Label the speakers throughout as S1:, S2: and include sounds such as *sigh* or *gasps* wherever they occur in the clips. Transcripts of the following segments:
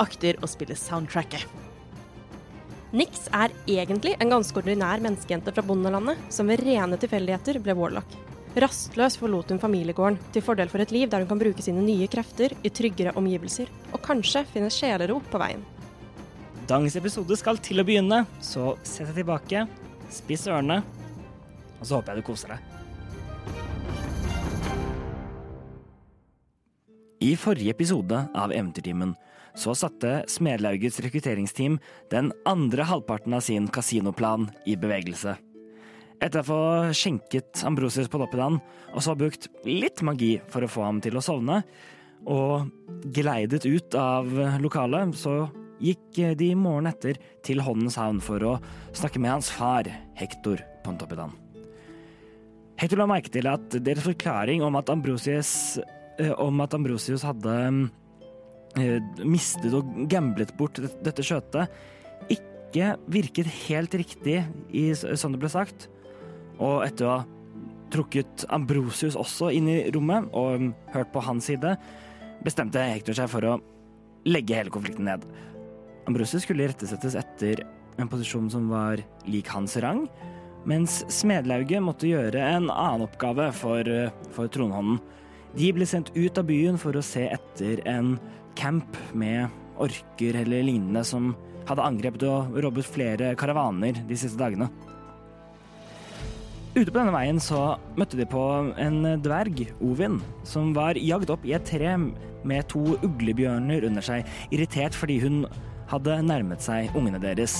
S1: akter å spille soundtracket.
S2: Nix er egentlig en ganske ordinær menneskejente fra bondelandet, som ved rene tilfeldigheter ble warlock. Rastløs forlot hun familiegården, til fordel for et liv der hun kan bruke sine nye krefter i tryggere omgivelser, og kanskje finne sjelero på veien.
S3: Dagens episode skal til å begynne, så sett deg tilbake, spiss ørene, og så håper jeg du koser deg. I forrige episode av Eventyrtimen så satte Smedlaugets rekrutteringsteam den andre halvparten av sin kasinoplan i bevegelse. Etter å få skjenket Ambrosius på Doppedan, og så ha brukt litt magi for å få ham til å sovne, og geleidet ut av lokalet, så gikk de morgenen etter til Håndens havn for å snakke med hans far, Hector Pontoppidan. Hector la merke til at deres forklaring om at Ambrosius, eh, om at Ambrosius hadde eh, mistet og gamblet bort det- dette skjøtet, ikke virket helt riktig i, s- sånn det ble sagt. Og etter å ha trukket Ambrosius også inn i rommet og mm, hørt på hans side, bestemte Hector seg for å legge hele konflikten ned. Ambrosius skulle rettesettes etter en posisjon som var lik hans rang, mens Smedlauget måtte gjøre en annen oppgave for, for tronhånden. De ble sendt ut av byen for å se etter en camp med orker eller lignende som hadde angrepet og robbet flere karavaner de siste dagene. Ute på denne veien så møtte de på en dverg, Ovin, som var jagd opp i et tre med to uglebjørner under seg, irritert fordi hun hadde nærmet seg ungene deres.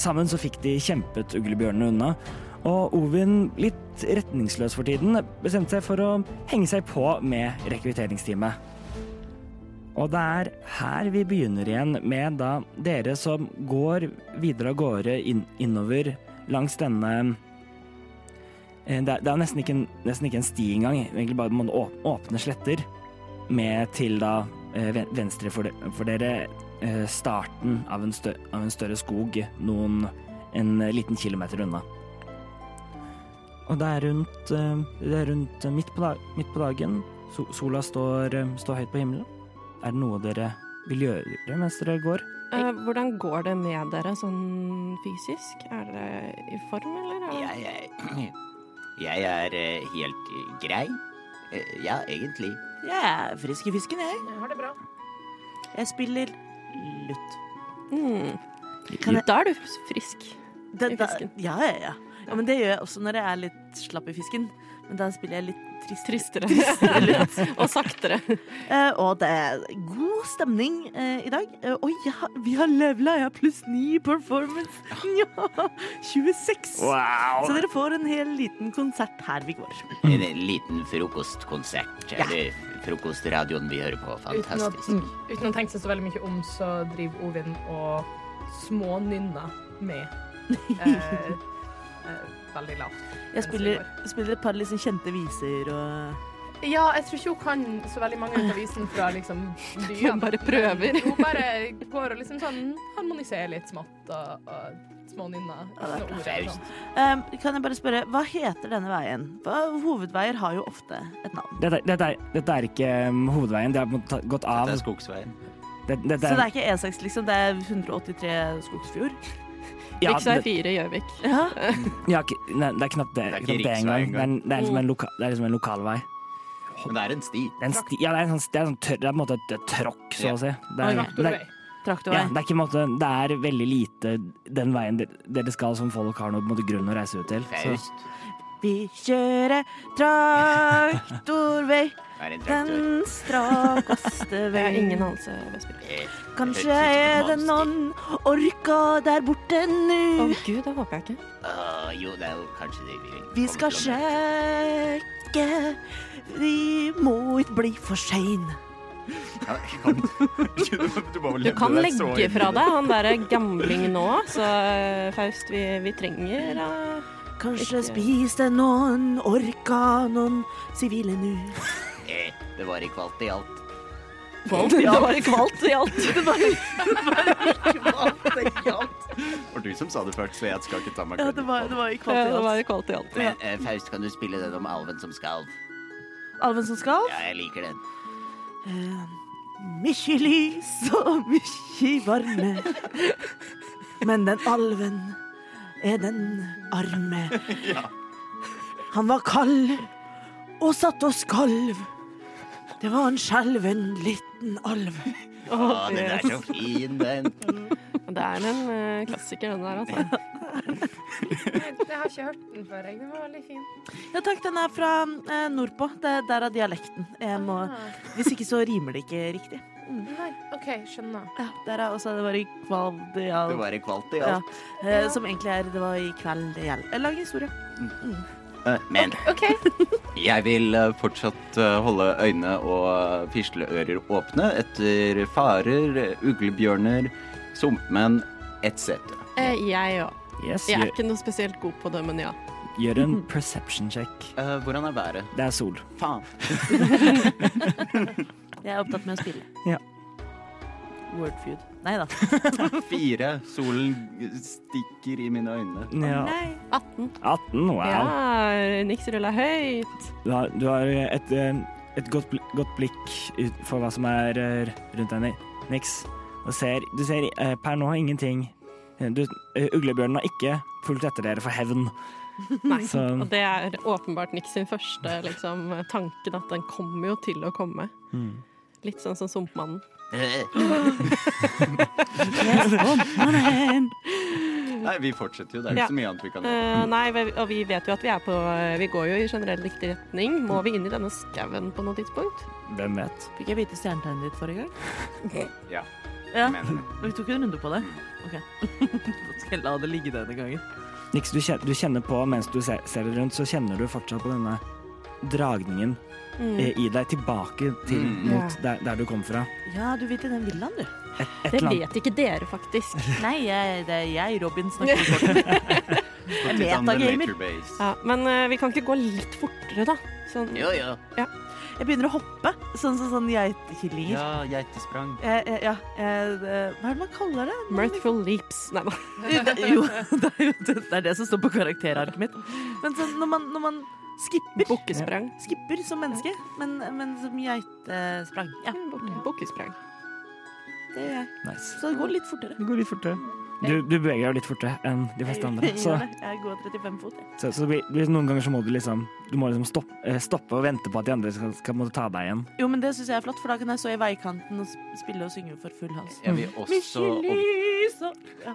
S3: Sammen så fikk de kjempet uglebjørnene unna, og Ovin, litt retningsløs for tiden, bestemte seg for å henge seg på med rekrutteringsteamet. Og det er her vi begynner igjen med da dere som går videre av gårde inn, innover langs denne Eh, Det er, det er nesten, ikke en, nesten ikke en sti engang, egentlig bare man å- åpne sletter med til da eh, ven- venstre for, de, for dere eh, starten av en, stø, av en større skog noen en liten kilometer unna. Og det er rundt, eh, det er rundt midt, på dag, midt på dagen. So, sola står, eh, står høyt på himmelen. Er det noe dere vil gjøre mens dere går?
S2: Eh, hvordan går det med dere sånn fysisk? Er dere i form, eller? Er-
S4: Jeg, jeg, jeg er eh, helt eh, grei. Eh, Ja, egentlig.
S1: Jeg er frisk i fisken, jeg. Jeg har det bra. Jeg spiller lutt.
S2: Mm.
S1: Kan jeg-
S2: Da er du frisk.
S1: Det,
S2: I
S1: da,
S2: fisken.
S1: ja, ja, ja. ja, men det gjør jeg også når jeg er litt slapp i fisken. Men da spiller jeg litt trist.
S2: Tristere. *laughs*
S1: litt.
S2: og saktere.
S1: Eh, og det er god stemning eh, i dag. Eh, Oi, ja, vi har levela! Jeg har pluss ni i performance. *laughs* Ja, 26. Så dere får en hel liten konsert her vi går.
S5: En liten frokostkonsert. Eller frokostradioen vi hører på.
S6: Uten å,
S5: Fantastisk.
S6: uten å tenke seg så veldig mye om, så driver Ovin og smånynner med *laughs* eh, eh, veldig lavt.
S1: Jeg spiller, spiller et par liksom kjente viser og
S6: Ja, jeg tror ikke hun kan så veldig mange ut av visen fra liksom *laughs* byen.
S2: Hun bare prøver.
S6: Hun bare går og liksom sånn harmoniserer litt smått og, og smånynner.
S1: det er
S6: Uten noe ord eller
S5: Faust.
S6: sånn.
S1: Em, eh, Kan jeg bare spørre, hva heter denne veien? Hva- Hovedveier har jo ofte et navn.
S3: Dette, dette, er, dette er ikke um, hovedveien. Det har på en måte ta- gått av.
S4: Det er skogsveien.
S3: Det- dette
S1: Så det er ikke E6, liksom. Det er 183 Skogsfjord.
S3: ja,
S2: Riksvei
S3: det-
S2: 4 i Gjøvik.
S1: Ja.
S3: Ja, ok, nei, det
S4: Det er ikke
S3: er knapt det, knapt det
S4: riksvei
S3: engang. Det er, en- det, er liksom en
S2: Mm.
S3: loka, det er liksom en lokalvei.
S4: Men det er en sti.
S3: Det er en sti, ja, det er en sånn, det er en sånn tørr, det er på en måte et tråkk, så
S4: Ja.
S3: å si. Det er,
S6: Og
S3: det er,
S6: traktorvei.
S1: Traktorvei.
S3: Ja, det, er ikke, en måte, det er veldig lite den veien dere- dere skal, som folk har noe på en måte, grunn å reise ut til. Så
S7: Faust.
S1: Vi kjører traktorvei, *laughs*
S7: Det er en traktor.
S1: den *laughs* strakeste
S2: Jeg har ingen
S1: veien.
S2: anelse, Vesper.
S7: Eh,
S1: Kanskje
S7: høres ut som et
S1: er det
S7: monster.
S1: noen orka der borte
S2: Å
S1: nu.
S2: gud, det håper jeg ikke.
S7: Å, jo, det er jo kanskje det vil
S1: Vi
S7: komme
S1: skal
S7: til å-
S1: sjekke. Vi må ikke bli for sein.
S8: Ja, jeg kan- *laughs* Du må vel
S2: Du
S8: levne
S2: kan
S8: deg så
S2: legge
S8: inn.
S2: fra deg han derre gambling nå, så eh, Faust, vi, vi trenger eh,
S1: Kanskje
S2: Ikke-
S1: spiste noen orka noen sivile nu.
S7: Eh, Det var ikke alt i alt.
S2: kvalt. Det var kvalt i *laughs* alt.
S8: Det var du som sa det først, så jeg skal ikke ta meg
S1: Ja,
S8: kredit
S1: det var,
S8: på
S1: det var ikke
S2: Ja, det
S1: kvalitet.
S2: var kvalt i alt.
S7: Men eh, Faust, kan du spille den om alven som skalv?
S1: Alven som skal.
S7: Ja, jeg liker den.
S1: Mykje lys og mykje varme. Men den alven er den arme. Han var kald og satt og skalv. Det var en skjelven liten alv.
S2: Å,
S7: Å, den er så fin, den.
S2: Det er en eh, klassiker, den der, altså.
S9: Jeg har ikke hørt den før. jeg. Den var veldig fin.
S1: Ja takk, den er fra eh, nordpå. Det, der er dialekten. Jeg må,
S9: Ah,
S1: hvis ikke så rimer det ikke riktig.
S9: nei, OK, skjønner.
S1: Ja, der er også det var i kveld det
S7: Det
S1: gjaldt.
S7: var ikke alt i
S1: Ja,
S7: alt.
S1: eh, som egentlig er det var i kveld det gjaldt. Eh, Lag historie.
S8: Eh,
S7: Men
S9: OK.
S8: Jeg vil eh, fortsatt eh, holde øyne og fisleører åpne etter farer, uglebjørner, sumpmenn etc.
S2: Eh, Jeg òg.
S3: yes,
S2: Jeg er
S3: gjør,
S2: ikke noe spesielt god på det, men ja.
S3: gjør en perception check.
S8: Eh, hvordan er været?
S3: Det er sol.
S8: *laughs* Faen.
S1: Jeg er opptatt med å spille.
S3: Ja.
S1: Wordfeud. Nei *laughs* da.
S8: Fire. Solen stikker i mine øyne.
S3: Ja.
S2: 18.
S3: 18, wow.
S2: Ja, Nix ruller høyt.
S3: Du har, du har et, eh, et godt, bl godt blikk ut for hva som er eh, rundt deg, Ni- Nix. Og ser, du ser eh, per nå ingenting. Du, eh, uglebjørnen har ikke fulgt etter dere for hevn.
S2: *laughs* Nei.
S3: Så
S2: Og det er åpenbart Nix sin første liksom, tanke, at den kommer jo til å komme. Litt sånn som Sumpmannen.
S7: Eh,
S1: *laughs*
S8: Nei, vi fortsetter jo. Det er jo
S2: Ja.
S8: ikke så mye annet vi kan gjøre.
S2: Eh, nei, ve- og vi vet jo at vi er på Vi går jo i generell riktig retning. Må vi inn i denne skauen på noe tidspunkt?
S3: hvem vet?
S1: Fikk jeg vite stjernetegnet ditt forrige gang?
S8: Ja.
S1: Ja,
S8: Men Mm.
S1: Vi tok en runde på det. Ok. *laughs* Da skal jeg la det ligge denne gangen.
S3: Nix, du kjenner, du kjenner på mens du ser, ser deg rundt, så kjenner du fortsatt på denne dragningen eh, i deg tilbake til
S8: Mm.
S3: mot
S2: Mm. Ja.
S3: der, der du kom fra.
S1: Ja, du vet i den villaen, *laughs* du.
S3: Et
S2: Det
S3: eller annet.
S2: vet ikke dere, faktisk. *laughs*
S1: Nei, jeg, det er jeg, Robin, snakker med *laughs* kortene.
S8: på Titan the
S1: metagamer.
S8: Later Base.
S2: Ja, men eh, vi kan ikke gå litt fortere, da? Sånn,
S7: jo, jo.
S1: Jeg begynner å hoppe, sånn som sånn, geitekillinger.
S8: Ja, geitesprang.
S1: Jeg- jeg- Ja. jeg- det- Hva er det man kaller det?
S2: Mirthful leaps. Nei da.
S1: *laughs* Det- Jo, *laughs* det er jo det, det, er det som står på karakterarket mitt. Men sånn når man, når man skipper
S2: Bukkesprang.
S1: Skipper som menneske, men, men som geitesprang. Ja,
S2: Buk- Bukkesprang.
S1: det gjør jeg.
S3: Nice.
S1: Så det går litt fortere.
S3: Det går litt fortere. Du, du beveger deg litt fortere enn de fleste andre.
S1: *laughs*
S2: *laughs*
S1: Jeg,
S3: Så,
S1: gjør det. jeg går 35 fot. jeg.
S3: så, så det blir, det blir noen ganger så må du liksom, du må liksom stoppe, eh, stoppe og vente på at de andre skal, skal måtte ta deg igjen.
S1: Jo, men det syns jeg er flott, for da kan jeg stå i veikanten og sp- spille og synge for full hals.
S8: Jeg vil også
S1: Mykje
S8: opp-
S1: lys og ja.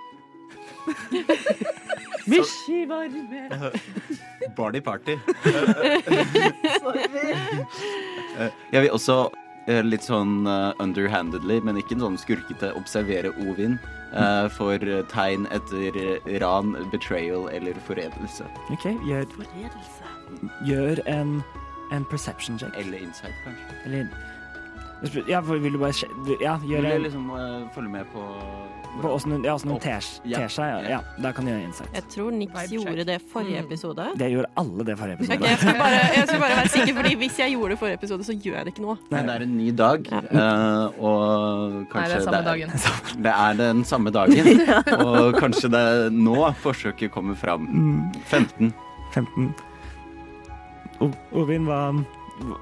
S1: Mykje varme
S8: Barney Party.
S1: Sorry.
S8: Eh, Jeg vil også eh, litt sånn eh, underhandedly, men ikke sånn skurkete, observere Ovin eh, for eh, tegn etter eh, ran, betrayal eller forrædelse.
S3: Ok, gjør,
S1: Forrædelse.
S3: gjør en, en perception check.
S8: Eller insight, kanskje.
S3: Eller Ja, for vil du bare sje- du- Ja, gjør
S8: Vil jeg
S3: en
S8: liksom eh, følge med på
S3: på åssen hun, ja, åssen hun
S8: Opp.
S3: ter,
S8: Ja.
S3: ter seg. Ja, ja, da kan du gjøre insight.
S2: Jeg tror Nix
S9: Vibe check.
S2: gjorde det forrige episode.
S3: Det gjorde alle det forrige
S2: Mm. Ok,
S3: episode.
S2: jeg skal, bare, jeg skal bare være sikker, fordi hvis jeg gjorde det forrige episode, så gjør jeg det ikke nå.
S8: Men det er en ny dag, eh, og
S9: Nei, det
S8: kanskje
S9: er samme dagen.
S8: Det er den samme dagen, og kanskje det er nå forsøket kommer
S3: Mm,
S8: fram. 15.
S3: 15. O Ovin, hva,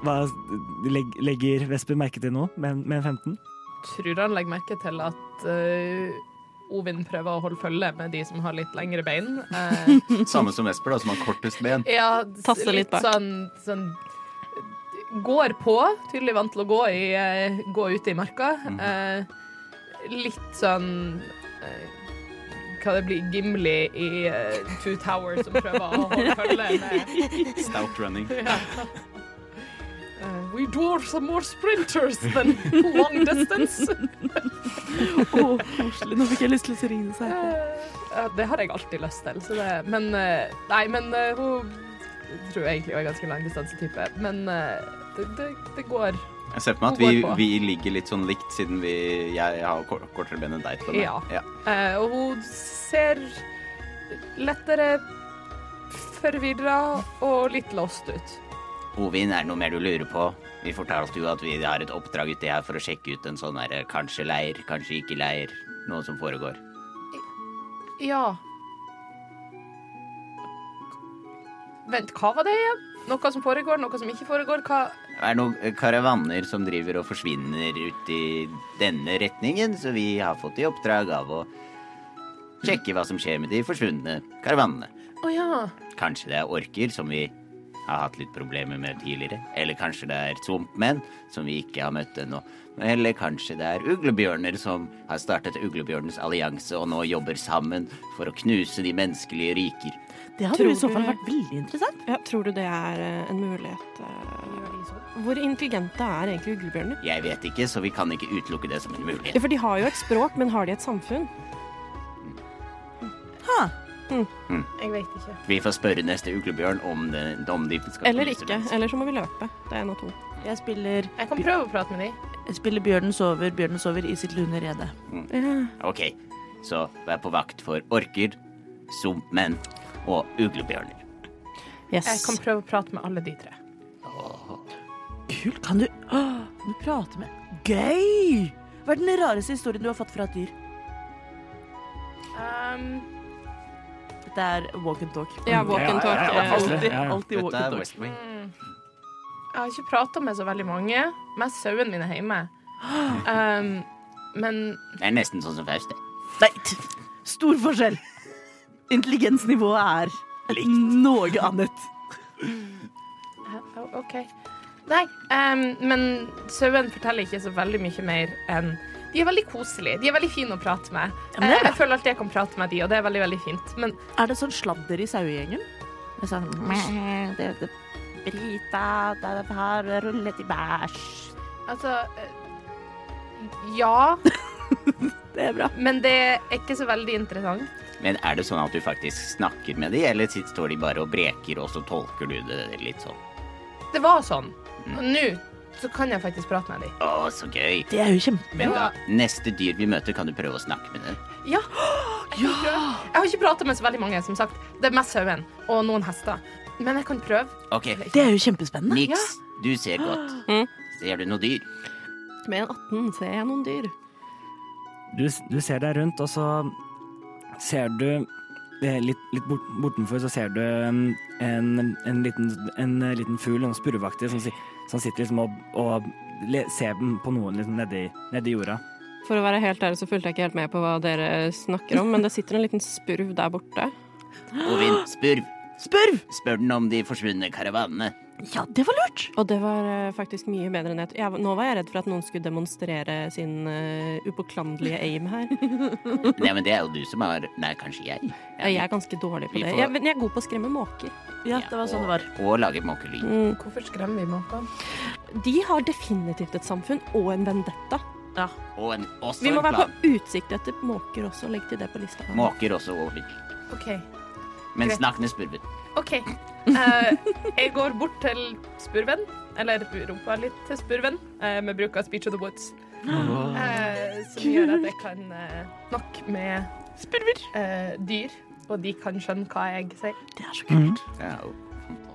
S3: hva legg, legger Vesper merke til nå med, en- med en 15?
S9: Tror han legger merke til at eh, Ovin prøver å holde følge med de som har litt lengre bein.
S2: *laughs*
S9: Eh,
S8: Samme som Vesper, da, som har kortest ben.
S9: ja,
S2: Tasse litt bak.
S9: Sånn, sånn Går på. Tydelig vant til å gå, i, eh, gå ute i marka. Eh, litt sånn eh, Hva det blir Gimli i eh, Two Towers som prøver å
S2: *laughs*
S9: holde følge med
S10: Stout running.
S9: eh, We dwarves are more sprinters than long distance.
S1: Å, koselig. Nå fikk jeg lyst til å ringe seg.
S9: Ja, det har jeg alltid lyst til. Så det, men eh, Nei, men eh, hun tror jeg egentlig var en ganske langdistansetype. Men eh, det, det, det går.
S10: Jeg ser for meg at
S9: Hun
S10: vi,
S9: går på.
S10: vi ligger litt sånn likt, siden vi, jeg har kor- kortere ben enn deg. til og med.
S9: Ja.
S10: Ja.
S9: Eh, og hun ser lettere forvirra og litt lost ut.
S8: Ovin, er det noe mer du lurer på? Vi fortalte jo at vi har et oppdrag uti her for å sjekke ut en sånn derre kanskje leir, kanskje ikke leir, noe som foregår.
S9: Ja. Vent, hva var det igjen? Noe som foregår, noe som ikke foregår? Hva
S8: Det er noen eh, karavaner som driver og forsvinner ut i denne retningen, så vi har fått i oppdrag av å sjekke hva som skjer med de forsvunne karavanene.
S9: Å ja.
S8: Kanskje det er orker, som vi har hatt litt problemer med tidligere. Eller kanskje det er svampmenn, som vi ikke har møtt ennå. Eller kanskje det er uglebjørner som har startet Uglebjørnens allianse og nå jobber sammen for å knuse de menneskelige riker.
S1: *laughs* Det hadde
S2: Tror
S1: i så fall
S2: du-
S1: vært veldig interessant.
S2: Ja, tror du det er eh, en mulighet? eh, Hvor intelligente er egentlig uglebjørner?
S8: Jeg vet ikke, så vi kan ikke utelukke det som en
S2: Ja,
S8: mulighet.
S2: for de har jo et språk, men har de et samfunn?
S9: Jeg vet ikke.
S8: Vi får spørre neste uglebjørn om, det, om de skal
S2: Eller
S8: knuse
S2: ikke.
S8: mennesker.
S2: Eller så må vi løpe. Det er en av to.
S1: Jeg spiller,
S9: Jeg kan prøve å prate med dem.
S1: jeg spiller Bjørnen sover, Bjørnen sover i sitt lune rede.
S8: Ok, så vær på vakt for orker, sumpmenn og uglebjørner.
S9: Jeg
S1: Yes.
S9: kan prøve å prate med alle de tre.
S1: Kult. Kan du Åh, Kan du prate med Gøy! Hva er den rareste historien du har fått fra et dyr?
S9: Um,
S1: Dette er walk and talk.
S2: Ja, walk and talk.
S3: Ja, ja, ja,
S2: eh,
S3: ja.
S1: Alltid,
S3: ja.
S1: alltid walk
S10: Dette
S1: and
S10: er
S1: talk.
S10: West Wing.
S9: jeg har ikke prata med så veldig mange. Mest sauene mine hjemme. Um, men
S8: Det er nesten sånn som Faust, det.
S1: Nei, t- stor forskjell. Intelligensnivået er
S8: Likt.
S1: noe annet.
S9: Hæ? Å, oh, OK. Nei, um, men sauen forteller ikke så veldig mye mer enn De er veldig koselige. De er veldig fine å prate med.
S1: Ja, men det er
S9: Eh, jeg føler alltid jeg kan prate med de, og det er veldig, veldig fint. Men
S1: Er det sånn sladder i sauegjengen? Det er sånn "Mæ, det, det, Brita, det det har rullet i bæsj.
S9: altså eh, Ja,
S1: Det er bra.
S9: men det er ikke så veldig interessant.
S8: Men er det sånn at du faktisk snakker med de, eller sitt- står de bare og breker, og så tolker du det litt sånn?
S9: Det var sånn. Og nå så kan jeg faktisk prate med de.
S8: Å, så gøy.
S1: Det er jo kjempe...
S8: Men da, neste dyr vi møter, kan du prøve å snakke med dem.
S9: *gasps* Ja. Jeg, kan prøve. jeg har ikke prata med så veldig mange, som sagt. Det er mest sauen og noen hester. Men jeg kan prøve.
S8: Ok,
S1: Det er jo kjempespennende.
S8: Nix, du ser godt.
S2: Mm.
S8: Ser du noe dyr?
S2: Med en 18 ser jeg noen dyr.
S3: Du, du ser deg rundt, og så ser du eh, litt, litt bort, bortenfor så ser du en, en, en, liten, en eh, liten fugl, en spurveaktig, som, si- som sitter liksom og, og le, ser på noen liksom nedi, nedi jorda.
S2: For å være helt ærlig så fulgte jeg ikke helt med på hva dere snakker om, men det sitter en liten spurv der borte.
S8: Ovin, spurv.
S1: Spurv!
S8: Spør den om de forsvunne karavanene.
S1: Ja, det var lurt.
S2: Og det var eh, faktisk mye bedre enn jeg trodde. Jeg- Nå var jeg redd for at noen skulle demonstrere sin eh, upåklandelige aim her.
S8: Nei, men det er jo du som har Nei, kanskje jeg.
S2: *laughs* Ja, Jeg er ganske dårlig på
S8: Vi
S2: det.
S8: får-
S2: Jeg, men jeg er god på å skremme måker.
S1: Ja, det var sånn det var.
S8: Og lager måkelyd.
S2: Mm.
S9: Hvorfor skremmer vi måkene?
S2: De har definitivt et samfunn og en vendetta.
S8: Og en, også
S2: Vi må
S8: en
S2: være
S8: plan.
S2: på utsikt etter måker også. Legg til det på lista.
S8: Måker også, Ovin.
S9: OK.
S8: Men
S9: Greit.
S8: snakk med spurven.
S9: ok. Eh, jeg går bort til spurven, eller rumpa litt til spurven, eh, med bruk av speech of the woods. Eh, som gjør at jeg kan eh, snakke med spurver. eh, dyr, og de kan skjønne hva jeg sier.
S1: Det er så kult.
S8: Ja, og-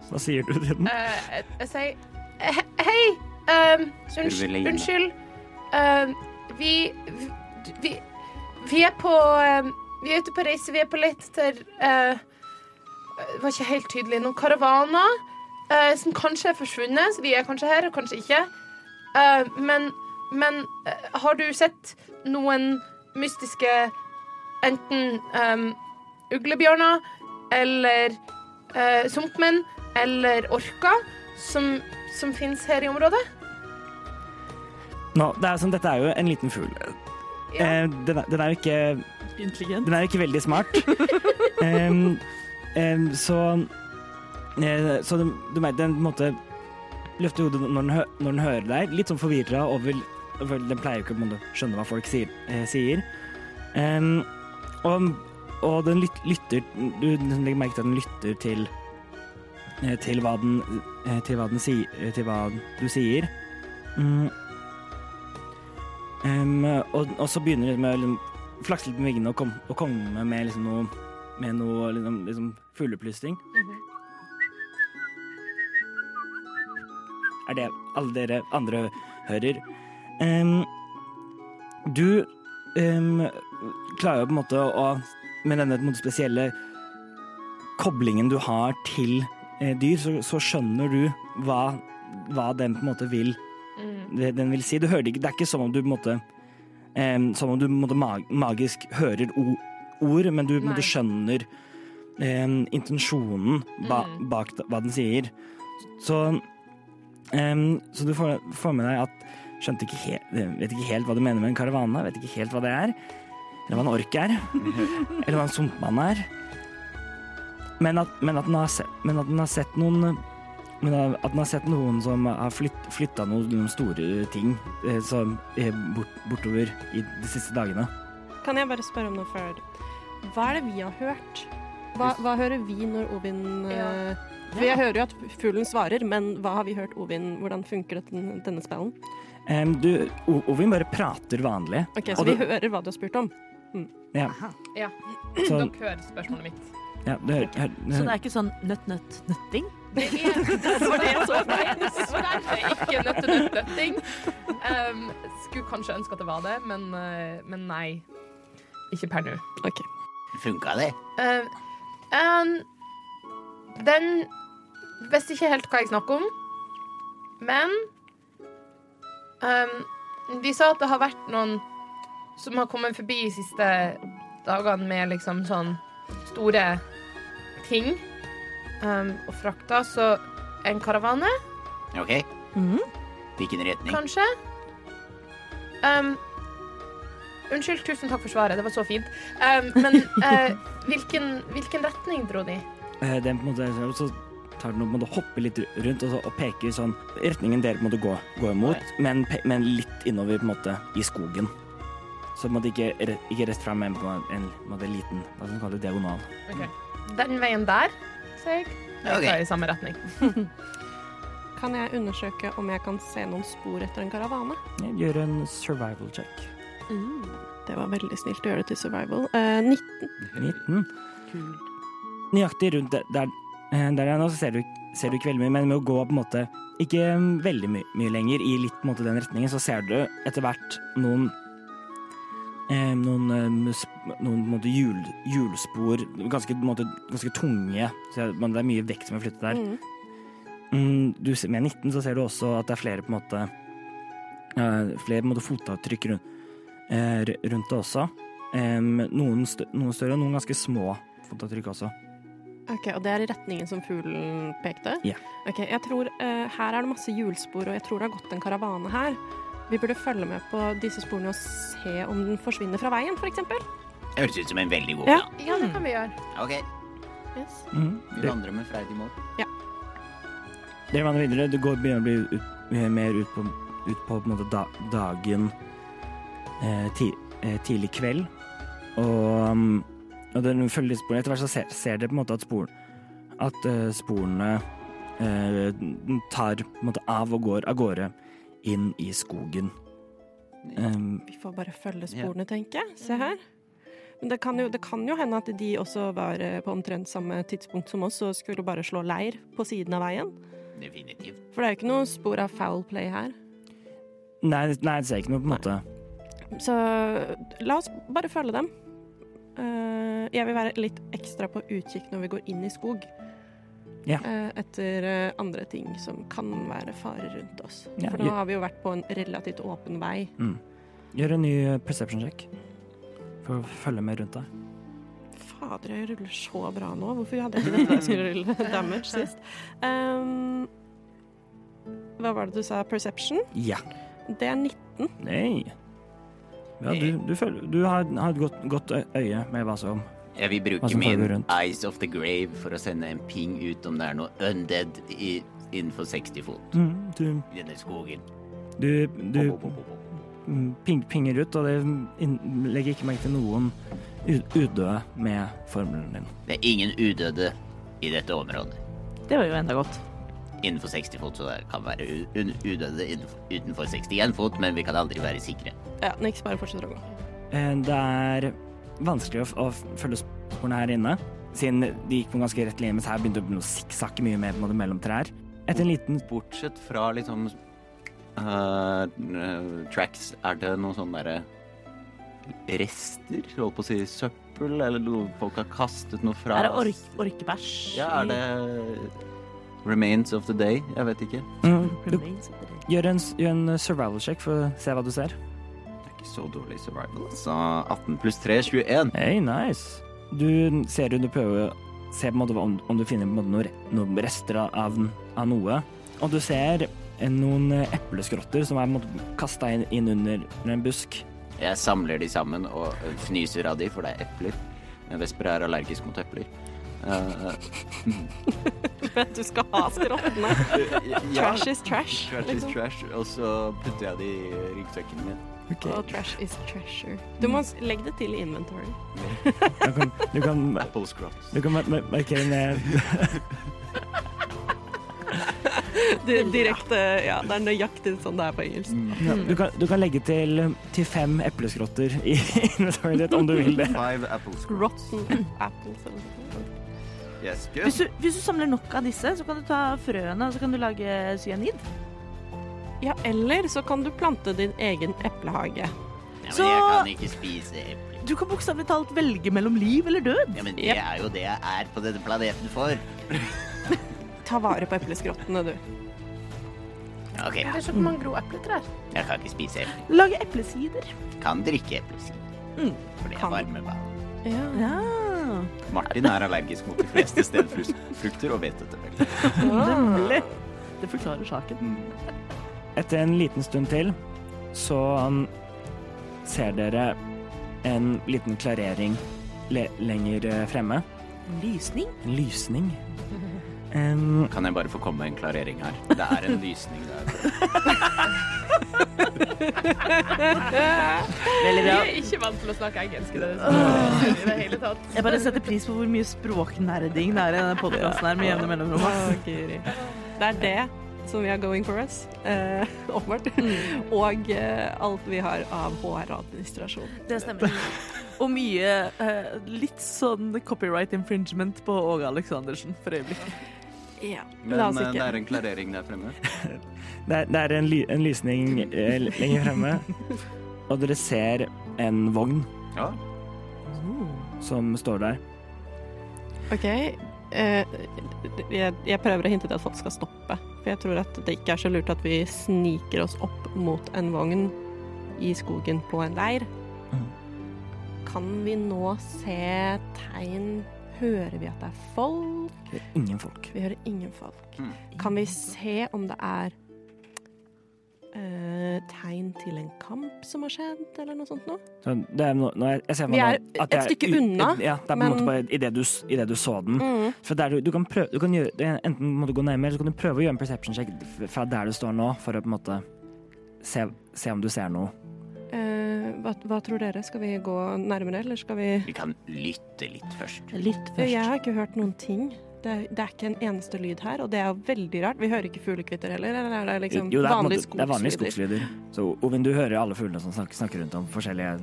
S3: Hva sier du til den?
S9: Eh, jeg, jeg sier eh, Hei! ehm, unns,
S8: Spurveline.
S9: unnskyld. Ehm, vi, vi Vi er på ehm, Vi er ute på reise. Vi er på lett etter eh, Det var ikke helt tydelig. Noen karavaner eh, som kanskje er forsvunnet. Så de er kanskje her, og kanskje ikke. Eh, men men eh, har du sett noen mystiske Enten ehm, uglebjørner eller eh, sumpmenn eller orker som, som finnes her i området.
S3: Nå, det er som, dette er jo en liten fugl.
S6: Ja.
S3: Eh, den, er, den er jo ikke
S1: Intelligent.
S3: Den er jo ikke veldig smart. Em, em, så eh, Så den, du merker den på en måte løfter hodet når den, hø når den hører deg, litt sånn forvirra over over- Den pleier jo ikke på en måte å skjønne hva folk sier. Eh, sier. Em, og, og den lyt, lytter Du liksom legger merke til at den lytter til eh, til hva den eh, til hva den si, eh, til hva du sier. Mm. Em, og, og så begynner det med liksom flakse litt med vingene og, kom, og komme med liksom noe med noe liksom, liksom fugleplystring. Er det alle dere andre hører. Em, du em, klarer jo på en måte å Med denne på en måte, spesielle koblingen du har til eh, dyr, så, så skjønner du hva, hva den på en måte vil det, den vil si. Du hører det ikke, det er ikke som om du på en måte em, Som om du på en måte mag magisk hører o ord, men du på en måte skjønner em, intensjonen ba bak da- hva den sier. Så em, Så du får, får med deg at skjønte ikke helt, vet ikke helt hva du mener med en karavane, vet ikke helt hva det er. Eller hva en ork er. eller hva en sumpmann er. Men at, men, at den har se, men at den har sett noen men da- at man har sett noen som har flytt, flytta noen, noen store ting eh, som er bort, bortover i de siste dagene.
S2: Kan jeg bare spørre om noe før? Hva er det vi har hørt? Hva, hva hører vi når Ovin eh, For jeg hører jo at fuglen svarer, men hva har vi hørt Ovin? Hvordan funker dette, denne spellen?
S3: Em, du, O- Ovin bare prater vanlig.
S2: Ok,
S3: Og
S2: Så vi
S3: det-
S2: hører hva du har spurt om.
S3: Ja,
S6: Ja.
S3: så,
S6: Dere hører spørsmålet mitt.
S3: ja, du hører,
S1: Så det
S3: hører,
S1: er ikke sånn nøtt-nøtt-nøtting?
S6: Det er *laughs* det var det jeg så for meg. Dessverre ikke nødt til nøtting. Um, skulle kanskje ønske at det var det, men, eh, men nei. Ikke per nå.
S2: Ok.
S5: Funka det?
S6: Eh, ehm, den visste ikke helt hva jeg snakker om, men ehm, De sa at det har vært noen som har kommet forbi de siste dagene med liksom sånn store ting ehm, og frakta, så en karavane,
S5: OK. Hvilken retning?
S6: kanskje. Ehm, unnskyld, tusen takk for svaret, det var så fint. Ehm, men eh, hvilken, hvilken retning dro de?
S3: eh, den på en måte, så- så tar den og på en måte hopper litt rundt og, så, og peker sånn retningen dere på en måte går, går imot, men, pe- men litt innover på en måte i skogen. Så på en måte ikke, re- ikke rett fram, men på en, en, på en måte liten hva skal man kalle det, diagonal.
S6: Den veien der, sier jeg.
S5: Ok.
S6: Det er i samme retning.
S2: Kan jeg undersøke om jeg kan se noen spor etter en karavane?
S3: Gjør en survival check.
S2: Det var veldig snilt å gjøre det til survival. Eh, 19.
S3: 19. Nøyaktig rundt der, der, eh, der jeg er nå, så ser du, ser du ikke veldig mye, men med å gå på en måte ikke mm, veldig my mye lenger i litt på en måte den retningen, så ser du etter hvert noen eh, noen, eh, sp- noen på en måte hjul, hjulspor, ganske, på en måte, ganske tunge, så men det er mye vekt som er flyttet der.
S2: Mm.
S3: Mm, du, ser- med 19 så ser du også at det er flere på en måte eh, flere på en måte fotavtrykk rundt, eh, ru- rundt det også. Em, noen, stø noen større og noen ganske små fotavtrykk også.
S2: Ok, Og det er i retningen som fuglen pekte?
S3: Ja.
S2: Ok, jeg tror eh, Her er det masse hjulspor, og jeg tror det har gått en karavane her. Vi burde følge med på disse sporene og se om den forsvinner fra veien, f.eks.
S5: Høres ut som en veldig god
S2: Ja.
S5: plan.
S6: Ja, det kan vi
S3: Mm.
S6: gjøre.
S5: OK.
S2: Yes.
S3: Mhm.
S8: Mm-hmm.
S5: Vi
S3: Dere-
S5: vandrer med freidig mål.
S3: Dere vandrer videre. Det går, begynner å bli ut, eh, mer ut på, ut på, på en måte da, dagen eh, ti, eh, tidlig kveld. Og, mm, og dere følger litt sporene. Etter hvert så ser, ser dere på en måte at, spor, at eh, sporene eh, tar på en måte av og går av gårde inn i skogen. Em,
S2: Vi får bare følge sporene, tenker jeg. Se her. Men det kan, jo, det kan jo hende at de også var eh, på omtrent samme tidspunkt som oss og skulle bare slå leir på siden av veien.
S5: Definitivt.
S2: For det er jo ikke noe spor av foul play her.
S3: nei, nei, det ser ikke noe på en måte.
S2: Så la oss bare følge dem. Eh, jeg vil være litt ekstra på utkikk når vi går inn i skog.
S3: Ja.
S2: Eh, etter eh, andre ting som kan være farer rundt oss.
S3: Ja,
S2: For nå
S3: ja.
S2: har vi jo vært på en relativt åpen vei.
S3: Gjør en ny eh, perception check for å følge med rundt deg.
S2: Fader, jeg ruller så bra nå. Hvorfor hadde jeg ikke dette da jeg skulle *laughs* rulle damage sist? Ehm, hva var det du sa? Perception?
S3: Ja.
S2: Det er 19.
S3: Nei. Ja, du, du, føler, du har, har et godt, godt ø- øye med hva som
S5: Jeg vil
S3: Hva
S5: bruke
S3: som foregår
S5: min
S3: rundt.
S5: Eyes of the Grave for å sende en ping ut om det er noe undead i, innenfor 60 fot.
S3: Mm, Du,
S5: I denne skogen.
S3: du, du
S5: Bo, bo, bo, bo, bo.
S3: mm, ping, pinger ut, og det inn- legger ikke merke til noen u- udøde med formelen din.
S5: Det er ingen udøde i dette området.
S1: Det var jo enda godt.
S5: Innenfor 60 fot, så det kan være u- un- udøde innenfor, utenfor 61 fot, men vi kan aldri være sikre.
S2: Ja, Nix bare fortsetter å gå.
S3: Eh, Det er vanskelig å, f- å f- følge sporene her inne, siden de gikk på en ganske rett linje, mens her begynte det å sikksakke mye mer på en måte mellom trær. Etter en liten
S8: Bortsett fra liksom eh, eh, tracks, er det noe sånn derre rester? Holdt på å si søppel, eller noe folk har kastet noe fra?
S1: Er det ork orkebæsj?
S8: Ja, er det remains of the day? Jeg vet ikke.
S3: du,
S1: Mm.
S3: gjør, en, s- gjør en survival check for å se hva du ser.
S8: Det er ikke så dårlig survival, altså. 18 pluss 3, 21.
S3: Hey, nice. Du ser du prøver å se på en måte om, om du finner på en måte noen, re- noen rester av, av noe. Og du ser eh, noen eh, epleskrotter som er kasta inn, inn under en busk.
S5: Jeg samler de sammen og øh, fnyser av de, for det er epler. Vesper er allergisk mot epler.
S8: Eh,
S2: Vet *laughs* du skal ha skrottene. *laughs*
S8: ja,
S2: Trash is trash.
S8: trash is
S2: Liksom.
S8: trash, og så putter jeg det i ryggsekken min.
S2: Og trash is treasure. Du må s- legge det til i inventory.
S3: Du kan, du kan,
S8: Apple scrops.
S3: du kan mar- mar- markere ned
S2: *laughs* Det, direkte, ja, det er nøyaktig sånn det er på engelsk.
S3: du kan, du kan legge til, til fem epleskrotter i inventaryen ditt om du vil det.
S8: Five apple scrops.
S2: Rotten apples eller noe.
S8: Yes,
S1: Hvis
S8: good.
S1: du, hvis du samler nok av disse, så kan du ta frøene og så kan du lage cyanid.
S2: Ja, eller så kan du plante din egen eplehage.
S5: Ja, men
S1: Så-
S5: jeg kan ikke spise epler.
S1: Du kan bokstavelig talt velge mellom liv eller død.
S5: Ja, men det er jo det jeg er på denne planeten for.
S2: Ta vare på epleskrottene, du.
S5: Ok,
S6: Eller så kan man gro epletrær.
S5: jeg kan ikke spise epler.
S1: Lage eplesider.
S5: Kan drikke epleskiver.
S1: Mm.
S5: Fordi jeg
S2: Kan.
S5: varmer meg.
S2: Ja.
S1: Ja.
S8: Martin er allergisk mot de fleste stedfrukter og vet dette vel.
S1: Ah. Nemlig. Det forklarer saken.
S3: Etter en liten stund til så um, ser dere en liten klarering le lenger eh, fremme.
S1: Lysning.
S3: En
S2: *laughs*
S3: lysning. Um,
S8: Kan jeg bare få komme med en klarering her? Det er en lysning der.
S1: Veldig bra.
S6: Jeg er ikke vant til å snakke engelsk i det, i det hele tatt.
S1: Jeg bare setter pris på hvor mye språknerding det er i denne podkasten her med jevne mellomrom. ass.
S2: Det er det som vi har going for us, eh, åpenbart. *laughs* Og eh, alt vi har av HR-administrasjon.
S1: Det stemmer. Og mye eh, litt sånn copyright infringement på Åge Aleksandersen for øyeblikket.
S2: Ja.
S8: Men
S2: La oss
S8: eh, det
S2: ikke
S8: er en klarering der fremme.
S3: Det er, det er en, ly en lysning eh, lenger fremme, og dere ser en vogn
S8: Ja.
S3: som står der.
S2: OK. eh, jeg, jeg prøver å hinte til at folk skal stoppe. For jeg tror at det ikke er så lurt at vi sniker oss opp mot en vogn i skogen på en leir. Kan vi nå se tegn Hører vi at det er folk?
S3: Det er ingen folk.
S2: Vi hører ingen folk.
S3: Mm.
S2: Kan vi se om det er eh, tegn til en kamp som har skjedd, eller noe sånt noe?
S3: Så det er no, nå jeg, jeg ser for
S2: Vi
S3: meg
S2: er
S3: nå at
S2: et
S3: det er
S2: stykke
S3: u-
S2: unna,
S3: Ja, det er på en måte
S2: men-
S3: bare i det du, s- i det du så den.
S2: Mm.
S3: For der, du, du kan prøve, du kan gjøre, det er enten må du gå nærmere, eller så kan du prøve å gjøre en perception check f- fra der du står nå, for å på en måte se, se om du ser noe.
S2: Eh, hva, hva tror dere? Skal vi gå nærmere, eller skal vi
S5: Vi kan lytte litt først.
S1: Lytt
S2: Jeg har ikke hørt noen ting. Det er, det er ikke en eneste lyd her, og det er jo veldig rart. Vi hører ikke fuglekvitter heller, eller er det liksom
S3: Jo, det er, på en
S2: vanlige
S3: måte, det er vanlige
S2: skogslyder?
S3: skogslyder. Så Ovin, du hører alle fuglene som snakker, snakker rundt om forskjellige,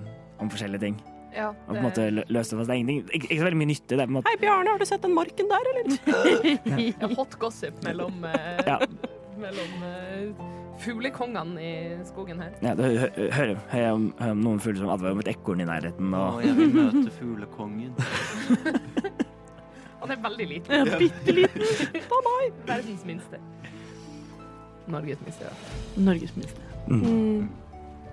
S3: om forskjellige ting.
S6: Ja,
S3: Og på en måte lø- løse det fast. Det er ingenting, ikke, ikke så veldig mye nytte. Det er på en måte
S2: Hei, Bjarne, har du sett den marken der, eller?
S6: Ja, hot gossip mellom, eh,
S3: Ja.
S6: mellom eh, fuglekongene i skogen her.
S3: Ja, du hø- hø- hører hører om, hører om noen fugler som advarer om et ekorn i nærheten.
S8: Å,
S3: Og,
S8: jeg vil møte fuglekongen.
S6: Han er veldig liten.
S1: Bitte liten
S6: Verdens minste. Norges minste, ja.
S1: norgesminister.
S2: Mm.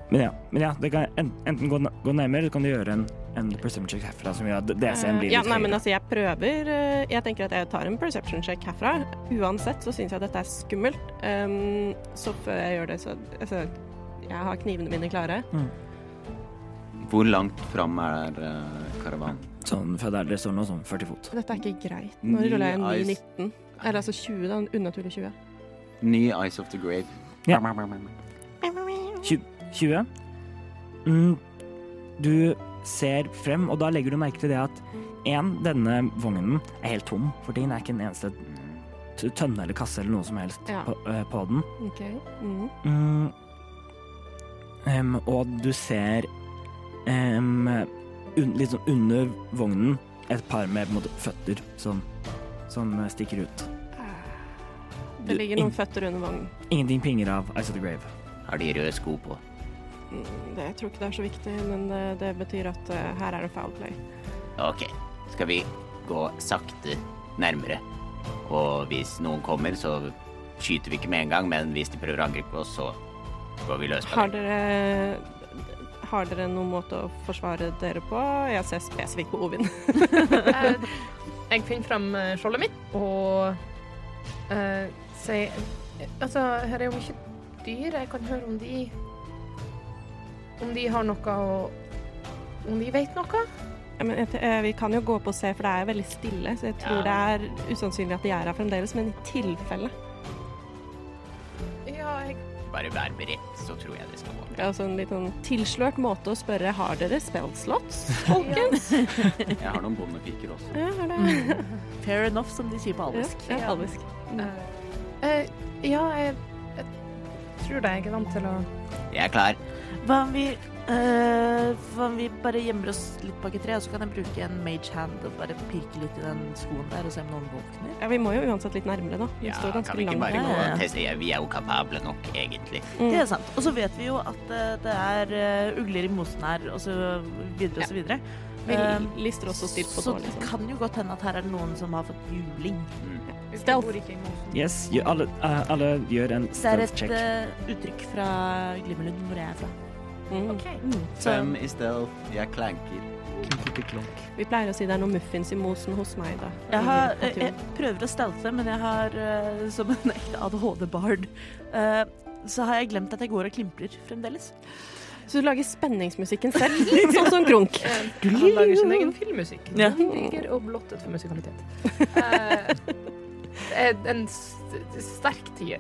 S3: men ja, men ja det kan en- enten gå, na- gå nærmere, eller kan du gjøre en, en perception check herfra som gjør at DC-en blir
S2: ja,
S3: litt
S2: nei, men
S3: høyere.
S2: altså, jeg prøver eh, Jeg tenker at jeg tar en perception check herfra. Uansett så syns jeg dette er skummelt. Ehm, Um, så før jeg gjør det, så altså, Jeg har knivene mine klare.
S3: Mm.
S8: Hvor langt fram er eh, karavanen?
S3: Sånn fra der dere står nå, sånn 40 fot.
S2: Dette er ikke greit. Nå ruller jeg en
S8: Ni
S2: ny
S8: eyes.
S2: 19. Eller altså 20, da. en Unaturlig 20.
S8: Ny Eyes of the Grave.
S3: Ja. 20. Mm, du ser frem, og da legger du merke til det at en, denne vognen er helt tom for ting. Det er ikke en eneste t- tønne eller kasse eller noe som helst
S2: Ja.
S3: på, eh, på den.
S2: Ok. Mm.
S3: Mm. Em, og du ser em, un, litt sånn under vognen et par med på en måte, føtter som, som stikker ut.
S2: Ah. Det ligger noen føtter under vognen.
S3: Ingenting pinger av Ice of the Grave.
S5: Har de røde sko på?
S2: Mm, Det, jeg tror ikke det er så viktig, men det, det betyr at eh, her er det foul play.
S5: Ok, skal vi gå sakte nærmere. Og hvis noen kommer, så skyter vi ikke med en gang, men hvis de prøver å angripe oss, så går vi løs på
S2: Har
S5: det.
S2: dere, har dere noen måte å forsvare dere på? Jeg ser spesifikt på Ovin.
S6: Eh, jeg finner fram eh, skjoldet mitt og eh, sier Altså, her er jo mye dyr. Jeg kan høre om de Om de har noe å Om de vet noe.
S2: Ja, men, jeg- eh, vi kan jo gå opp og se, for det er veldig stille. Så jeg tror det er usannsynlig at de er her fremdeles, men i tilfelle.
S6: Ja, jeg
S5: Bare vær beredt, så tror jeg det skal gå.
S2: Det er altså en litt sånn tilslørt måte å spørre har dere spellslots, folkens.
S8: Jeg har noen bondepiker også.
S2: ja, er det?
S1: Fair enough, som de sier på alvisk.
S2: Ja, ja, alvisk.
S6: Eh, *laughs* eh, Ja, jeg, jeg tror det. Jeg er vant til å
S5: Jeg er klar.
S1: Hva om vi eh, Hva om vi bare gjemmer oss litt bak et tre, og så kan jeg bruke en mage hand og bare pirke litt i den skoen der og se om noen våkner?
S2: Ja, vi må jo uansett litt nærmere, da. Vi
S5: Ja,
S2: står
S5: kan vi
S2: ganske
S5: ikke
S2: langt. Mm.
S5: bare gå
S1: Ja, ja.
S5: og teste? Ja, Vi er jo kapable nok, egentlig.
S1: Det er sant. Og så vet vi jo at eh, det er eh, ugler i mosen her, og så videre og så videre.
S2: Vi
S1: Eh,
S2: lister oss og stilt på
S1: så
S2: tå,
S1: det
S2: liksom.
S1: kan jo godt hende at her er det noen som har fått juling.
S5: Mm.
S2: Stealth.
S3: Yes, gjør- alle, eh, alle gjør en
S1: Det er
S3: stealth
S1: et
S3: check.
S1: eh, uttrykk fra Glimmerlund, hvor jeg er fra.
S2: Mm.
S1: Mm. Så
S8: Fem i stealth. Jeg klanker. Klunk.
S2: Vi pleier å si det er noen muffins i mosen hos meg, da. Mm,
S1: jeg, har, eh,
S2: I
S1: jeg,
S2: naturen.
S1: jeg prøver å stelte, men jeg har, eh, som en *laughs* ekte ADHD-bard, eh, så har jeg glemt at jeg går og klimprer fremdeles.
S2: Så du lager spenningsmusikken selv, litt sånn som Krunk.
S6: Eh, Han lager sin egen filmmusikk.
S1: Ja.
S6: Han ligger og blottet for musikalitet. Eh, en st sterk tier.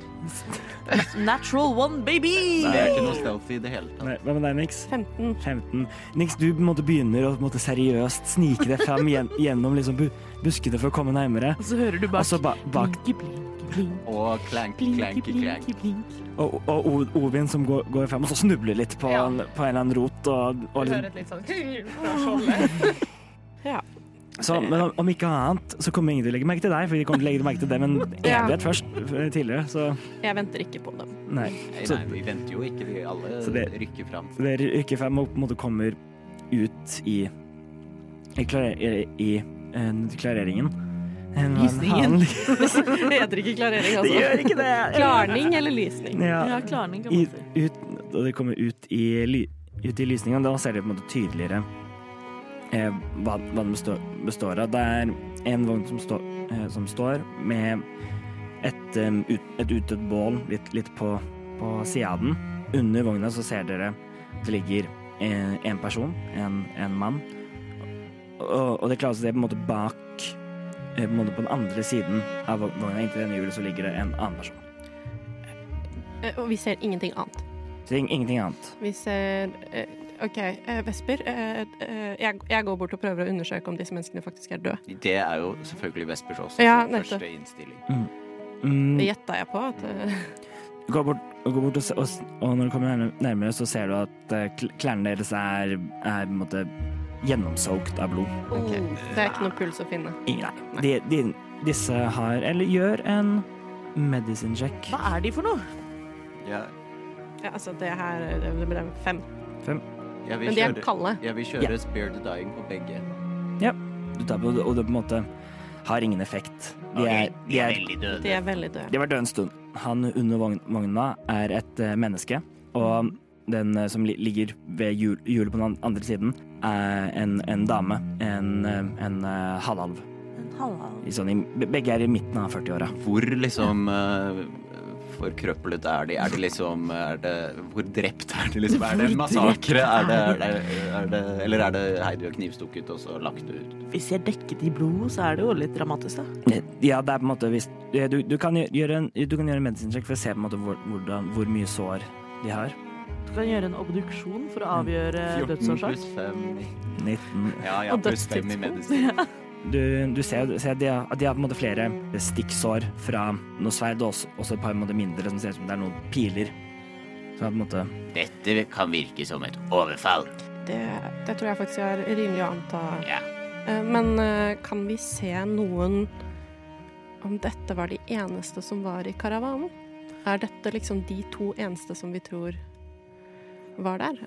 S1: Natural one, baby!
S8: Det er ikke noe stealth i det hele tatt.
S3: Nei, Hva med deg, Nix?
S2: 15.
S3: 15. Nix, du på en måte begynner å på en måte, seriøst snike deg fram
S1: *laughs*
S3: gjen, gjennom liksom, bu buskene for å komme nærmere.
S1: Og så hører du
S3: Og
S1: bak.
S3: så
S8: Altså,
S3: ba bak
S1: Blinke, blinke, blink,
S8: Og klank,
S1: blinke,
S8: klank, klank.
S1: blinke, blink.
S3: og, og O- Ovin som går, går fram og så snubler litt på,
S6: Ja.
S3: en, på en eller annen rot. Og, og,
S6: Du
S3: liksom-
S6: hører et litt sånn fra
S9: sånn *laughs*
S6: skjoldet.
S3: så, men om, om ikke annet så kommer ingen til å legge merke til deg, for de kommer til å legge merke til dem en
S2: Ja.
S3: evighet først eh, tidligere. Så
S2: Jeg venter ikke på dem. *laughs*
S3: nei.
S8: Nei,
S3: Så,
S8: nei, vi venter jo ikke. Vi alle
S3: Så det-
S8: rykker fram.
S3: så dere rykker fram og på en måte kommer ut i i, klarer, i, i eh, klareringen. En-
S1: Lysningen.
S2: Det heter ikke klarering,
S1: *laughs*
S3: Det
S2: altså.
S3: gjør ikke det!
S2: Klarning eller lysning?
S3: Ja.
S1: Ja, klarning kan
S3: I,
S1: man si.
S3: ut, da det kommer ut i, ly- ut i lysningen, da ser dere på en måte tydeligere eh, hva, hva den består, består av. Det er en vogn som, står- eh, som står med et, eh, ut, et utdødd bål litt, litt på, på sida av den. Under vogna så ser dere at det ligger eh, en person, en, en mann. Og, og det klarer seg det på en måte bak eh, på, en måte på den andre siden av vog- vogna. Inntil denne hjulet så ligger det en annen person.
S2: Eh, Og vi ser ingenting annet.
S3: Så det er ingenting annet.
S2: Vi ser eh, OK, eh, Vesper. eh, eh, Jeg, jeg går bort og prøver å undersøke om disse menneskene faktisk er døde.
S8: Det er jo selvfølgelig Vespers også.
S2: Ja,
S8: så
S2: nettopp.
S8: første innstilling.
S3: Mm.
S2: Det gjetta jeg på. At, eh,
S3: Gå bort, gå bort og, se, og, s- og når du kommer nærmere, nærmere, så ser du at eh, kl- klærne deres er, er på en måte gjennomsoakt av blod.
S2: ok, Det er ikke noe puls å finne.
S3: Ingen nei. De, de, disse har Eller gjør en medicine check.
S1: Hva er de for noe?
S8: Ja,
S2: Ja, altså, det her eh, det ble fem.
S8: jeg vil
S2: Men de er
S8: kjøre,
S2: kalde.
S8: jeg vil kjøre Spear the Dying på begge.
S3: Du tar på, og det på en måte har ingen effekt. De, er,
S5: Ok,
S3: de, er,
S5: veldig
S2: De
S5: døde.
S2: er veldig døde.
S3: de har dødd en stund. Han under vogn- vogna er et eh, menneske, og den eh, som li, ligger ved hjul- hjulet på den an- andre siden, er en, en dame. En, eh, en eh, halvalv.
S1: En halvhalv.
S3: I Sånn, i- begge er i midten av 40-åra.
S8: Hvor liksom eh, f- forkrøplet er de? Er det liksom er det, Hvor drept er de? Liksom? Er det en massakre? Er det, er det, er det, eller er det hei, du er knivstukket og så lagt ut?
S1: Hvis jeg er dekket i blod, så er det jo litt dramatisk, da.
S3: Eh, Ja, det er på en måte hvis ja, Du, du kan gjøre en, du kan gjøre en medisinsjekk for å se på en måte hvor, hvordan, hvor mye sår de har.
S1: Du kan gjøre en obduksjon for å avgjøre
S2: Eh,
S8: 14
S1: dødsårsak.
S8: pluss 5 i
S3: 19.
S8: Ja, ja,
S1: Og
S8: pluss 5 i
S1: dødstidspunkt.
S8: medisin.
S3: Du, du ser jo ser at de, har, at de har på en måte flere stikksår fra noe sverd, og også, også et par på en måte mindre som ser ut som det er noen piler. Så på en måte
S5: Dette kan virke som et overfall.
S2: Det, det tror jeg faktisk er rimelig å anta.
S5: Ja.
S2: Eh, Men eh, kan vi se noen Om dette var de eneste som var i karavanen? Er dette liksom de to eneste som vi tror var der?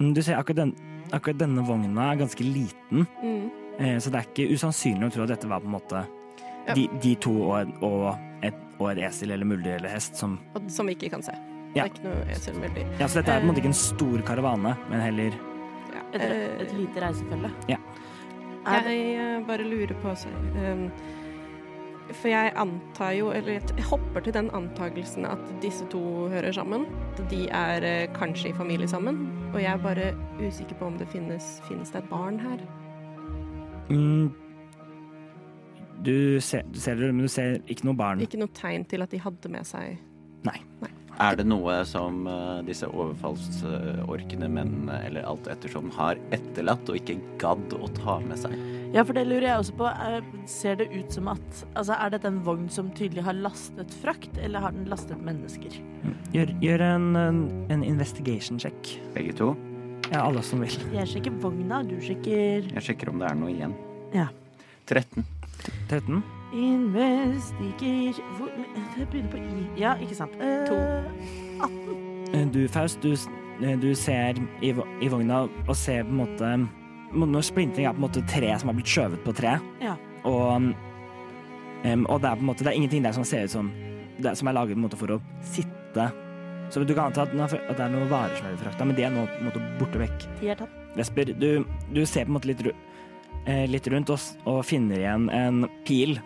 S3: Mm, Du ser akkurat, den, akkurat denne vogna er ganske liten,
S2: Mm.
S3: eh, så det er ikke usannsynlig å tro at dette var på en måte
S2: Ja.
S3: de, de to og, og, et, og et esel eller muldyr eller hest som
S2: Og, som vi ikke kan se. Det
S3: Ja.
S2: er ikke noe jeg ser veldig
S3: Ja, så dette er på en måte ikke en stor karavane, men heller
S2: ja.
S1: Et,
S2: eh,
S1: et lite reisefølge.
S3: Ja.
S1: Er det,
S2: Jeg eh, bare lurer på så, ehm, For jeg antar jo, eller jeg t- jeg hopper til den antakelsen at disse to hører sammen. At de er eh, kanskje i familie sammen. Og jeg er bare usikker på om det finnes, finnes det et barn her.
S3: mm, du, ser, du ser det, men du ser ikke noe barn.
S2: Ikke noe tegn til at de hadde med seg
S3: Nei.
S8: Er det noe som eh, disse overfallsorkene, mennene eller alt ettersom, har etterlatt og ikke gadd å ta med seg?
S1: ja, for det lurer jeg også på. Er- Ser det ut som at Altså, er dette en vogn som tydelig har lastet frakt, eller har den lastet mennesker?
S3: Gjør, gjør en, en, en investigation-sjekk.
S8: Begge to.
S3: Ja, alle som vil.
S1: Jeg sjekker vogna, du sjekker
S8: Jeg sjekker om det er noe igjen.
S1: Ja.
S8: 13.
S3: 13.
S1: Investiger Hvor men- eh, Det begynner på I. Ja, ikke sant. Eh,
S2: To.
S3: Eh, Du, Faust, du, s- eh, du ser i, vo- i vogna og ser på en måte må- Når splintring er på en måte tre som har blitt skjøvet på tre,
S1: Ja.
S3: og, em, og det er på en måte Det er ingenting der som ser ut som det er, Som er laget på en måte for å sitte. Så du kan anta at, den er fra- at det er noen varer som er frakta, men de er nå på en måte borte vekk.
S1: De er tatt.
S3: Vesper, du, du ser på en måte litt, ru- eh, litt rundt oss og finner igjen en pil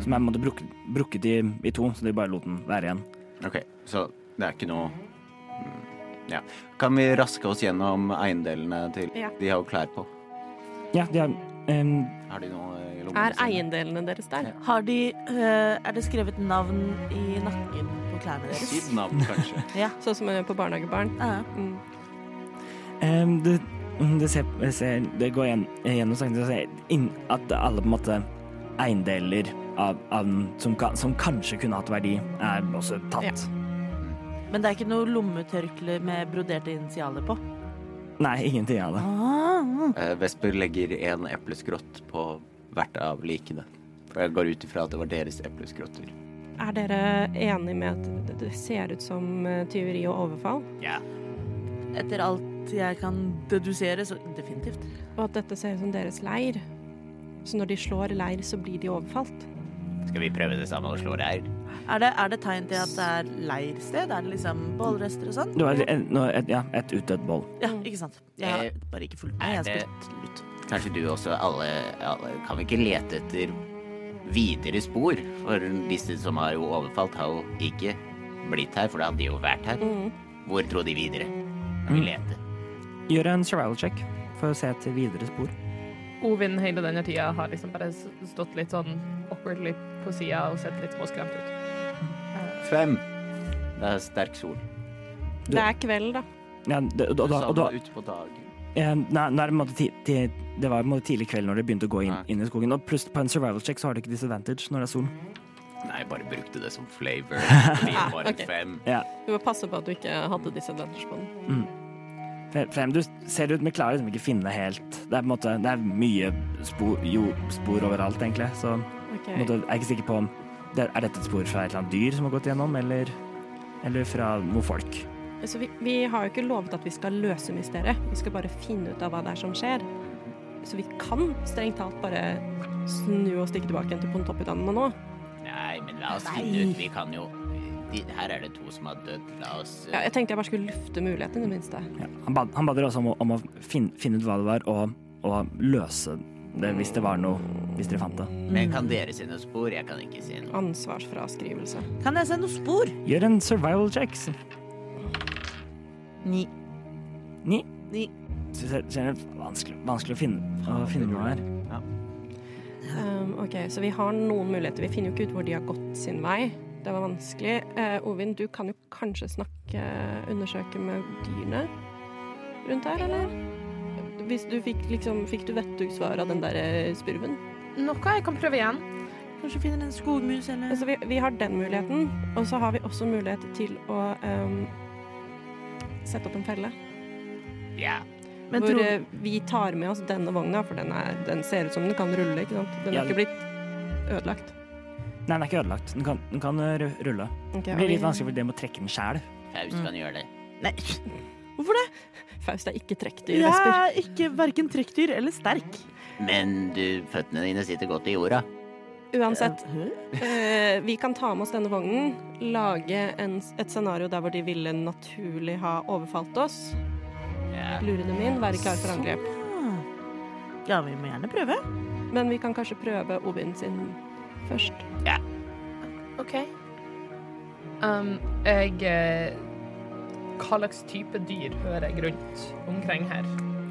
S3: som er på en måte brukket, brukket i, i to, så de bare lot den være igjen.
S8: OK, så det er ikke noe Mm, Ja. Kan vi raske oss gjennom eiendelene til
S2: Ja.
S8: De har jo klær på.
S3: Ja, de har em,
S8: Har de noe i lommene?
S2: Er eiendelene deres der?
S1: Har de eh, Er det skrevet navn i nakken på klærne deres?
S8: Sitt navn, kanskje.
S2: *laughs* Sånn som man gjør på barnehagebarn.
S1: Ja.
S2: Mm.
S3: em, det, mm, det, ser, det ser, det går igjen, gjennom sakene og ser inn, at alle på en måte eiendeler av, av, den som, kan, som kanskje kunne hatt verdi, er også tatt.
S1: Men det er ikke noe lommetørkle med broderte initialer på?
S3: Nei, ingenting av det.
S1: Ah.
S8: Eh, Vesper legger en epleskrott på hvert av likene. For jeg går ut ifra at det var deres epleskrotter.
S2: Er dere enig med at det- det ser ut som eh, tyveri og overfall?
S1: Etter alt jeg kan dedusere, så definitivt.
S2: Og at dette ser ut som deres leir? Så når de slår leir, så blir de overfalt?
S5: Skal vi prøve det samme og slå reir?
S1: Er det, er det tegn til at det er leirsted? Er det liksom bålrester og sånn?
S3: Det var en, nå et, ja, et utdødd boll.
S1: Ja, ikke sant. Jeg har
S5: Eh,
S1: bare ikke fulgt
S5: er
S1: med. Jeg
S5: det-
S1: har spilt litt.
S5: Kanskje du også, alle, alle Kan vi ikke lete etter videre spor? For disse som har jo overfalt, har jo ikke blitt her, for da hadde de jo vært her. Hvor dro de videre? Kan vi
S3: Mm.
S5: lete?
S3: Gjør en survival check for å se etter videre spor.
S9: Ovin hele denne tida har liksom bare s- stått litt sånn awkwardly på sida og sett litt småskremt ut.
S8: Fem. Det er sterk sol.
S2: Det er kveld, da.
S3: Ja, det, og, da-
S8: Du sa
S3: og
S8: det
S3: da,
S8: var ute på dagen.
S3: Eh, Nei, nå er det, på en måte ti, ti, det var på en måte tidlig kveld når det begynte å gå inn,
S8: Nei.
S3: inn i skogen. Og pluss på en survival check så har du ikke disadvantage når det er sol.
S8: Nei, jeg bare brukte det som
S5: *laughs*
S8: flavor. Fordi det var en
S2: ok.
S8: fem.
S2: Du må passe på at du ikke hadde disse advantage på den.
S3: Fre- Frem, du ser ut, men klarer liksom ikke finne helt Det er på en måte, det er mye spor, jo, spor overalt, egentlig. Så på en måte, jeg er ikke sikker på om det, Er dette et spor fra et eller annet dyr som har gått gjennom, eller, eller fra noen folk?
S2: Så vi, vi har jo ikke lovet at vi skal løse mysteriet. Vi skal bare finne ut av hva det er som skjer. Så vi kan strengt talt bare snu og stikke tilbake igjen til Pontoppidanene nå.
S5: Nei, men la oss finne ut. Vi kan jo de, Her er det to som har dødd. La oss
S2: Ja, jeg tenkte jeg bare skulle lufte muligheten i det minste.
S3: Ja, han, bad, han ba dere også om å, om å finne, finne ut hva det var, og, og løse Det, hvis det var noe. Hvis dere fant det.
S5: Men kan dere se noen spor? Jeg kan ikke se noe.
S2: Ansvarsfraskrivelse.
S1: Kan jeg se noen spor?
S3: Gjør en survival checks.
S1: Ni.
S3: Ni.
S1: Ni.
S3: Synes jeg- synes jeg er vanskelig, vanskelig å finne, å finne noe her.
S2: Um, ok, så vi har noen muligheter. Vi finner jo ikke ut hvor de har gått sin vei. Det var vanskelig. Eh, Ovin, du kan jo kanskje snakke, eh, undersøke med dyrene rundt her, eller? Hvis du fikk liksom, fikk du vettugsvar av den der eh, spurven?
S6: Noe jeg kan prøve igjen.
S1: Kanskje finner en skogmus eller
S2: Altså, vi, vi har den muligheten, og så har vi også mulighet til å ehm, sette opp en felle.
S5: Ja.
S1: Men
S2: hvor
S1: tror-
S2: eh, vi tar med oss denne vogna, for den, er, den ser ut som den kan rulle. ikke sant? Den
S3: Ja.
S2: har ikke blitt ødelagt.
S3: Nei, den er ikke ødelagt. Den kan, den kan eh, ru- rulle.
S2: Ok,
S3: Det
S2: og
S3: blir
S2: vi-
S3: litt vanskelig for dere må trekke den sjæl.
S5: Faust kan gjøre det.
S1: Nei. *laughs*
S2: Faust er ikke trekkdyr,
S1: Jeg
S2: Vesper.
S1: er ikke verken trekkdyr eller sterk.
S5: Men du, føttene dine sitter godt i jorda.
S2: Uansett,
S1: Hæ?
S2: eh, vi kan ta med oss denne vognen, lage en, et scenario der hvor de ville naturlig ha overfalt oss,
S5: Ja.
S2: lure dem inn, være klar for angrep.
S1: Ah. Ja, vi må gjerne prøve.
S2: Men vi kan kanskje prøve Ovin sin først.
S6: OK.
S9: Um, jeg eh, Hva slags type dyr hører jeg rundt omkring her?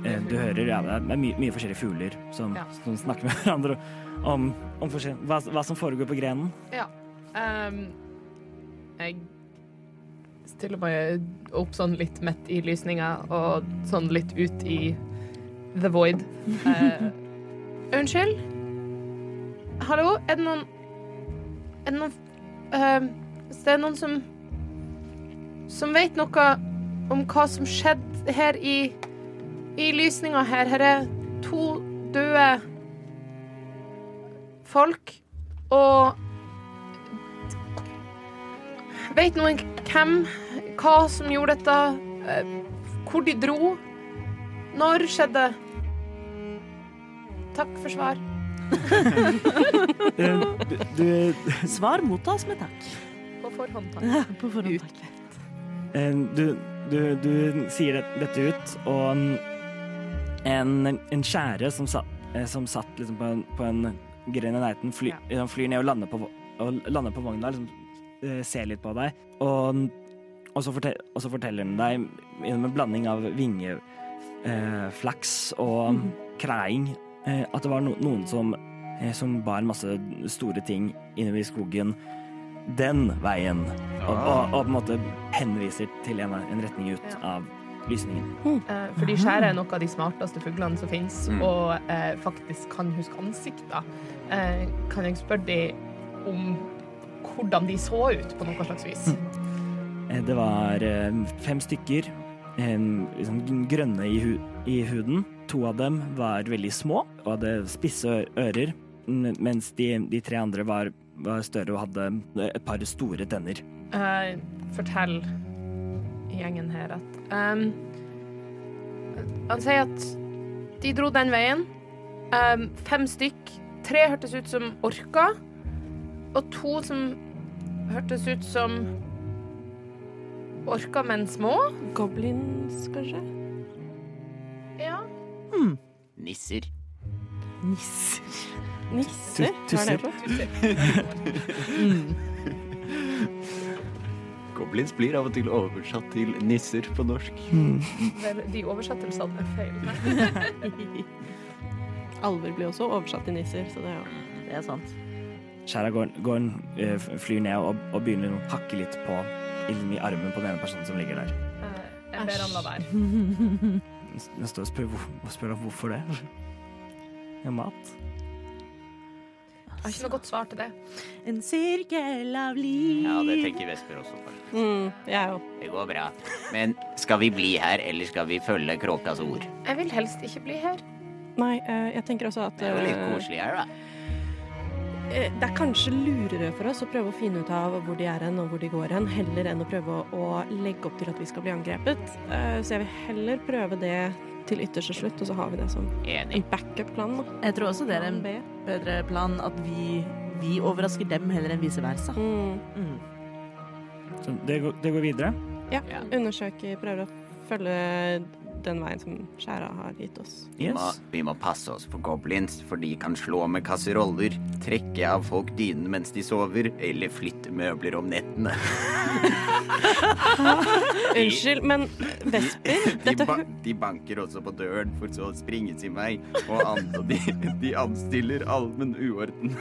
S3: Eh, Du hører ja, det er mye, mye forskjellige fugler som,
S9: Ja.
S3: som snakker med hverandre om, om forskjell- hva, hva som foregår på grenen.
S9: Um, jeg stiller meg opp sånn litt midt i lysninga og sånn litt ut i the void. Eh,
S6: Unnskyld? Hallo? Er det noen Er det noen
S9: ehm,
S6: eh, Hvis det er noen som Som vet noe om hva som skjedde her i I lysninga her. Her er to døde folk, og Vet noen hvem, hva som gjorde dette, eh, hvor de dro, når skjedde? Takk for svar.
S3: Eh, Du, du,
S1: Svar mottas med takk.
S9: på forhånd, takk.
S1: På forhånd, takk.
S3: eh, du, du, du sier det- dette ut, og en- en, en skjære som satt, eh, som satt liksom på en, på en gren i nærheten, fly, liksom flyr ned og lander på, vo- og lander på vogna, liksom, eh, ser litt på deg, og, og, så, fortel, og så forteller den deg gjennom en blanding av vinge, eh, flaks og kræing, eh, at det var no, noen som, eh, som bar masse store ting innover i skogen den veien, og, og, og på en måte henviser til en, en retning ut av lysningen.
S9: Eh, Fordi skjære er noen av de smarteste fuglene som finnes,
S8: Mm.
S9: og eh, faktisk kan huske ansikter. Eh, kan jeg spørre deg om hvordan de så ut, på noe slags vis?
S3: Eh, Det var eh, fem stykker, en, liksom, gr- grønne i, hu i huden. To av dem var veldig små og hadde spisse ø- ører, n- mens de, de tre andre var, var større og hadde et par store tenner.
S9: Eh, fortell gjengen her at
S6: Um, han sier at de dro den veien. Um, fem stykk. Tre hørtes ut som orker. Og to som hørtes ut som orker, men små.
S2: Goblins, kanskje?
S6: Ja.
S5: Nisser.
S1: Niss.
S2: Nisser? Hva er det for?
S8: Goblins blir av og til oversatt til nisser på norsk.
S9: vel, de oversettelsene er feil.
S2: Alver blir også oversatt til nisser, så det er jo
S1: Det er sant.
S3: Skjæra går, går, eh, f- flyr ned og, og begynner å hakke litt på i, i armen på den ene personen som ligger der.
S9: Eh, jeg ber han la være.
S3: Den står og spør, hvor, og spør om hvorfor det. *laughs* Ja, mat.
S6: Jeg har ikke noe godt svar til det.
S1: En sirkel av liv.
S5: Ja, det tenker Vesper også på.
S2: mm, Jeg er jo
S5: Det går bra. Men skal vi bli her, eller skal vi følge kråkas ord?
S6: Jeg vil helst ikke bli her.
S2: Nei, eh, jeg tenker også at
S5: Det er jo litt
S2: eh,
S5: koselig her, da.
S2: eh, det er kanskje lurere for oss å prøve å finne ut av hvor de er hen og hvor de går hen, heller enn å prøve å, å legge opp til at vi skal bli angrepet. Eh, så jeg vil heller prøve det til ytterste slutt, og så har vi det som
S5: Enig.
S2: en backup-plan. da.
S1: Jeg tror også det er en
S2: Plan B.
S1: bedre plan at vi, vi overrasker dem heller enn vice versa.
S2: Mm.
S1: Mm.
S3: Så det, går- det går videre.
S2: Ja,
S5: Ja.
S2: undersøker, prøver å følge den veien som skjæra har gitt oss.
S5: Vi må,
S3: Yes.
S5: vi må passe oss for goblins, for de kan slå med kasseroller, trekke av folk dynene mens de sover, eller flytte møbler om nettene.
S2: Unnskyld, men vesper
S5: De,
S2: Dette
S5: ba de banker også på døren, for så å springe sin vei, og an og de, de anstiller allmenn uorden.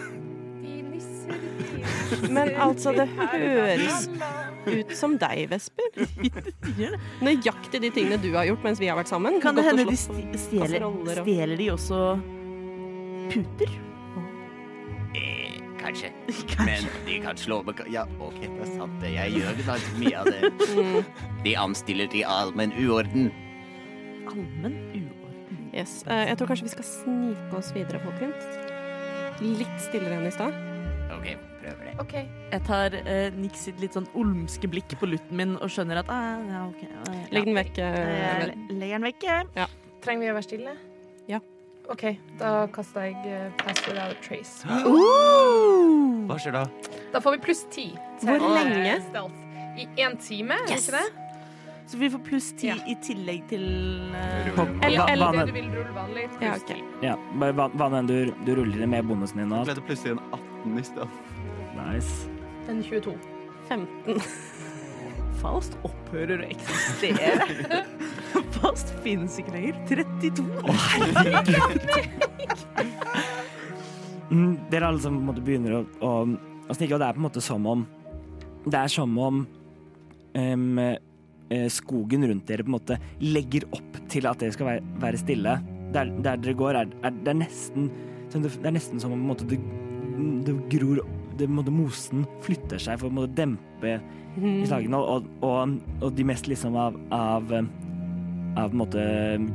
S6: De nisser
S2: Men altså, det høres ut som deg,
S1: *laughs*
S2: Vesper. Nøyaktig de tingene du har gjort mens vi har vært sammen.
S1: Kan det
S2: Gått og
S1: hende de
S2: slåss om
S1: sti- stjeler,
S2: kasseroller og-
S1: stjeler de også puter?
S5: Eh, kanskje.
S1: Kanskje.
S5: Men de kan slå med ka Ja, OK, det er sant, det. Jeg gjør faktisk mye av det.
S2: Mm,
S5: De anstiller til allmenn uorden.
S1: Allmenn uorden.
S2: yes. Eh, Jeg tror kanskje vi skal snike oss videre, folkens. Litt stillere enn i stad.
S5: OK, prøver det.
S6: *laughs* OK.
S1: Jeg tar eh, Nick sitt litt sånn olmske blikk på lutten min og skjønner at ah, ja, ok. eh,
S2: Legg den vekk.
S1: ja.
S2: eh,
S1: Jeg
S2: Vel.
S1: legger den vekk. eh.
S6: Trenger vi å være stille?
S2: Ja.
S6: OK, da kaster jeg eh, Pass Without a Trace.
S4: Hva skjer da?
S6: Da får vi pluss ti.
S2: Hvor
S6: til, eh,
S2: lenge?
S6: Stealth. I én time, er det
S2: Yes.
S6: ikke det?
S1: Så vi får pluss ti
S6: Ja.
S1: i tillegg til eh,
S3: På-
S2: Eller-
S3: hva-
S2: eller
S3: hva
S6: Det
S3: enn-
S6: du vil rulle vanlig, pluss
S2: Ja, ok.
S3: Ja, bare hva- hva enn du, du ruller det med bonusen din og
S4: Ble
S3: alt.
S4: det plutselig en 18 i sted?
S3: Nice.
S6: ti. En
S3: *laughs*
S6: 22.
S2: 15.
S1: Faust opphører å eksistere. *laughs* Faust finnes ikke lenger. 32.
S3: Mm, Dere alle sammen på en måte begynner å, å, å snike, og det er på en måte som om Det er som om em, eh, skogen rundt dere på en måte legger opp til at dere skal være, være stille. Der, der dere går, er, er det er nesten som det, det er nesten som om på en måte det, det gror det, på en måte, Mosen flytter seg for å på en måte dempe slagene, og, og, og, og de mest liksom av, av em, av på en måte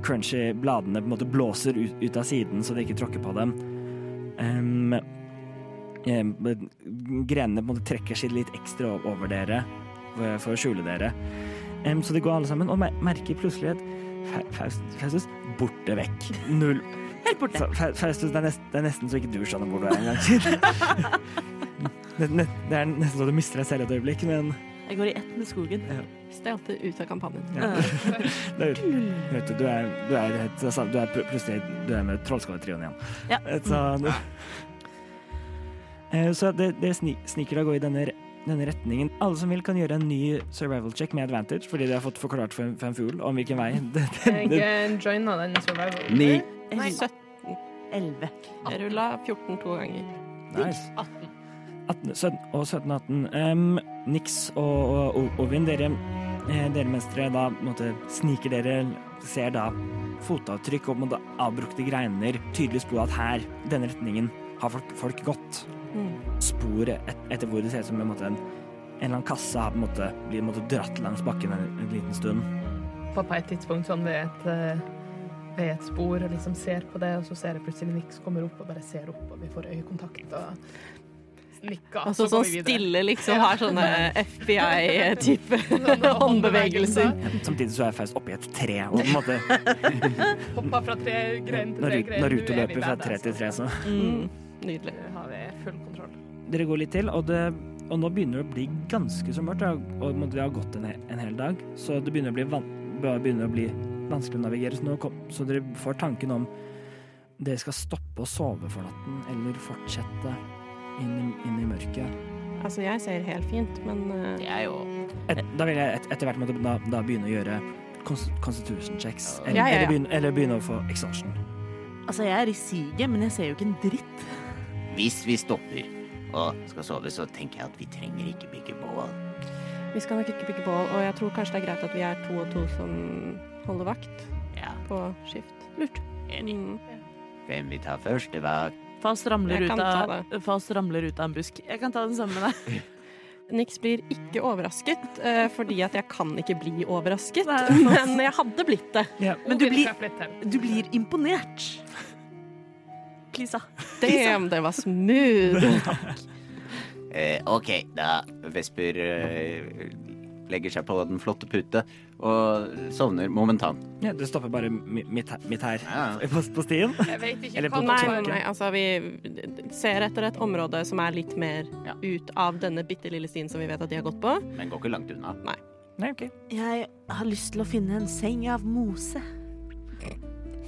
S3: crunchy bladene på en måte blåser ut, ut av siden, så det ikke tråkker på dem. Um, um, grenene på en måte trekker seg litt ekstra o- over dere for, for å skjule dere. Em, så de går alle sammen og mer merker plutselig at Fa- Faust, Faustus borte vekk. Null.
S1: Helt borte.
S3: Så, Fa- Faustus, det er, nesten, det er nesten så ikke du skjønner hvor du er engang. *laughs* det, det, det er nesten så du mister deg selv et øyeblikk, men
S1: Jeg går i ett med skogen.
S2: Stelte ut av kampanjen.
S3: *laughs* det er, vet du, du er, du er, helt- du er pl- plutselig du er med Trollskalletrioen igjen.
S1: Ja.
S3: Så, Eh, så det, det sni, sniker deg å gå i denne, re- denne retningen. Alle som vil, kan gjøre en ny survival check med advantage, fordi de har fått forklart for en, for en fugl om hvilken vei. Det, det,
S9: Jeg
S3: det,
S9: eh, joina den survival.
S8: Ni.
S1: Nei.
S2: 17.
S1: 11.
S2: Jeg rulla 14 to ganger.
S3: nice. 18, 17, og 17 18. Em, Nix og, og, og Ovin, dere, eh, dere mens dere da på en måte, sniker dere, ser da fotavtrykk og på en måte, avbrukte greiner, tydelig spor at her, denne retningen, har folk, folk gått.
S2: Mm.
S3: Spor et, etter hvor det ser ut som en, måte, en, en eller annen kasse har på en måte, blir på en måte, dratt langs bakken en, en liten stund.
S9: På på et tidspunkt sånn ved et, eh, ved et spor og liksom ser på det, og så ser jeg plutselig Nix kommer opp og bare ser opp, og vi får øyekontakt og nikker.
S2: Altså
S9: så
S2: sånn
S9: går vi *laughs* videre.
S2: stille, liksom. Har sånne
S1: *laughs*
S2: FBI-type håndbevegelser.
S3: Samtidig så er Faust oppi et tre, og på en måte,
S9: Hoppa fra tre grein til tre
S3: Naruto,
S9: grein.
S3: Naruto løper fra tre
S9: badass. altså.
S3: til tre, så
S2: Mm. Nydelig.
S9: Nå har vi full kontroll.
S3: dere går litt til, og, det, og nå begynner det å bli ganske så mørkt. da, Og det har gått en, he- en hel dag, så det begynner å bli, van, bare begynner å bli vanskelig å navigere. Så, nå kom, så dere får tanken om dere skal stoppe å sove for natten, eller fortsette inn, i- inn i mørket.
S2: Altså, jeg ser helt fint, men eh,
S5: Jeg òg.
S3: Et, da vil jeg et, etter hvert måtte da, da begynne å gjøre cons- constitution checks, eller,
S2: Ja, ja, ja.
S3: eller, begynne, eller begynne å få exhaustion.
S1: Altså, jeg er i siget, men jeg ser jo ikke en dritt.
S5: Hvis vi stopper og skal sove, så tenker jeg at vi trenger ikke bygge bål.
S2: vi skal nok ikke bygge bål. Og jeg tror kanskje det er greit at vi er to og to som holder vakt
S5: Ja,
S2: på skift. Lurt.
S5: enig.
S2: Mm.
S5: Hvem vi tar først, det var
S1: Faust ramler,
S2: Jeg
S1: ut
S2: kan
S1: av,
S2: ta
S1: Faust ramler ut av en busk. Jeg kan ta den samme med deg.
S2: Nix blir ikke overrasket, eh, fordi at jeg kan ikke bli overrasket.
S1: Nei.
S2: *laughs* Men jeg hadde blitt det.
S9: Men
S1: du blir-
S9: litt til.
S1: Du blir imponert. Klisa.
S2: Damn, det var smooth.
S5: eh, OK, da Vesper eh, legger seg på den flotte pute og sovner momentant.
S3: Ja, det stopper bare mi- mitt, her- mitt her
S5: Ja.
S3: *laughs* på, på stien.
S9: Jeg vet ikke
S3: Eller
S9: hva
S3: på
S2: Nei,
S9: det
S2: nei,
S9: var.
S2: nei, altså vi ser etter et område som er litt mer
S5: Ja.
S2: ut av denne bitte lille stien som vi vet at de har gått på.
S5: Men går ikke langt unna.
S3: Nei, ok.
S1: Jeg har lyst til å finne en seng av mose.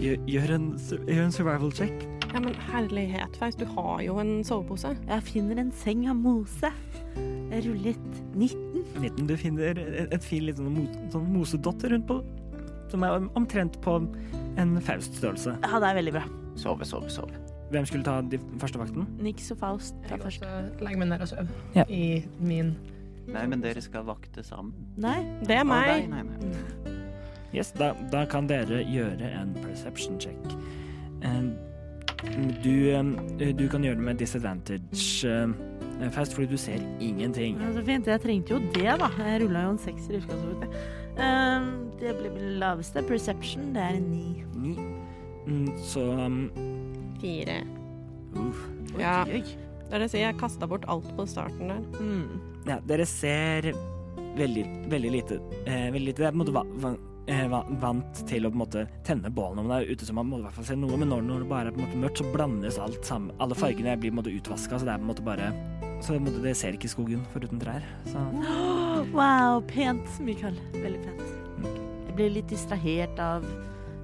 S3: Gjør, gjør, en, sur- gjør en survival check.
S2: Ja, men herlighet, Faust, du har jo en sovepose.
S1: Jeg finner en seng av mose. Jeg rullet 90.
S3: 19, du finner et, et fin liten mo, sånn mosedott rundt på, som er omtrent på en Faust-størrelse.
S1: Ja, det er veldig bra.
S5: Sove, sove, sove.
S3: Hvem skulle ta de første vakten?
S1: Nix og Faust tar
S9: Jeg
S1: først.
S9: også legger meg ned og sover.
S3: Ja.
S9: I min
S8: Nei, men dere skal vakte sammen.
S1: Nei,
S2: Det
S8: Å,
S2: er meg.
S8: nei, nei, nei.
S3: Yes, da, da kan dere gjøre en perception check. Eh, Du, eh, du kan gjøre det med disadvantage, eh, Faust, fordi du ser ingenting.
S1: ja, så fint. Jeg trengte jo det, da. Jeg rulla jo en sekser i utgangspunktet. Ehm, det ble min laveste. Perception, det er en ni.
S3: Ni. Mm, Så um,
S2: Fire.
S3: uff.
S2: Ja,
S1: Oi, oi.
S2: det er det jeg sier. Jeg kasta bort alt på starten der.
S1: Mm.
S3: ja, Dere ser veldig, veldig lite. Eh, veldig lite. Det er på en måte va va eh, va vant til å på en måte tenne bålen når man er ute, så man må i hvert fall se noe. Men når, når det bare er på en måte mørkt, så blandes alt sammen. Alle fargene blir på en måte utvaska, så det er på en måte bare Så på en måte, det ser ikke skogen foruten trær. Så
S1: Åh, Wow, pent, Mikael. Veldig pent. Jeg blir litt distrahert av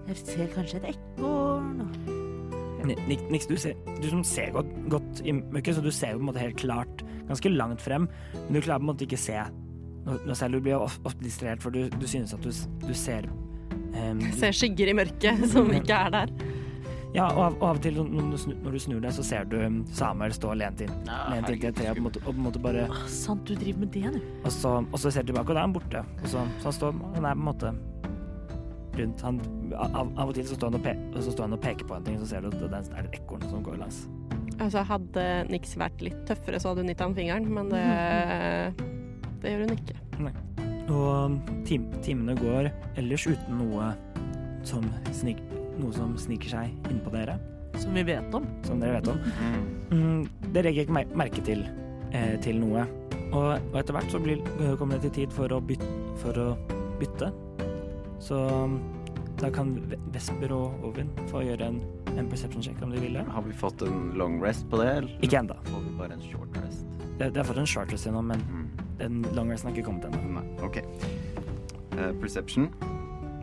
S1: Jeg ser kanskje et ekorn. og-
S3: Ni- Nik- Nix, du, ser, du som ser godt, godt i mørket, så du ser jo på en måte helt klart ganske langt frem, men du klarer på en måte ikke se noe noe selv. Du blir of- ofte distrahert, for du, du synes at du, s- du ser ehm,
S2: Ser skygger i mørket *laughs* som ikke er der.
S3: Ja, og av, og av og til når du, snur, når du snur deg, så ser du ehm, Samuel stå lent inn
S8: Ah,
S3: Lent inn til et tre og på en måte, og på en måte bare
S1: Åh, sant, du driver med det, du.
S3: og så, og så ser du tilbake, og da er han borte. Og så, så han står Han er på en måte rundt han Av, av og til så står han og, pe og, så står han og peker på en ting, og så ser du at det er det er et ekorn som går langs.
S2: Altså, hadde Nix vært litt tøffere, så hadde hun gitt ham fingeren, men *laughs* det, det gjør hun ikke.
S3: Og um, tim timene går ellers uten noe som, snik noe som sniker seg innpå dere,
S1: Som vi vet om.
S3: som dere vet om. Mm, dere legger ikke mer merke til, eh, til noe. Og, og etter hvert så blir, eh, kommer det til tid for å, byt for å bytte. Så mm, da kan Ve- Vesper og Ovin få gjøre en, en perception check om de vil det.
S8: Har vi fått en long rest på det? eller
S3: Ikke ennå.
S8: Får vi bare en short rest?
S3: Det det har fått en short rest gjennom, men
S8: Mm.
S3: den long resten har ikke kommet ennå.
S8: Nei, OK. Eh, perception.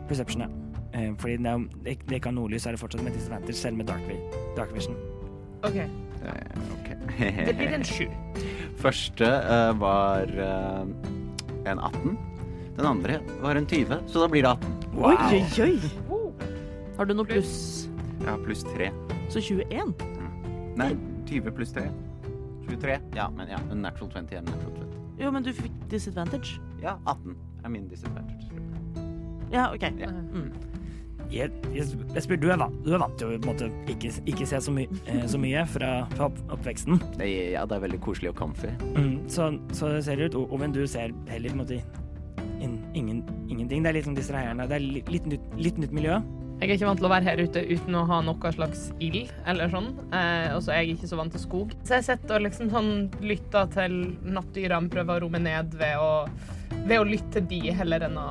S3: Perception, ja. Eh, fordi det, er, det, det ikke har noe lys, så er det fortsatt med disadvantage, selv med dark, vi dark vision.
S9: OK.
S8: Eh, OK. *laughs*
S6: Det blir en sju.
S8: Første eh, var eh, en 18. Den andre var en 20, så da blir det 18.
S1: Oi, oi, oi. Har du noe pluss?
S8: Jeg har pluss 3.
S1: Så 21.
S8: Nei, 20 pluss 3. 23. Ja, men ja, en natural 20 er en natural 20.
S1: Jo, men du fikk disadvantage.
S8: Ja, 18 er min disadvantage.
S1: Ja, OK.
S8: Ja.
S1: Mm.
S3: Jeg, jeg, jeg spør, du, er vant, du er vant til å på en måte, ikke, ikke se så, my, eh, så mye fra, fra opp, oppveksten.
S8: Det, ja, det er veldig koselig og comfy.
S3: Mm, så, så det ser ut. Og, og men du ser heller på en måte in, ingen, ingenting. Det er litt sånn distraherende. Det er li, litt, nytt, litt nytt miljø.
S9: Jeg er ikke vant til å være her ute uten å ha noe slags ild eller sånn. Eh, og så er jeg ikke så vant til skog. Så jeg sitter og liksom sånn lytter til nattdyrene, prøver å romme ned ved å, ved å lytte til de heller enn å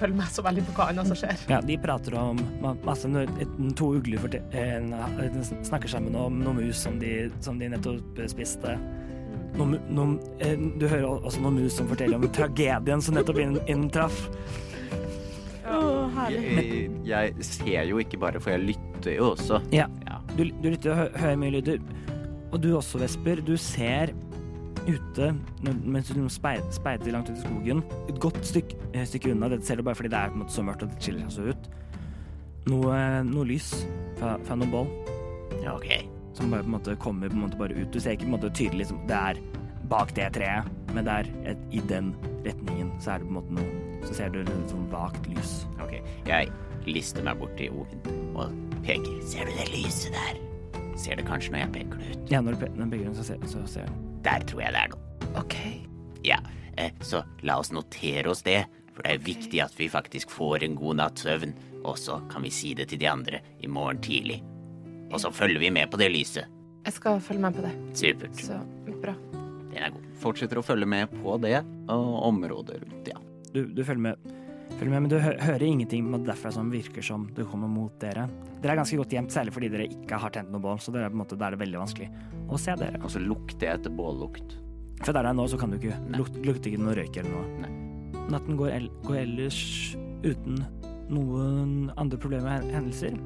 S9: følge med så veldig på hva annet som skjer.
S3: Ja, de prater om ma- masse nø- et- To ugler forte- eh, na- snakker sammen om noe mus som de, som de nettopp eh, spiste. Noe mu- noe- eh, du hører al- også noen mus som forteller om tragedien som nettopp inn- inntraff.
S1: Åh, herlig.
S8: Jeg, jeg ser jo ikke bare, for jeg lytter jo også.
S3: Ja.
S8: Ja.
S3: Du, du lytter og hø hører mye lyder. Og du også, Vesper. Du ser ute, n- mens du speider, speider langt ut i skogen, et godt stykk, eh, stykke unna, dette ser du bare fordi det er på en måte så mørkt og det skiller seg så ut, noe, noe lys fra, fra noen bål.
S5: Ok.
S3: som bare på en måte kommer på en måte bare ut. Du ser ikke på en måte tydelig liksom, det er bak det treet, men det er et, i den retningen så er det på en måte noe. Så ser du litt sånn vagt lys.
S5: Ok. Jeg lister meg bort til Ovin og peker. Ser du det lyset der? Ser det kanskje når jeg peker det ut?
S3: Ja, når du pe- når du peker den, så ser, så ser du.
S5: Der tror jeg det er noe.
S9: OK.
S5: Ja, eh, så la oss notere oss det, for det er viktig at vi faktisk får en god natts søvn. Og så kan vi si det til de andre i morgen tidlig. Og så følger vi med på det lyset.
S9: Jeg skal følge med på det.
S5: Supert.
S9: Så bra.
S5: Den er god.
S8: Fortsetter å følge med på det og området rundt, ja.
S3: Du, du følger med. Følger med, men du hø hører ingenting på en måte derfra som virker som det kommer mot dere. Dere er ganske godt gjemt, særlig fordi dere ikke har tent noe bål, så det er på en måte, da er det veldig vanskelig å se dere.
S8: Og så lukter jeg etter bållukt.
S3: For der det er nå, så kan du ikke lukte, lukte ikke noe røyk eller noe. Natten går, el går ellers uten noen andre problemer og hen- hendelser.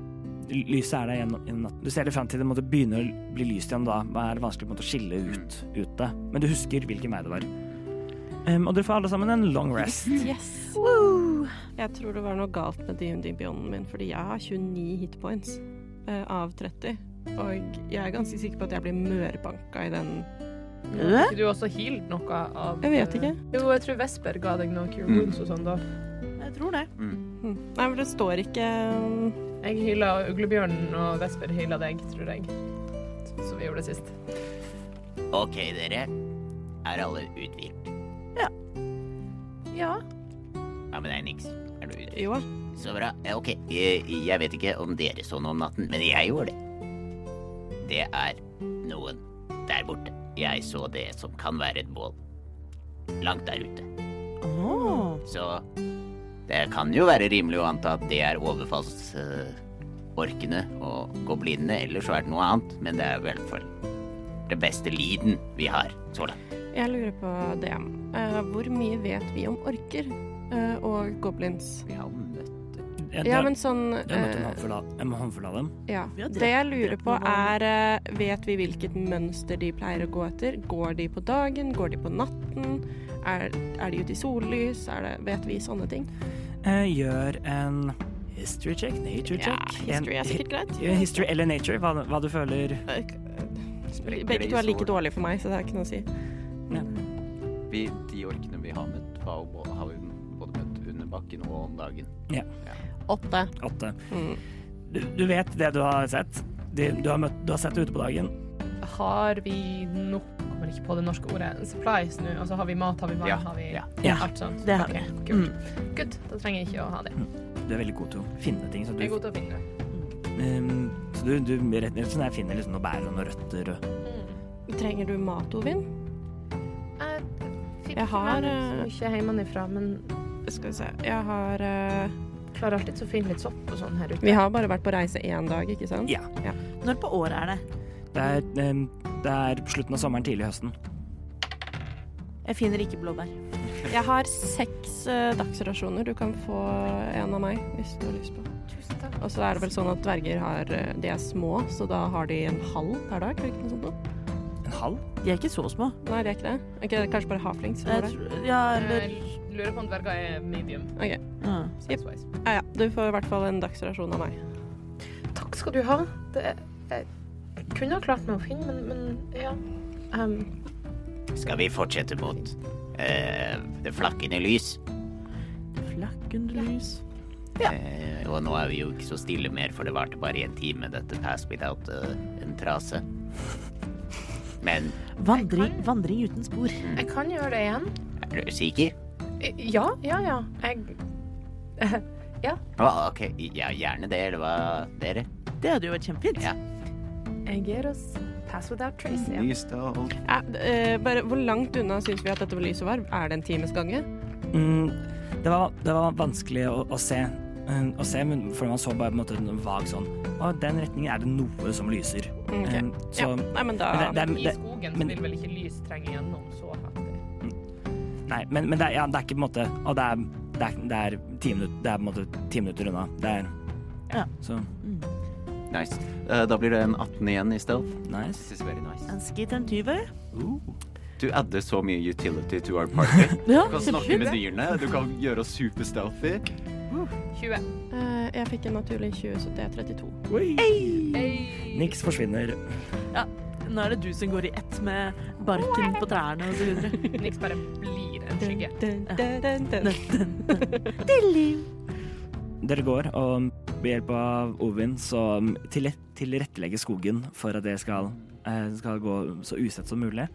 S3: lyset er der gjennom gjennom natten. Du ser det frem til det måtte begynne å bli lyst igjen da. Da er det vanskelig på en måte å skille
S2: Mm.
S3: ut, ut det. Men du husker hvilken vei det var. Em, og dere får alle sammen en long rest.
S2: Yes. Jeg tror det var noe galt med DND-bionen min, fordi jeg har 29 hitpoints eh, av 30. Og jeg er ganske sikker på at jeg blir mørbanka i den
S1: Hæ?
S9: Ikke Du har også healed noe av
S2: Jeg vet ikke.
S9: Jo, jeg tror Vesper ga deg noen cure wounds og sånn, da.
S1: Jeg tror det.
S2: Hm. Nei, men det står ikke eh,
S9: Jeg hyla uglebjørnen, og Vesper hyla deg, tror jeg. Som vi gjorde sist.
S5: Ok, dere. Er alle uthvilt?
S6: Ja.
S5: Ja, men nei, niks. Er du uthvilt?
S2: Jo,
S5: Så bra. Ja, Ok, jeg, jeg vet ikke om dere så noe om natten, men jeg gjorde det. Det er noen der borte. Jeg så det som kan være et bål. Langt der ute.
S1: Åh.
S5: Så det kan jo være rimelig å anta at det er overfallsorkene og goblinene, eller så er det noe annet, men det er i hvert fall det beste lyden vi har så langt.
S2: jeg lurer på det. Eh, hvor mye vet vi om orker eh, og goblins?
S5: Vi har møtt
S3: Jeg,
S2: Ja, men sånn
S3: jeg har møtt en
S2: eh,
S3: håndfull av, en håndfull av dem.
S2: Ja.
S1: Vi har drept-
S2: Det jeg lurer
S1: drept
S2: på
S1: noen
S2: er eh, Vet vi hvilket mønster de pleier å gå etter? Går de på dagen? Går de på natten? Er, er de ute i sollys? Er det, vet vi sånne ting?
S3: Eh, gjør en history check, nature
S2: Ja,
S3: check.
S2: history
S3: En-
S2: er sikkert greit.
S3: hi- eh, History eller nature, hva, hva du føler.
S5: Sprekker det
S2: Begge
S5: i
S2: to er like
S5: sol?
S2: dårlige for meg, så det har ikke noe å si.
S8: Vi, de orkene vi har møtt, var jo bå- har vi både møtt under bakken og om dagen.
S2: Åtte.
S3: Åtte.
S2: Mm.
S3: Du, du vet det du har sett. Du, du, har, møtt, du har sett det ute på dagen.
S9: Har vi nok Kommer ikke på det norske ordet. Supplies nå. Altså, har vi mat, har vi vann,
S8: Ja,
S9: har vi
S8: ja.
S3: Ja.
S9: alt sånt?
S1: Det har
S9: Ok,
S1: vi.
S9: Kult. Good. Da trenger jeg ikke å ha det.
S3: Du er veldig god til å finne ting. Så
S9: Jeg er
S3: du,
S9: god til å finne det.
S3: um, så du, du rett, rett og slett finner liksom noe bær og noen røtter. Og,
S2: Trenger du mat, Ovin?
S9: Jeg fikk
S2: Jeg har,
S9: ikke med
S2: eh,
S9: meg så mye hjemmefra, men
S2: Skal vi se. Jeg har eh,
S9: klarer alltid å finne litt sopp og sånn her ute.
S2: Vi har bare vært på reise én dag, ikke sant?
S3: Ja.
S1: Når på året er det?
S3: det, er, um, det er på slutten av sommeren, tidlig i høsten.
S1: Jeg finner ikke blåbær.
S2: Jeg har seks eh, dagsrasjoner. Du kan få en av meg hvis du har lyst på.
S9: Tusen takk.
S2: Og så er det vel sånn at dverger har, eh, de er små, så da har de en halv per dag? er det Ikke noe sånt noe?
S3: En halv?
S1: De er ikke så små.
S2: Nei, det er ikke det. Ok, det er kanskje bare halflings? som
S1: Jeg
S2: har det.
S1: tror, ja, eller
S9: Jeg Eh, lurer på om dverger er medium.
S1: ja.
S9: size-wise.
S2: Ja, ja. Du får i hvert fall en dagsrasjon av meg.
S9: Takk skal du ha. Det, jeg, jeg kunne ha klart meg å finne, men, men ja. Ehm,
S5: Skal vi fortsette mot eh, det flakkende lys?
S1: Flakkende lys.
S5: Eh, og nå er vi jo ikke så stille mer, for det varte bare en time, dette Pass Without eh, en trase. Men
S1: Vandring, vandring uten spor.
S9: jeg kan gjøre det igjen.
S5: er du sikker?
S9: I- Ja, Eh, ja, ja. Jeg,
S5: Å, ok, ja, gjerne det, eller hva, dere?
S1: Det hadde jo vært kjempefint.
S5: Ja.
S9: jeg gir oss Pass Without Trace igjen.
S8: Lys da, og
S2: Ja, d- eh, bare, hvor langt unna syns vi at dette lyset var? Er det en times gange?
S3: Mm, det, var, det var vanskelig å, å se. Um, å se, men for man så bare på en måte en vag sånn Å, den retningen er det noe som lyser.
S2: Mm, ok.
S3: Um, så
S2: ja. Nei, men da
S3: men det, det,
S9: I
S3: det,
S9: skogen så
S3: men-
S9: vil vel ikke lys trenge gjennom så heftig.
S3: Nei, men, men det, er, ja, det er ikke på en måte Og det er, det er, det er, ti, minutter, det er på en måte ti minutter unna. Det er
S1: Ja.
S3: Så
S8: Nice. Eh, Da blir det en 18 igjen i stealth.
S3: nice.
S8: This is very nice.
S1: En skit en tyve.
S8: Du adder så mye utility to our party.
S1: Ja, *laughs*
S8: Du kan snakke med dyrene, du kan gjøre oss superstealthy.
S9: 20.
S2: Eh, jeg fikk en naturlig 20, så det er 32.
S3: Niks forsvinner.
S1: Nå er det du som går i ett med barken på trærne og så videre. *laughs*
S9: Niks bare blir en skygge.
S3: Dere går, og ved hjelp av Ovin så til- tilrettelegger skogen for at det skal, eh, skal gå så usett som mulig.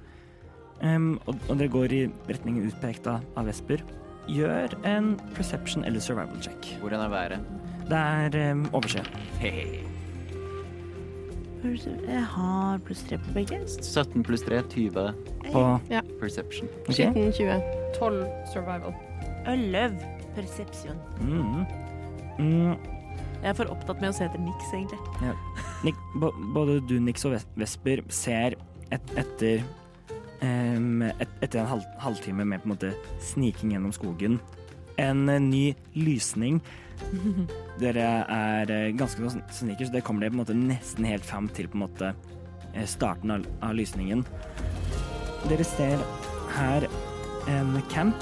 S3: Em, og, og dere går i retningen utpekt av av Vesper. Gjør en perception eller survival check.
S8: Hvordan er været?
S3: Det er um, overse.
S1: Jeg har pluss tre på begge.
S8: 17 pluss 3, 20
S3: På
S8: perception.
S3: Ok.
S2: Skitten 20.
S9: 12 survival.
S1: Øløv. Persepsjon.
S3: Mm. Mm.
S1: Jeg er for opptatt med å se etter niks, egentlig.
S3: Nick, bo- både du, Nix og Ves- Vesper ser et, etter em, et, Etter en halv, halvtime med på en måte sniking gjennom skogen, en eh, ny lysning. Dere er eh, ganske så sn- sneakers, det kommer dere på en måte nesten helt fram til på en måte eh, starten av, av lysningen. Dere ser her en camp.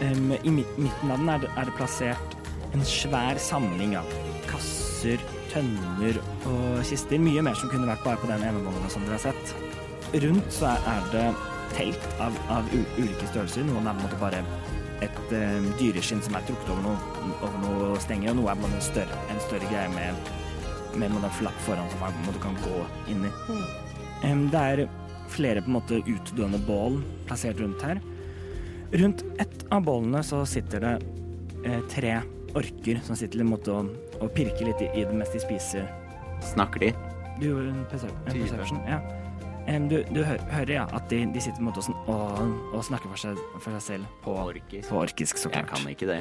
S3: Em, I mid- midten av den er det, er det plassert en svær samling av kasser, tønner og kister. Mye mer som kunne vært bare på den ene vogna som dere har sett. Rundt så er- er det telt av, av u ulike størrelser. Noen er på en måte bare et eh, dyreskinn som er trukket over noe, over noe stenger, og noe er på en, måte en, større, en større greie med, med en måte en flapp foran som man på en måte kan gå inn i. Em, det er flere på en måte utdøende bål plassert rundt her. Rundt ett av bålene så sitter det eh, tre orker som sitter litt på en måte og, og pirker litt i, i det mens de spiser.
S5: Snakker de?
S3: Du eh, gjorde en, percep en perception. Ja. Em, du du hø hører ja, at de, de sitter på en måte og, sn- og, og snakker for seg, for seg selv på,
S5: Orkisk.
S3: på orkisk, så
S5: Jeg
S3: klart.
S5: kan ikke det.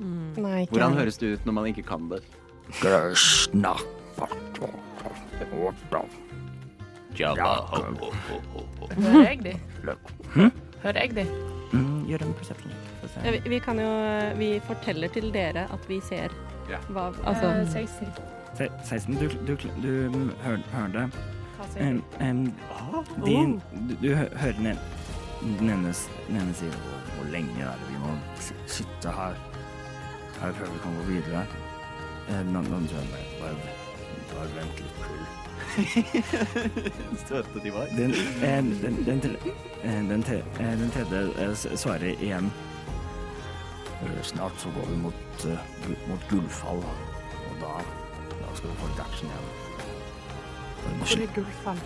S2: Nei, ikke
S8: Hvordan
S2: jeg.
S8: høres det ut når man ikke kan det?
S5: Jabba, ho, ho, ho, ho, ho.
S9: Hører jeg de? Hører jeg de?
S3: Mm, gjør en perception check. for å se.
S2: Ja, vi, vi kan jo Vi forteller til dere at vi ser
S5: Ja.
S2: hva Altså
S9: Eh, 16.
S3: Se- 16, du, du, du mm, hører, hører det.
S9: Hva sier
S3: Em,
S9: du?
S3: em, din, du, du hø- hører den en- den ene, s- den ene sier hvor, hvor lenge er det vi må si- sitte her? Her før vi kan gå videre. Eh, Den andre den andre bare, bare, bare vent litt til.
S4: Støtte de var.
S3: Den, eh, den, den, til, eh, den, te, eh, den tredje eh, s- svarer igjen. Eh, Snart så går vi mot, eh, gu- mot Gullfall, og da, da skal vi få litt action igjen. Vi må slippe
S6: gullfall?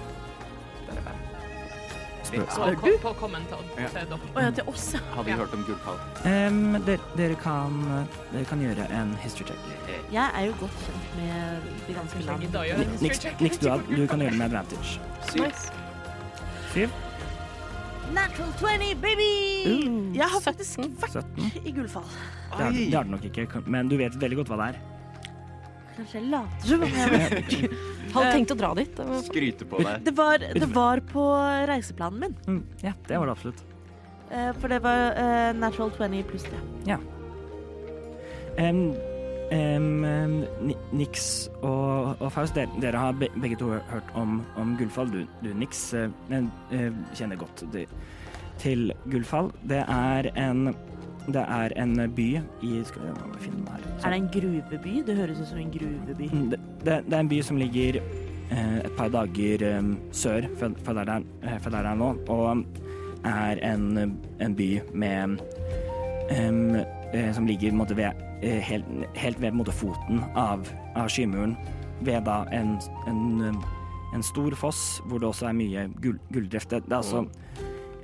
S3: spøkelser.
S9: På- på- På kommentar til dere.
S1: Å ja, til oss, ja.
S8: Har vi hørt om gullfall?
S3: Em, dere, dere, kan, dere kan gjøre en history check.
S1: Jeg er jo godt kjent med det ganske
S9: Jeg
S1: landet.
S9: da gjør jeg en
S3: Niks,
S9: history check.
S3: niks du, har, du kan gjøre det med advantage.
S2: nice.
S3: Syv,
S1: Natural 20, baby!
S3: Uh,
S1: Jeg har faktisk
S2: 17.
S1: vært
S3: 17.
S1: i gullfall.
S3: Det har, det har du nok ikke, men du vet veldig godt hva det er.
S1: Kanskje jeg later som om *laughs* jeg har vært
S2: Hadde tenkt å dra dit. det var-
S8: Skryte på deg.
S1: Det var, det var på reiseplanen min.
S3: Mm, ja, det var det absolutt.
S1: Eh, For det var eh, natural 20 pluss det.
S3: Em, em, em, Ni- Nix og, og Faust, dere, dere har be, begge to hørt om, om Gullfall. Du, du Nix, eh, men, eh, kjenner godt de- til Gullfall. Det er en det er en by i Skal vi se, finne den her.
S1: Er det en gruveby? Det høres ut som en gruveby.
S3: Mm, Det, det, det er en by som ligger eh, et par dager eh, sør fra, fra, der det er, eh, fra der det er nå, og er en, en by med em, eh, Som ligger på en måte, ved, eh, helt, helt ved på en måte, foten av, av skymuren, ved da en, en, eh, en stor foss hvor det også er mye gull, gulldrift. Det, det er også,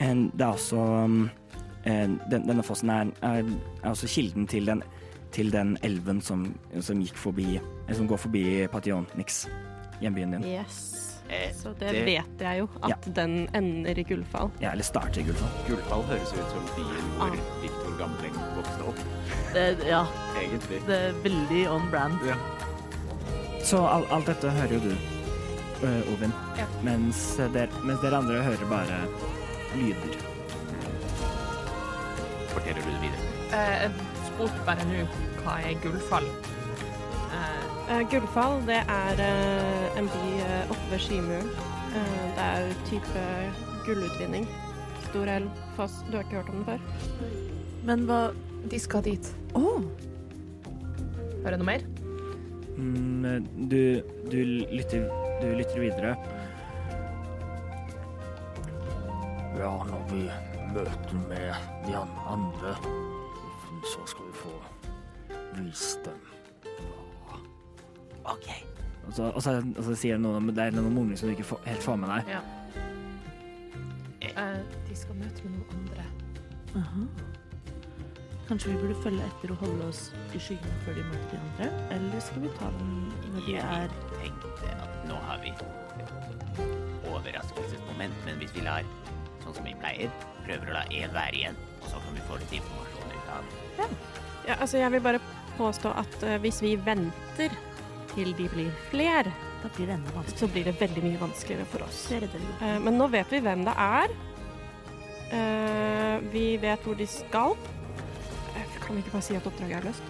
S3: en, det er også mm, en, den, Denne fossen er, er, er også kilden til den til den elven som, som gikk forbi eller Som går forbi Pation Nix, hjembyen din.
S2: Yes.
S5: Eh,
S2: Så det,
S5: det-
S2: vet jeg jo, at den ender i gullfall.
S3: Ja, eller starter i Gullfall.
S8: Gullfall høres ut som byen hvor
S2: Ah.
S8: Viktor Gamleng vokste opp,
S1: Det, Eh, ja,
S8: egentlig.
S1: det er veldig on brand.
S3: Så all, alt dette hører jo du, øh, Ovin. Mens, der, mens dere andre hører bare lyder.
S5: Forteller du det videre?
S9: Eh, Jeg spurte bare nå hva er gullfall. Eh,
S2: Eh, gullfall, det er eh, en by eh, oppe ved Skymuren. Eh, det er type gullutvinning. Stor elv, foss. Du har ikke hørt om den før?
S1: Men hva
S6: De skal dit.
S1: Å!
S9: Hører jeg noe mer?
S3: Mm, du, du, lytter, du lytter videre.
S11: Ja, når vi møter med de an- andre, så skal vi få vist dem.
S3: Og så, og så, og så sier noen det er noen mumling som du ikke får, helt får med deg.
S9: Eh, de skal møte med noen andre.
S1: aha. Kanskje vi burde følge etter og holde oss i skyggen før de møter de andre? Eller skal vi ta dem når de
S5: Jeg
S1: er
S5: tenkte at nå har vi et overraskelsesmoment, men hvis vi lar, sånn som vi pleier, prøver å la én være igjen, og så kan vi få litt informasjon ut av
S2: Ja, altså, jeg vil bare påstå at eh, hvis vi venter til de blir fler,
S1: Da blir det enda vanskeligere.
S2: så blir det veldig mye vanskeligere for oss.
S1: Så jeg er redd jeg-
S2: Eh, men nå vet vi hvem det er. Eh, vi vet hvor de skal. Kan vi ikke bare si at oppdraget er løst?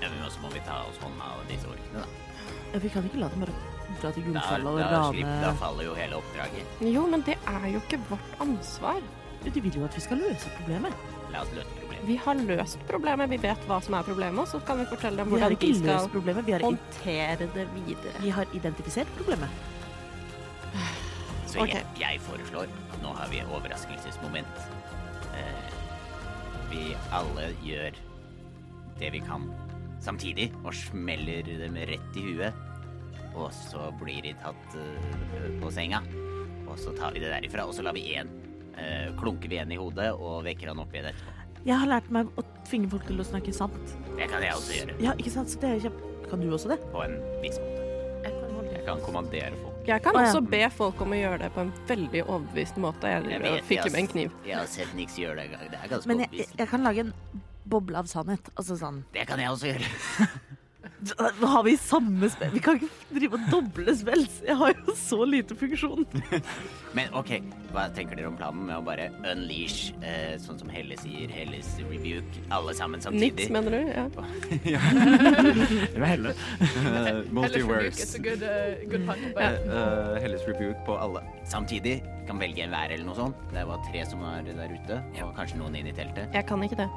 S8: Ja, men også må vi ta oss hånda av disse orkene, da.
S1: Ja, Vi kan ikke la dem bare dra til
S8: Da,
S1: Gulfall og
S8: da, slipper, da
S1: rane
S8: faller jo hele oppdraget.
S2: Jo, men det er jo ikke vårt ansvar.
S1: De vil jo at vi skal løse problemet.
S8: La oss løse problemet.
S2: Vi har løst problemet. Vi vet hva som er problemet, og så kan vi fortelle dem
S1: Vi har
S2: hvordan
S1: ikke
S2: de
S1: løst
S2: skal
S1: problemet, vi har, i-
S2: håndtere det videre.
S1: vi har identifisert problemet.
S8: Så
S2: Ok.
S8: jeg, jeg foreslår Nå har vi overraskelsesmoment. Eh, vi alle gjør det vi kan samtidig, og smeller dem rett i huet. Og så blir de tatt eh, på senga. Og så tar vi det derifra, og så lar vi én eh, Klunker vi en i hodet og vekker han opp igjen etterpå.
S1: Jeg har lært meg å tvinge folk til å snakke sant.
S8: Det kan jeg også gjøre.
S1: Ja, ikke sant? Så det er kjempe... Kan du også det?
S8: På en viss måte. Jeg kan kommandere folk.
S2: Jeg kan
S1: Å, ja.
S2: også be folk om å gjøre det på en veldig overbevist måte. Jeg,
S8: Jeg
S2: jeg
S8: vet,
S2: fikk
S8: jeg
S2: med en kniv.
S8: Jeg har sett Nix gjøre det en gang. Det er ganske
S1: Men jeg, jeg,
S8: overbevisende.
S1: jeg kan lage en boble av sannhet. Altså sånn
S8: Det kan jeg også gjøre. *laughs*
S1: Nå har vi samme spill. Vi kan ikke drive og doble spill. Jeg har jo så lite funksjon.
S8: Men OK, hva tenker dere om planen med å bare unleash, eh, sånn som Helle sier, Helles rebuke, alle sammen samtidig?
S2: Niks,
S12: *laughs*
S2: mener du? Ja.
S3: Det var helle.
S12: Eh,
S9: It's
S12: Multiverse.
S9: a good, uh, good hunt, but
S12: Eh, Helles rebuke på alle.
S8: Samtidig kan velge en hver eller noe sånt. Det var tre som var der ute, og kanskje noen inn i teltet.
S2: Jeg kan ikke det.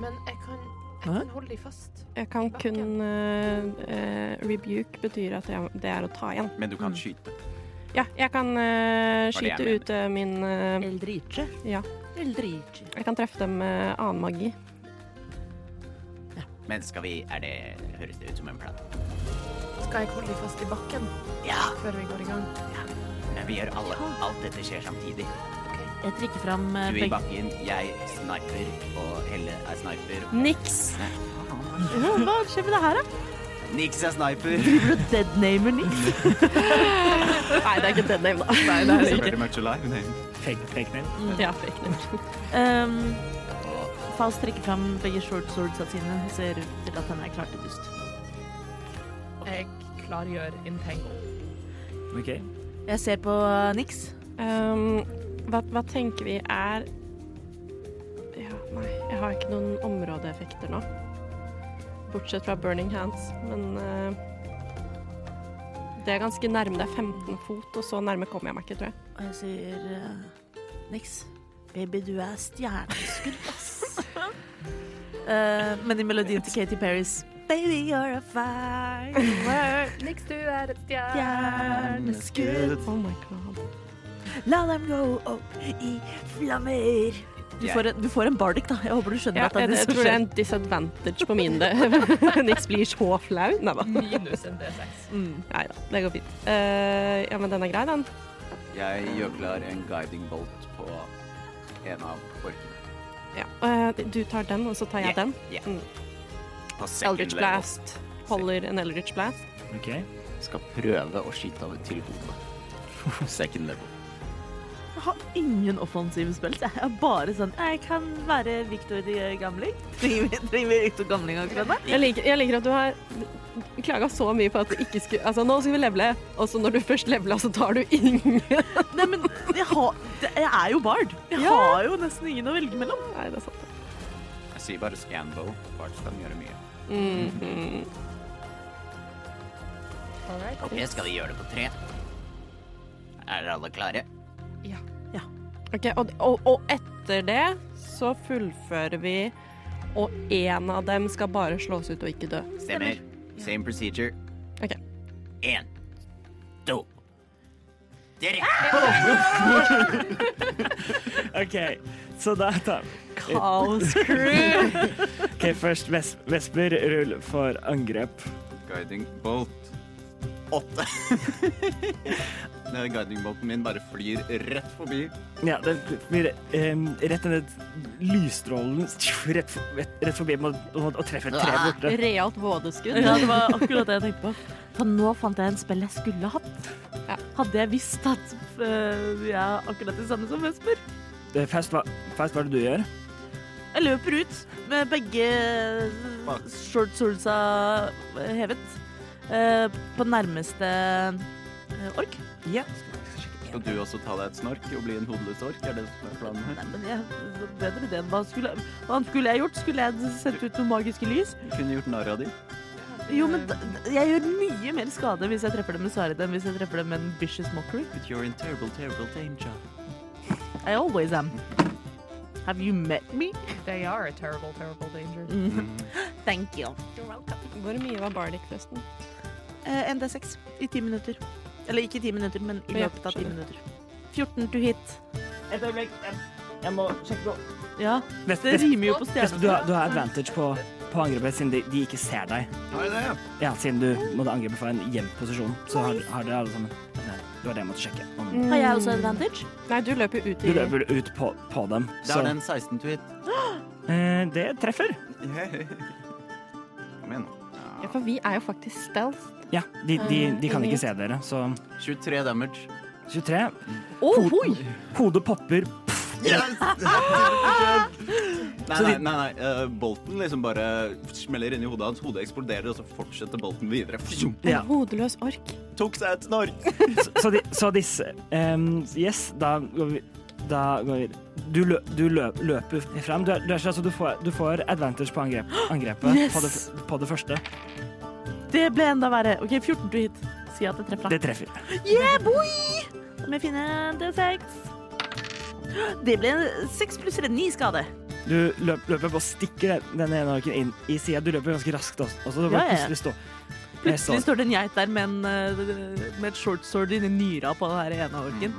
S6: Men jeg kan, jeg
S1: Hæ?
S6: kan holde dem fast.
S2: Jeg kan kun eh, eh, Rebuke betyr at jeg, det er å ta igjen.
S12: Men du kan skyte.
S2: Ja, jeg kan eh,
S8: Var det jeg
S2: skyte
S8: mener.
S2: ut eh, min eh,
S1: Eldriche.
S2: Ja.
S1: Eldriche.
S2: Jeg kan treffe dem med annen magi.
S8: Men skal vi Er det Høres det ut som en plan?
S6: Skal jeg holde dem fast i bakken
S8: Ja!
S6: før vi går i gang?
S8: Men vi gjør alle. Alt dette skjer samtidig.
S1: Jeg trekker fram eh,
S8: Du i
S1: begge
S8: bakken, jeg sniper, og Helle er sniper.
S2: Niks!
S1: Ja, Hva skjer med det her, da?
S8: Nix er
S1: *laughs*
S8: sniper.
S1: Driver du og deadnamer Nix? *laughs*
S2: Nei, det er ikke den name, da. Nei,
S12: It's very much alive. Nei.
S3: Fake, fake name.
S2: Ja, fake name.
S1: Um, Faust trekker fram begge short swords sine. Ser ut til at han er klar til pust.
S9: jeg klargjør Intangle.
S3: Ok.
S1: Jeg ser på eh, Nix.
S2: Um, hva, hva tenker vi er ja, Nei, jeg har ikke noen områdeeffekter nå. Bortsett fra burning hands, men eh, Det er ganske nærme. Det er 15 fot, og så nærme kommer jeg meg ikke, tror jeg.
S1: Og jeg sier eh, Nix, baby, du er stjerneskudd, ass. Eh, men i melodien til Katy Perrys Baby, you're a firework.
S6: Niks, du er et
S1: Stjerneskudd.
S2: Oh my god.
S1: La dem gå opp i flammer. Du får, en, du får en bardic, da. Jeg håper du skjønner
S2: Ja,
S1: at det
S2: jeg,
S1: er det
S2: jeg
S1: som
S2: tror det er
S1: skjer.
S2: en disadvantage på min *laughs* del. Nix blir så flau. Nei da.
S9: Minus en D6.
S1: Mm.
S2: Nei da, det går fint. Eh, ja, men den er grei, den.
S12: Jeg gjør klar en guiding bolt på en av orkene.
S2: Ja. Eh, du tar den, og så tar jeg
S8: Ja,
S2: den.
S8: ja.
S2: Mm.
S8: På second
S2: Eldritch
S8: level.
S2: Blast. Holder en Eldritch Blast.
S3: Ok.
S12: Skal prøve å skyte av til hodet. *laughs* Second level.
S1: Jeg har ingen offensive spill. så Jeg er bare sånn Jeg kan være Victor eh, Gamling. Trenger vi- trenger vi Victor Gamling akkurat nå?
S2: Jeg liker, jeg liker at du har klaga så mye på at du ikke skulle Altså, nå skal vi levele, og så når du først leveler, så tar du ingen.
S1: Nei, men jeg, har, jeg er jo bard. Jeg
S2: Ja.
S1: har jo nesten ingen å velge mellom.
S2: Nei, det er sant.
S12: Jeg sier bare scanbow. Barts kan gjøre mye.
S1: Mm-hmm.
S2: Mhm.
S8: Ok, skal vi gjøre det på tre? Er alle klare?
S2: OK, og, og, og etter det så fullfører vi, og én av dem skal bare slås ut og ikke dø.
S8: Stemmer. Same procedure.
S2: Ok.
S8: En, to, tre.
S3: Ok, så da tar
S1: Kaos.
S3: Ok, først ves Vesper, rull for angrep.
S12: Guiding bolt.
S8: *laughs*
S12: Åtte. Den guiding bolten min bare flyr rett forbi.
S3: Ja, det blir em, rett ned lysstrålen rett, for, rett, rett forbi og, og treffer et tre borte.
S2: Realt *laughs* vådeskudd.
S1: *laughs* Ja, det var akkurat det jeg tenkte på. For nå fant jeg en spill jeg skulle hatt.
S2: Ja.
S1: Hadde jeg visst at eh, vi er akkurat det samme som Vesper. Ah.
S3: Eh, Faust, hva, Faust, hva er det du gjør?
S1: Jeg løper ut med begge eh, short swordsa hevet eh, på nærmeste eh, ork.
S3: Ja.
S8: Skal du også ta deg et snork og bli en hodeløs ork? Er det som er planen her?
S1: Nei, men jeg, det var bedre det enn hva skulle, hva skulle jeg gjort? Skulle jeg sendt ut noen magiske lys?
S8: Du kunne gjort narr av de.
S1: Jo,
S9: Mm.
S1: men da, jeg gjør mye mer skade hvis jeg treffer det med svaret enn hvis jeg treffer det med en vicious mockery.
S8: But you're in terrible, terrible danger.
S1: I always am. Have you met me?
S9: They are a terrible, terrible danger.
S1: *gasps* Thank you.
S2: Hvor mye var bardic-testen?
S1: Eh, ND6 i ti minutter. Eller ikke i ti minutter, men i
S2: Ja,
S1: løpet av ti
S2: skjønner.
S1: minutter. 14 to hit.
S11: Et øyeblikk. Jeg, jeg må sjekke opp.
S1: Ja,
S3: Vespe,
S1: det rimer jo på
S3: Vespe, du, har-
S1: stjernen.
S3: du har advantage på, på angrepet siden de, de ikke ser deg. Ja, Siden du måtte angripe fra en gjemt posisjon, så har, har dere alle sammen Det var det jeg måtte sjekke. Om,
S1: Har jeg også advantage?
S2: Nei, du løper jo ut
S3: du
S2: i
S3: løper ut på, på dem,
S8: Det
S3: så
S8: er den 16 to hit.
S3: eh, Det treffer.
S8: *laughs* Kom igjen.
S2: Ja, for vi er jo faktisk stealth.
S3: Ja, de, de, de kan ikke se dere, så
S8: 23 damage.
S3: 23.
S1: Ohoi!
S3: Hodet popper.
S8: Nei, nei, nei. nei. eh, bolten liksom bare smeller inn i hodet hans. Hodet eksploderer, og så fortsetter bolten videre. Fjom!
S3: Ja.
S2: Hodeløs ork.
S8: Tok seg et snork.
S3: Så, så, de, så disse ehm, Yes, da går vi Da går vi Du, lø, du lø, løper fram. Du, er, du, er, så- altså, du, får, du får advantage på angrep, angrepet
S1: *gasps* Yes!
S3: på, det, f- på det første.
S1: Det ble enda verre. OK, 14 to hit. Si at jeg treffer.
S3: Det
S1: deg.
S3: treffer.
S1: Yeah, boy! Da må jeg finne D6. Det ble 6 pluss 9 skade.
S3: Du løp, løper på og stikker den- den ene orken inn i sida. Du løper ganske raskt også. også du bare
S1: Ja, ja, ja.
S3: plutselig stå.
S1: Plutselig står det en geit der med, en, eh, med et short sword inni nyra på den her ene orken.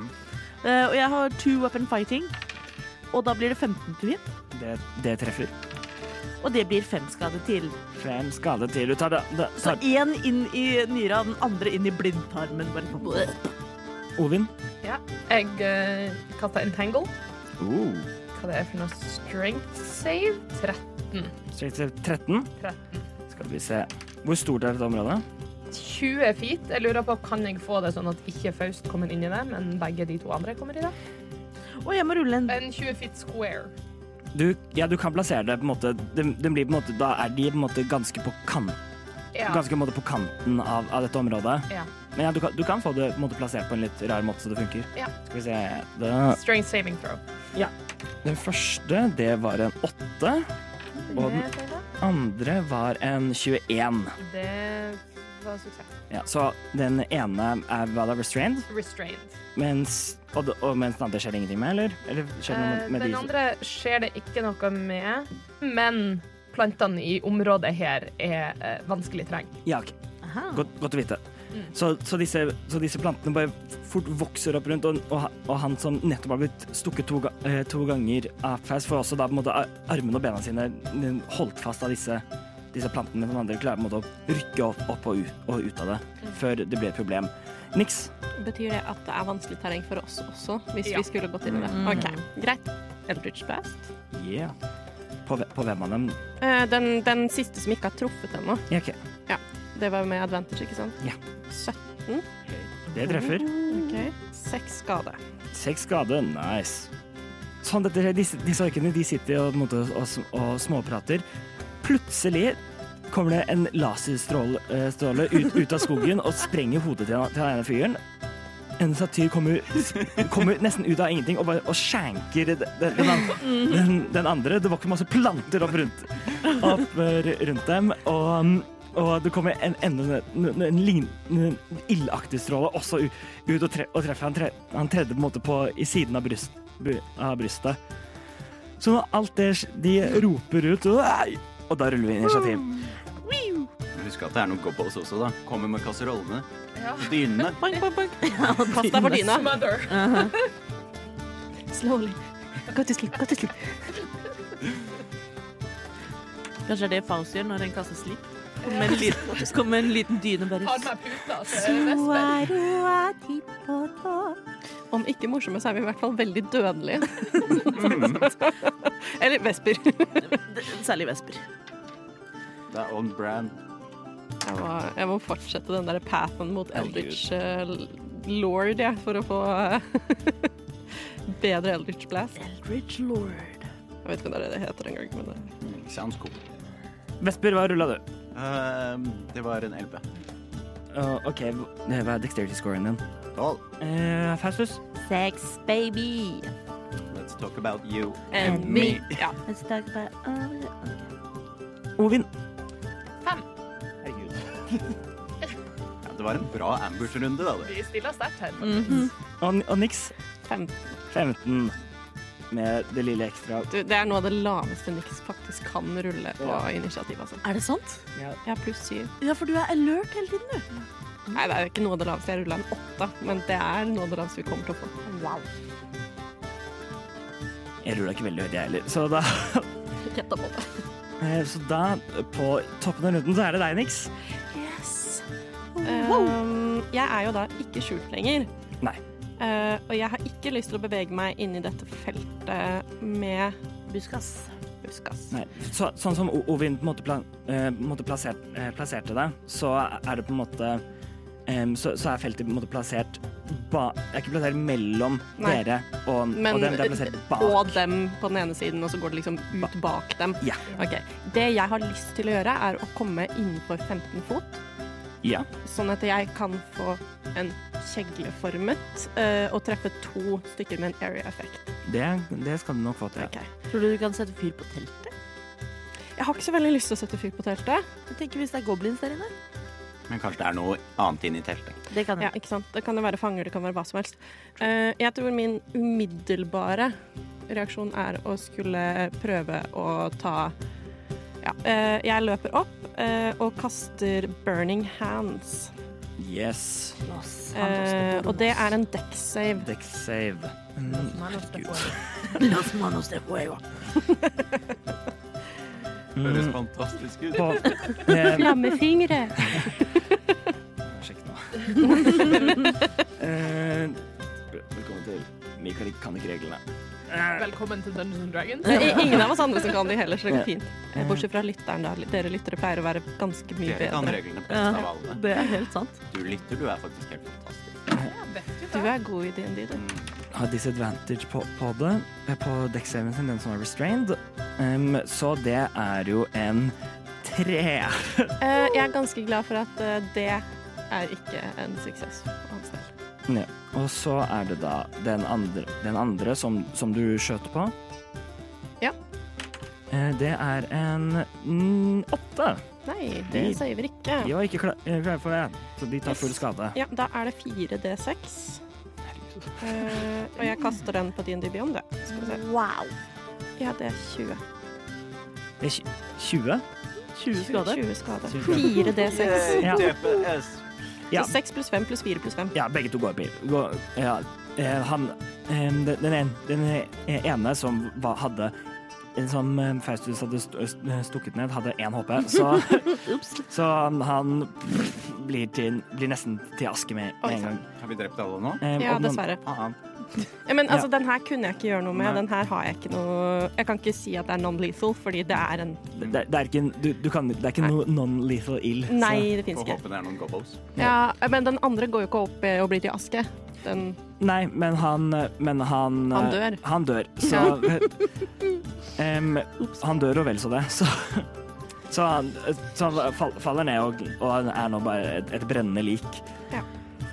S1: Eh, og jeg har two weapon fighting, og da blir det 15 to hit.
S3: Det, det treffer.
S1: Og det blir fem skade til.
S3: Fem skade til. Du tar, da, da,
S1: Så
S3: tar
S1: én inn i nyra, den andre inn i blindtarmen. Bare sånn.
S3: Ovin.
S9: Jeg eh, kaster entangle. Hva det er for noe strength save? 13.
S3: Strength save 13.
S9: 13.
S3: Skal vi se Hvor stort er dette området?
S9: 20 feet. Jeg lurer på, kan jeg få det sånn at ikke Faust kommer inn i det, men begge de to andre kommer i det?
S1: Og jeg må rulle en
S9: En 20 feet square.
S3: Du, ja, du kan plassere det på en måte den, den blir på en måte Da er de på en måte ganske på kant
S9: Ja.
S3: ganske på en måte på kanten av, av dette området.
S9: Ja.
S3: Men ja, du kan, du kan få det på en måte, plassert på en litt rar måte, så det funker.
S9: Ja.
S3: Skal vi se det,
S9: Strength saving throw.
S3: Den første, det var en åtte. Og den andre var en 21.
S9: Det var suksess.
S3: Ja, så den ene er hva da, restrained,
S9: Restrained.
S3: mens, og, det- og mens den andre skjer det ingenting med, eller? Eller skjer det noe
S9: Eh,
S3: med, med
S9: den
S3: de-
S9: andre skjer det ikke noe med, men plantene i området her er eh, vanskelig terreng.
S3: Ja, ok.
S1: Aha.
S3: Godt, godt å vite. Så, så, disse, så disse plantene bare fort vokser opp rundt, og, og, og han som nettopp har blitt stukket to, ga- eh, to ganger av Faust, får også da på en måte ar- armene og bena sine n- holdt fast av disse, disse plantene, mens den andre klarer på en måte å rykke opp, opp og, ut, og ut av det før det blir et problem. Niks.
S2: Betyr det at det er vanskelig terreng for oss også, hvis
S9: Ja.
S2: vi skulle gått inn i det? Ok, greit. Eldridge Mm. Blast.
S3: Yeah. På, ve- på hvem av dem?
S2: Eh, den, den siste som ikke har truffet ennå,
S3: Ja, OK.
S2: det var jo med advantage, ikke sant?
S3: Ja.
S2: 17.
S3: Det treffer.
S2: Ok. Seks skade.
S3: Seks skade. Nice. Sånn, dette, disse, disse orkene de sitter og, på en måte, og, sm- og småprater. Plutselig kommer det en laserstråle eh, stråle ut, ut av skogen og sprenger hodet til, han- til den ene fyren. En satyr kommer, kommer nesten ut av ingenting og, bare, og skjenker den, den, an- den, den andre. Det vokser masse planter opp rundt, opp, eh, rundt dem. Og, og det kommer en, enda sånn en, en, lign- en ildaktig stråle også ut, ut og, tre, og treffer han, tre, han tredje på en måte på, i siden av, bryst, bry- av brystet. Så når alt det sk- de roper ut så, «Ei!» Og da ruller vi initiativ.
S8: Husk at det er noen gobbles også, da. Kommer med kasserollene.
S9: Ja.
S8: Dynene.
S2: Boink, boink, *laughs* boink. Pass deg for dyna.
S9: Mother.
S2: Slowly. Gå til sleep, gå til sleep.
S1: *laughs* Kanskje det er det Faust gjør når en kaster slip. Kommer med en liten, kommer med en liten dyne bare
S9: Har med puta, så er det
S1: Så er
S9: vesper.
S1: du er tippetå.
S2: Om ikke morsomme, så er vi i hvert fall veldig
S3: *laughs*
S2: dødelige.
S3: Mm.
S2: *laughs* Eller vesper.
S1: Det- Særlig vesper.
S8: Det er on brand.
S2: Jeg må, jeg må fortsette den der pathen mot Eldritch eh, Lord, jeg, for å få *laughs* eh, bedre Eldritch Blast.
S1: Eldridge Lord.
S2: Jeg vet ikke hva det er det heter engang, men det-
S8: Mm, Sounds cool.
S3: Vesper, hva rulla du?
S4: Ehm,
S8: Eh, det var en 11.
S3: Eh, Uh, OK, hva er dexterity scoren din?
S5: Tolv.
S3: Eh, Faustus?
S13: Sex, baby.
S4: Let's talk about you.
S13: And
S6: me.
S13: Ja. Let's talk about all the
S3: Ovin?
S6: Fem.
S3: Herregud.
S4: Ja, det var en bra ambush-runde, da. det.
S9: Vi stiller sterkt her.
S3: Mm. Og, og Nix?
S2: Fem.
S3: 15. Med det lille ekstra.
S2: Du, det er noe av det laveste Nix faktisk kan rulle på initiativ. Altså.
S1: Er det sant?
S2: Jeg har pluss syv.
S1: Ja, for du er alert hele tiden, du.
S2: Nei, det er ikke noe av det laveste. Jeg rulla en åtte, men det er noe av det laveste vi kommer til å få.
S3: Jeg rulla ikke veldig høyt, jeg heller. Så da, *laughs*
S2: Rett opp åtte.
S3: eh, så da, på toppen av runden, så er det deg, Nix.
S2: Yes. Um, jeg er jo da ikke skjult lenger.
S3: Nei.
S2: Eh, og jeg har ikke lyst til å bevege meg inn i dette feltet med
S1: Buskas.
S2: buskas.
S3: Nei. Så, sånn som O- Ovin på en måte, plan, eh, på en måte plassert, eh, plasserte deg, så er det på en måte em, så, så er feltet på en måte plassert ba, Det er ikke plassert mellom
S2: Nei.
S3: dere og,
S2: Men,
S3: og dem, det er plassert bak.
S2: Og dem på den ene siden, og så går det liksom ut bak dem.
S3: Ja.
S2: Ok. Det jeg har lyst til å gjøre, er å komme innenfor 15 fot,
S3: Ja.
S2: sånn at jeg kan få en kjegleformet eh, og treffe to stykker med en area effect.
S3: Det, det skal du nok få til.
S2: Ok.
S1: Tror du du kan sette fyr på teltet?
S2: Jeg har ikke så veldig lyst til å sette fyr på teltet.
S1: Jeg tenker hvis det er goblins der inne.
S4: Men kanskje det er noe annet inni teltet.
S1: Det kan
S2: Ja,
S1: jeg.
S2: ikke sant? Det kan jo være fanger, det kan være hva som helst. Eh, jeg tror min umiddelbare reaksjon er å skulle prøve å ta Ja, eh, jeg løper opp eh, og kaster burning hands.
S3: Yes.
S1: Loss.
S2: Eh, og det er en deck save.
S3: Dex
S2: *laughs*
S3: save. Mm,
S1: Los manos de fuego.
S4: Høres
S3: Mm,
S4: fantastisk ut.
S3: på, em,
S2: Flammefingre. *laughs*
S3: Sjekk nå. *laughs* Eh, Velkommen til Mikael kan ikke reglene.
S9: Velkommen til Dungeons and Dragons.
S2: Ingen av oss andre som kan de heller, så det går fint.
S3: Ja.
S2: Bortsett fra lytteren, da. Dere lyttere pleier å være ganske mye
S4: Dere kan
S2: bedre.
S4: reglene best av alle.
S1: Det er helt sant.
S4: Du lytter, du er faktisk helt fantastisk.
S2: Du er god i DND, du.
S3: Har disadvantage på, på det, eh, på dekksaven sin, den som er restrained. Em, så det er jo en tre.
S2: Eh, jeg er ganske glad for at eh, det er ikke en suksess for hans del.
S3: Ja. Og så er det da den andre, den andre som, som du skjøt på.
S2: Ja.
S3: Eh, det er en mm, åtte.
S2: Nei, det
S3: Ni.
S2: saver ikke.
S3: De var ikke kla- eh, klare for det, så de tar full
S2: Yes.
S3: skade.
S2: Ja, da er det 4D6. Eh, og jeg kaster den på DND Beyond, det. Skal vi se.
S13: Wow.
S2: Ja, det er 20.
S3: Det er Eh, tj- 20?
S1: 20 skader.
S2: 20 skade.
S3: 20.
S2: 4D6.
S3: Ja. Ja.
S2: Så 6 pluss 5 pluss 4 pluss 5.
S3: Ja, begge to går opp i går, ja, eh, Han eh, den, den en- den e-, ene som var, hadde eh, Som eh, Faustus hadde st- st- stukket ned, hadde én HP, så,
S2: *laughs*
S3: så han blir, til, blir nesten til aske med,
S2: Oi,
S3: med en gang.
S4: Har vi drept alle nå?
S3: Eh,
S2: Ja,
S3: og den-
S2: dessverre.
S4: Faen.
S2: Ja, men altså, den her kunne jeg ikke gjøre noe med.
S4: Nei.
S2: Den her har jeg ikke noe Jeg kan ikke si at det er non-lethal, fordi det er en
S3: Det, det er ikke, en- du, du kan, det er ikke noe non-lethal ild. så-
S2: Nei, det fins
S4: Får
S2: ikke.
S4: håpe det er noen gobbles.
S2: Ja, men den andre går jo ikke opp eh, og blir til aske. Den
S3: Nei, men han men han, eh,
S2: Han dør.
S3: Han dør, så Em, Han dør og vel så det, så Så han, så han fall, faller ned og, og han er nå bare et, et brennende lik.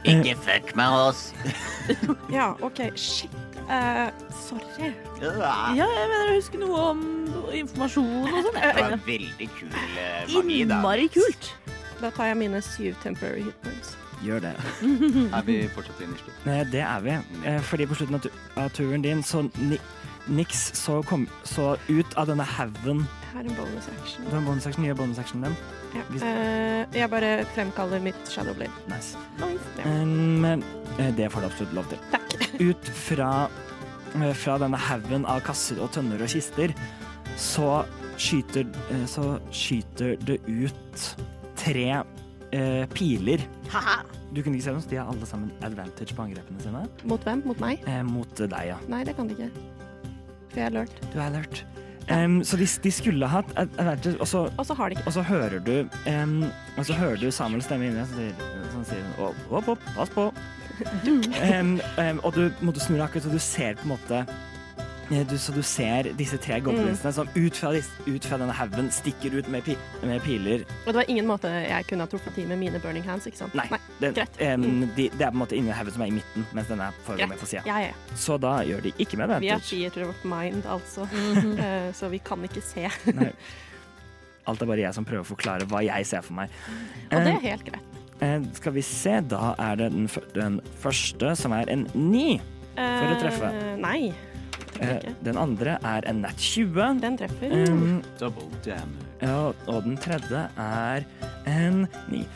S5: Ikke fuck med oss.
S2: Ja, OK. Shit. Eh, sorry.
S5: Det
S1: Ja, jeg mener jeg husker noe om informasjon og sånn.
S5: var
S1: jeg.
S5: veldig kul eh, magi, da.
S1: Innmari kult.
S2: Da tar jeg mine syv temporary hit points.
S3: Gjør det.
S4: Er vi fortsatt innerst?
S3: Eh, Det er vi. Eh, Fordi på slutten av tu- av turen din, så ni, Nix så, kom, så ut av denne haugen
S2: Jeg har en bonus action.
S3: Den bonusaction, nye bonusaction din.
S2: Ja.
S3: Hvis-
S2: Eh, jeg bare fremkaller mitt shadowblade.
S3: Nice.
S2: Ja.
S3: Em, eh, det får du absolutt lov til.
S2: Takk.
S3: ut fra, eh, fra denne haugen av kasser og tønner og kister, så skyter, eh, så skyter det ut tre eh, piler. Du kunne ikke se dem, så de har alle sammen advantage på angrepene sine.
S2: Mot hvem? Mot meg?
S3: Eh, mot deg, ja.
S2: Nei, det kan de ikke. For jeg er lurt.
S3: Du er alert. Em, så de, de skulle hatt ad- advantage, og så,
S2: Og så har de ikke.
S3: og så hører du em, Og så hører du Samuel stemme inni deg som sier, som sier opp, opp, opp, pass på. Em, em, og du måtte snur deg akkurat, så du ser på en måte eh, du, så du ser disse tre
S2: Mm.
S3: goblinsene som ut fra, dis- ut fra denne haugen stikker ut med, pi, med piler.
S2: Og det var ingen måte jeg kunne ha truffet de med mine burning hands, ikke sant?
S3: Nei, den,
S2: greit.
S3: em, de, det er på en måte inni haugen som er i midten, mens den er foregår med
S2: greit.
S3: på sida.
S2: Ja, ja, ja.
S3: Så da gjør de ikke med
S2: Vi er
S3: advantage.
S2: theater of mind, altså. *laughs* Eh, Så vi kan ikke *laughs* se.
S3: Nei. Alt er bare jeg som prøver å forklare hva jeg ser for meg.
S2: Og det
S3: Eh,
S2: er helt greit.
S3: eh, skal vi se, da er det den, fyr- den første som er en ni. For å treffe.
S2: Eh, Nei, det
S3: Eh,
S2: tror jeg ikke.
S3: Den andre er en nat 20.
S2: Den treffer.
S3: Um,
S14: Double damage.
S3: ja, og den tredje er en ni.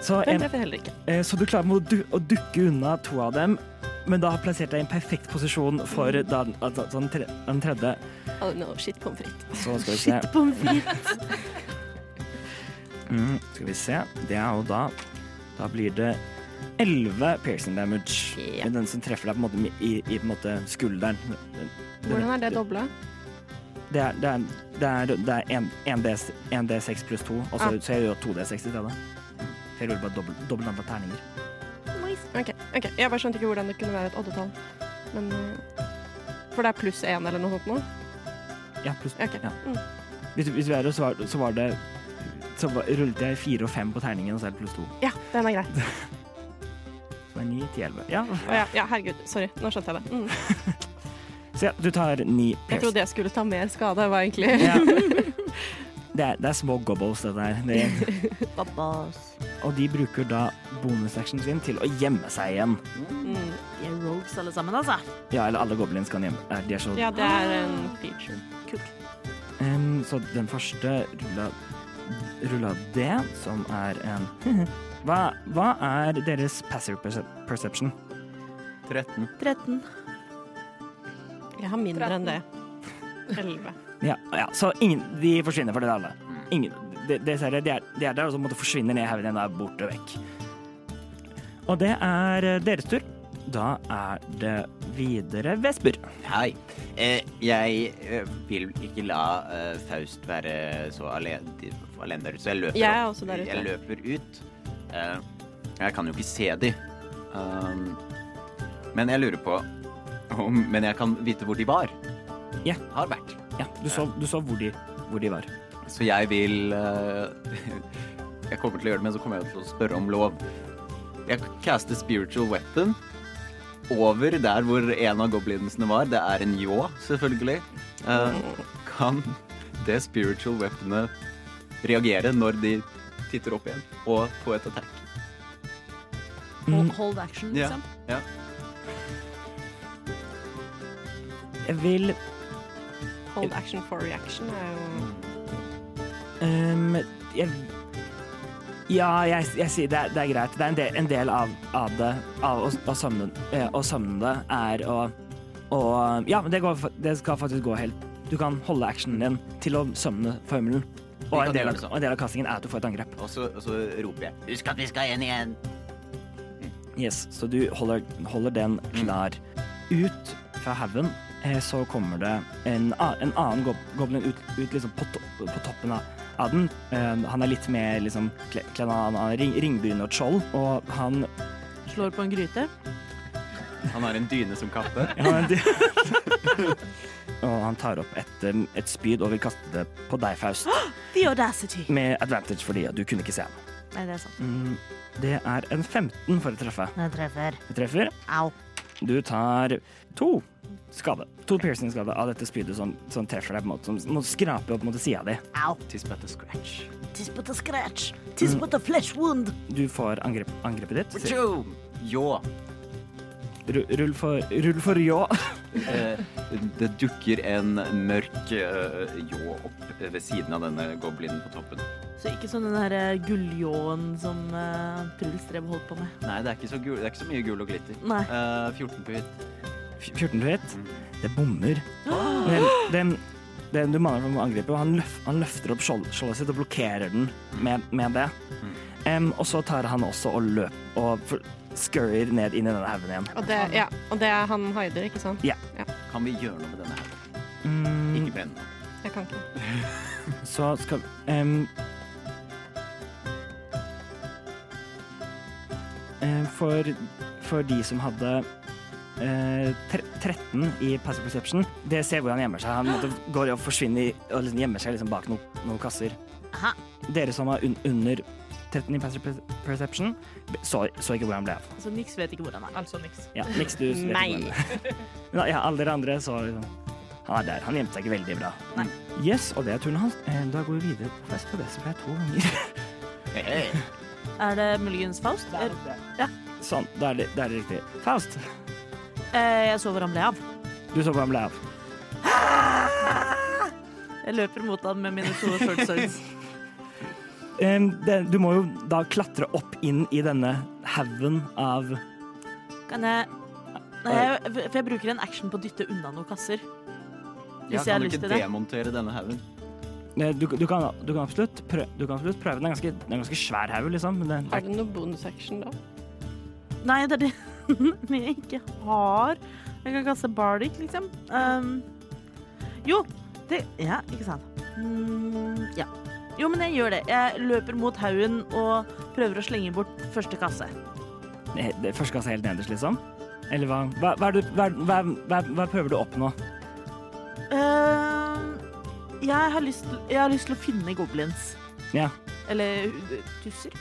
S3: Så,
S2: Den
S3: em,
S2: treffer heller ikke.
S3: eh, så du klarer med å, du å dukke unna to av dem, men da har plassert deg i en perfekt posisjon for
S2: Mm.
S3: da, den- altså, den tre- den tredje.
S2: Oh, no, shit pommes frites.
S3: Så skal vi se.
S2: Pommes frites.
S3: Mm, skal vi se. Det er jo da Da blir det 11 piercing damage.
S2: Ja.
S3: Men Den som treffer deg på en måte mi- i, i på en måte skulderen. Den- den-
S2: Hvordan er det dobla?
S3: Det er, det er, det er, det er en, en, D, en D6 pluss 2, og så,
S2: Ah.
S3: så jeg gjør 2D6 i stedet. For Jeg ruller bare dobbelt, dobbelt antall terninger.
S2: Ok, ok. Jeg bare skjønte ikke hvordan det kunne være et oddetall. Men eh, For det er pluss én eller noe sånt nå?
S3: Ja, pluss
S2: Ok.
S3: ja.
S2: Mm.
S3: Hvis, hvis vi er her, så var, så var det Så var, rullet jeg 4 og 5 på terningen, og så er det pluss 2.
S2: Ja, den er greit.
S3: Så det er 9 til 11. Ja.
S2: Å ja, ja, herregud. Sorry, nå skjønte jeg det. Mm.
S3: Så ja, du tar 9
S2: Jeg
S3: piercing.
S2: trodde jeg skulle ta mer skade, var egentlig *laughs*
S3: Ja. Det er, det er små gobbles, dette her. Det,
S15: Babas.
S3: og de bruker da bonusactionen sin til å gjemme seg igjen.
S2: mm.
S1: Vi er rogues alle sammen, altså.
S3: Ja, eller alle goblins kan gjemme eh, De er så
S2: Ja, det er en feature.
S3: Em, Så den første rulla rulla D, som er *laughs* en hva, hva er deres passive percep- perception?
S14: 13.
S1: 13.
S2: Jeg har mindre enn det. Elleve.
S3: Ja, ja, så ingen, de forsvinner for dere alle. Ingen, de, de, ser det, de, er, de er der, og så måtte forsvinne ned haugen igjen, da er borte vekk. Og det er eh, deres tur. Da er det videre Vesper.
S8: Hei. Eh, jeg eh, vil ikke la eh, Faust være så alene, alene der ute, så jeg løper
S2: Jeg er
S8: opp-
S2: også der ute.
S8: Jeg løper ut. Eh, jeg kan jo ikke se de. Um, men jeg lurer på om Men jeg kan vite hvor de var.
S3: Ja.
S8: Har vært.
S3: Ja, du så, du så hvor, de, hvor de var.
S8: Så jeg vil eh, *laughs* Jeg kommer til å gjøre det, men så kommer jeg til å spørre om lov. Jeg caster spiritual weapon over der hvor en av goblinsene var. Det er en ljå, selvfølgelig. Eh, kan det spiritual weaponet reagere når de titter opp igjen, og på et attack?
S1: Hold, hold action,
S8: Ja.
S1: liksom.
S3: Jeg vil
S2: Hold action for reaction er jo
S3: Ehm, jeg, ja, jeg, jeg sier det, er- det er greit. Det er en del, en del av, av det, av å, å, samle, eh, å samle det, er å, å Ja, men det, går, fa- det skal faktisk gå helt Du kan holde actionen din til å sømne formelen. Og
S8: kan
S3: en, del
S8: gjøre
S3: av,
S8: det sånn.
S3: og en del av kastingen er at du får et angrep.
S8: Og så, og så roper jeg Husk at vi skal igjen igjen!
S3: Yes, Så du holder, holder den klar. Ut fra haugen eh, så kommer det en, a- en annen gob- goblin ut, ut liksom på, to, på toppen av, av den. Eh, han er litt mer liksom kle- kledd av han har ring, ringbryn og skjold, og han
S1: Slår på en gryte.
S8: Han har en dyne som kappe.
S3: han har en dy- *laughs* Og han tar opp et, eh, et spyd og vil kaste det på deg, Faust,
S1: The audacity.
S3: med advantage fordi du kunne ikke se ham.
S15: Nei, det er sant.
S3: Mm, det er en 15 for å treffe.
S15: Den treffer.
S3: Du treffer.
S15: Au.
S3: Du tar to skade. To piercing-skade av dette spydet som, som treffer deg på en måte, som må skrape opp mot sida di.
S15: Au.
S8: Tis but a scratch.
S15: Tis but a scratch. Tis but a flesh wound.
S3: Du får angrep, angrepet ditt. Så
S8: Boom! Ljå.
S3: ru- Rull for, rull for ljå.
S8: Eh, Det dukker en mørk eh, ljå opp ved siden av denne goblinen på toppen.
S1: Så ikke sånn den der gullljåen som uh, Truls drev og holdt på med.
S8: Nei, det er ikke så, gul, det er ikke så mye gul og glitter.
S1: Nei.
S8: Eh, 14 på hit.
S3: F- 14 til hit. Det bommer. Den, den, den du maler for å angripe, og han, løf, han løfter opp skjold- skjoldet sitt og blokkerer den med, med det. Em, og så tar han også og løp og for- scurrier ned inn i denne haugen igjen.
S2: Og det, ja, og det er han hider, ikke sant?
S8: Kan vi gjøre noe med denne her?
S3: Mm,
S8: Ikke brenn.
S2: Jeg kan ikke.
S3: så skal em, em, for, for de som hadde eh, tre- 13 i passive perception. Det ser hvor han gjemmer seg. Han måtte, går og forsvinner i- og liksom gjemmer seg liksom bak no, noen kasser.
S13: Aha.
S3: Dere som var un under 13 i passive per- perception, så, så ikke hvor han ble av.
S1: Altså, Nix vet ikke hvor han er.
S9: Altså niks.
S3: Ja, niks du vet ikke hvor han
S2: Nei.
S3: ble. Men *laughs* Ja, alle dere andre så liksom Han er der. Han gjemte seg ikke veldig bra. Yes, og det er turen hans. Eh, Da går vi videre på fest på det som er to ganger. *laughs*
S1: Er det muligens Faust? Er, ja.
S3: Sånn, da er det, da er det riktig. Faust,
S1: Eh, Jeg så hvor han ble av.
S3: du så hvor han ble av.
S1: Jeg løper mot ham med mine *laughs* to short swords.
S3: Em, det, du må jo da klatre opp inn i denne haugen av
S1: Kan jeg Nei, jeg, for jeg bruker en action på å dytte unna noen kasser.
S8: Jeg
S1: Hvis jeg har
S8: kan
S1: lyst
S8: ikke
S1: til det.
S8: demontere denne haugen.
S3: Eh, Du, du, kan, du, kan absolutt prøve, du kan absolutt prøve. Den er ganske, den er ganske svær haug, liksom. Men den,
S2: Er det noe bonusaction da?
S1: Nei, det *laughs* er det Men jeg ikke har. Jeg kan kaste bardic, liksom. Um, jo, det Ja, ikke sant. Mm, ja. Jo, men jeg gjør det. Jeg løper mot haugen og prøver å slenge bort første kasse.
S3: eh, det første kasse er helt nederst, liksom. Eller hva, hva, hva, er det, hva, hva, hva, hva prøver du å oppnå?
S1: Um, jeg, har lyst, til- jeg har lyst til å finne goblins.
S3: Ja.
S1: Eller uh, tusser.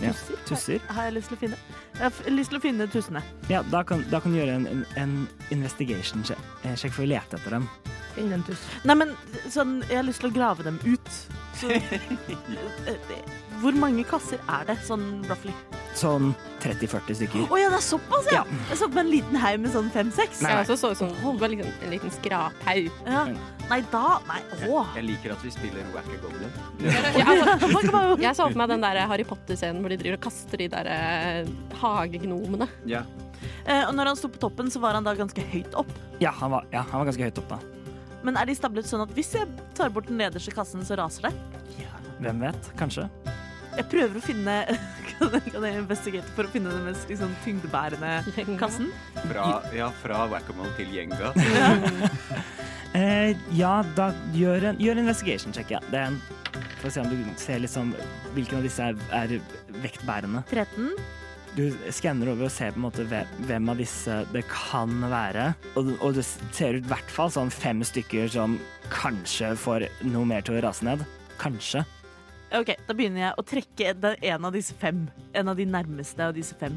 S3: Ja,
S1: Tusser?
S3: tusser.
S1: Har jeg lyst til å finne. Jeg har f- lyst til å finne tussene.
S3: Ja, da kan, da kan du gjøre en, en, en investigation-sjekk for å lete etter dem.
S9: Finn en tuss.
S1: Nei, men sånn, jeg har lyst til å grave dem ut. Så,
S3: *laughs*
S1: Eh, eh, hvor mange kasser er det, sånn roughly?
S3: Sånn 30-40
S1: Å
S3: stykker.
S1: ja, det er såpass, ja! Jeg så på en liten haug med sånn fem-seks.
S2: Jeg også så ut som det var liksom en liten skraphaug.
S1: Ja. Nei, da Nei, å!
S8: Jeg liker at vi spiller Wacker Goblin.
S1: *laughs*
S2: Jeg, altså,
S1: Man kan bare-
S2: jeg så for meg den der Harry Potter-scenen hvor de driver og kaster de der eh, hagegnomene.
S8: Ja.
S1: Eh, Og når han sto på toppen, så var han da ganske høyt opp.
S3: Ja, han var, ja, han var ganske høyt oppe.
S1: Men er de stablet sånn at hvis jeg tar bort den nederste kassen, så raser det?
S3: Hvem vet? Kanskje.
S1: Jeg prøver å finne *laughs* Kan jeg- kan jeg investigere for å finne den mest liksom, tyngdebærende kassen?
S8: Fra, ja, fra Wackamole til Gjenga.
S3: Eh, ja, da gjør en, gjør en investigation-sjekk, ja. Det er en, for å se om du ser liksom hvilken av disse er, er vektbærende.
S1: 13.
S3: Du skanner over og ser på en måte hve- hvem av disse det kan være. Og, og det ser ut i hvert fall sånn fem stykker som kanskje får noe mer til å rase ned. Kanskje.
S1: OK, da begynner jeg å trekke den, en av disse fem. En av de nærmeste av disse fem.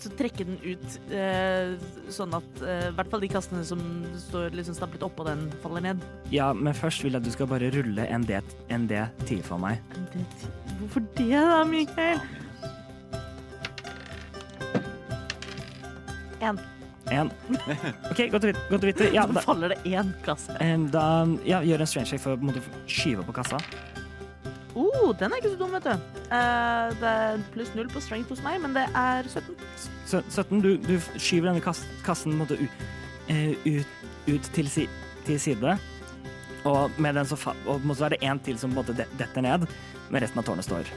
S1: Så trekke den ut eh, sånn at eh, i hvert fall de kassene som står liksom stablet oppå den, faller ned.
S3: Ja, men først vil jeg at du skal bare rulle en D- en D10 for meg.
S1: Det, hvorfor det da, Mikael?
S3: En. OK, godt å vite. Godt å vite. Ja,
S1: Så
S3: da,
S1: faller det én kasse.
S3: eh, da ja, gjør en strange check for å på en måte skyve på kassa.
S1: Oh, den er ikke så dum, vet du. Eh, det er pluss null på strength hos meg, men det er 17.
S3: Sø- 17, du, du skyver denne kas- kassen på en måte, u- eh, ut, ut til, si, til side. Og med den så, fa og på en måte så er det én til som på en måte de- detter ned, men resten av tårnet står.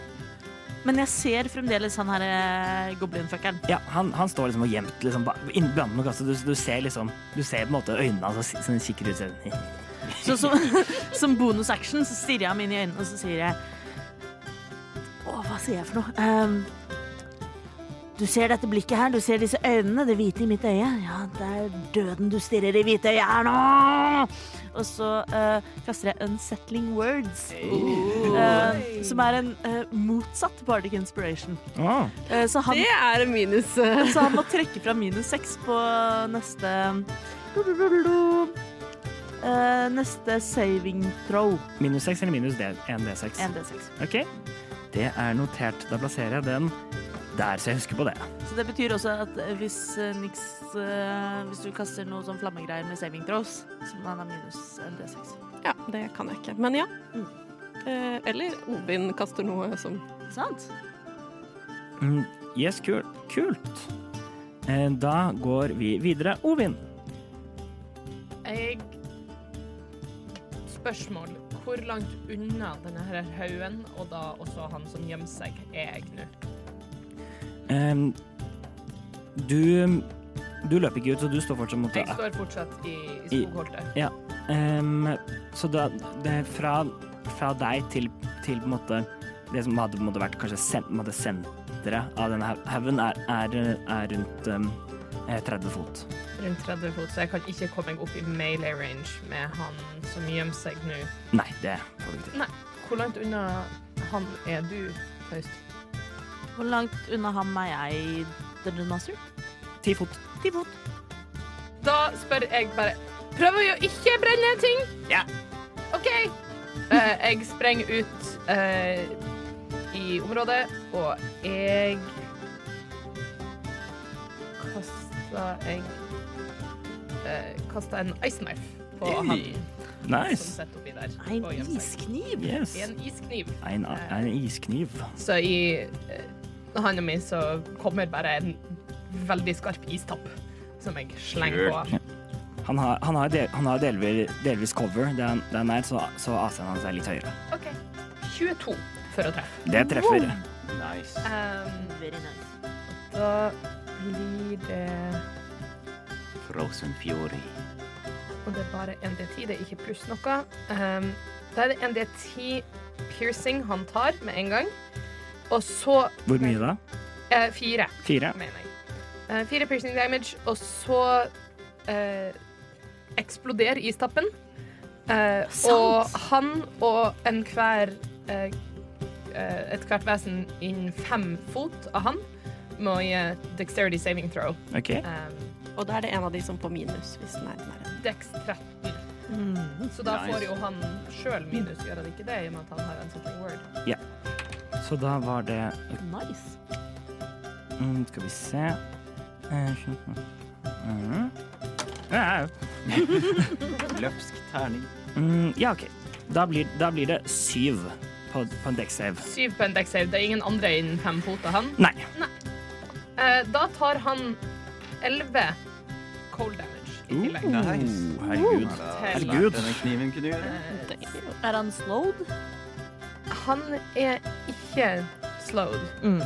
S1: Men jeg ser fremdeles han her eh, goblinfuckeren.
S3: Ja, han, han står liksom og gjemt liksom, ba- inn blant noen kasser. Du, du ser liksom Du ser på en måte øynene hans altså, som kikker ut. Sånn. *laughs*
S1: Så som, *laughs* som bonus action så stirrer jeg ham inn i øynene og så sier jeg Å, hva sier jeg for noe? Ehm,
S13: Du ser dette blikket her, du ser disse øynene, det hvite i mitt øye. Ja, det er døden du stirrer i hvite øyet her nå!
S1: og så eh, kaster jeg Unsettling Words. eh, som er en eh, motsatt Bardic Inspiration.
S3: Å,
S1: Eh, så, han,
S2: Det er en minus. eh.
S1: så han må trekke fra minus seks på neste Eh, Neste saving throw.
S3: minus 6 eller minus D, 1D6.
S1: 1D6.
S3: OK. Det er notert. Da plasserer jeg den der, så jeg husker på det.
S1: Så det betyr også at eh, hvis eh, Nix eh, Hvis du kaster noe sånn flammegreier med saving throws, så må han ha minus en D6.
S2: Ja, det kan jeg ikke. Men ja. Eh, Eller Odin kaster noe som
S1: Ikke sant?
S3: Mm, yes, kul. kult. Eh, Da går vi videre. Ovin.
S9: Jeg Spørsmål. Hvor langt unna denne her haugen, og da også han som gjemmer seg, er jeg nå?
S3: Ehm, du Du løper ikke ut, så du står fortsatt mot
S9: Jeg står fortsatt i, i skogholtet.
S3: Ehm, så da det er fra, fra deg til, til på en måte det som hadde på en måte vært kanskje sen, på en måte senteret av denne hau- haugen, er, er, er rundt ehm, eh, 30 fot.
S9: Rundt 30 fot, så jeg kan ikke komme meg opp i melee range med han som gjemmer seg nå.
S3: Nei, det får du ikke til.
S9: Nei. Hvor langt unna han er du, Faust?
S1: Hvor langt unna ham er jeg, Dungeon Master?
S3: 10 fot.
S1: Ti fot.
S9: Da spør jeg bare Prøv å ikke brenne ting!
S5: Ja.
S9: OK. Eh, jeg sprenger ut eh, i området, og jeg Kaster jeg eh, Kaster en ice knife på han
S5: Hey.
S9: som
S3: Nice.
S9: sitter oppi der.
S13: En
S9: og gjemmer seg.
S13: iskniv.
S3: Yes.
S9: I en iskniv.
S3: En, en iskniv.
S9: Så i uh, hånda mi så kommer bare en veldig skarp istapp som jeg slenger på. han.
S3: Han har, han har, del, han har delvis, delvis cover, det er, det er nært, så, så AC-en hans er litt høyere.
S9: OK. 22 for å treffe.
S3: Det treffer.
S8: Nice.
S9: Ehm,
S13: Very nice.
S9: da blir det
S5: Frozen Fury.
S9: Og det er bare ND10, det er ikke pluss noe. Ehm, da er det ND10 piercing han tar med en gang. Og så
S3: Hvor mye da?
S9: eh, fire.
S3: Fire?
S9: mener jeg. Eh, fire piercing damage, og så eh, eksploderer istappen. Eh, og han og enhver eh, eh, ethvert vesen innen fem fot av han må gi dexterity saving throw.
S3: OK.
S9: Eh,
S2: Og da er det en av de som får minus, hvis den er i nærheten.
S9: Dex 13.
S1: Mm,
S9: *laughs* Så da får jo han sjøl minus, gjør han ikke det, i og med at han har en setting word?
S3: Så da var det
S1: Nice.
S3: mm, Skal vi se Eh, mm. Ja, ja.
S8: Løpsk terning.
S3: Mm, Ja, OK. Da blir, da blir det syv på, på en dekksave.
S9: Syv på en dex save. Det er ingen andre innen fem fot av han.
S3: Nei.
S9: Eh, da tar han 11 cold damage i tillegg.
S8: Nice.
S3: Oh, herregud.
S9: Til-
S3: Herregud.
S8: Denne kniven kunne gjøre.
S9: Eh,
S1: Er han slowed?
S9: han er ikke slowed, eh,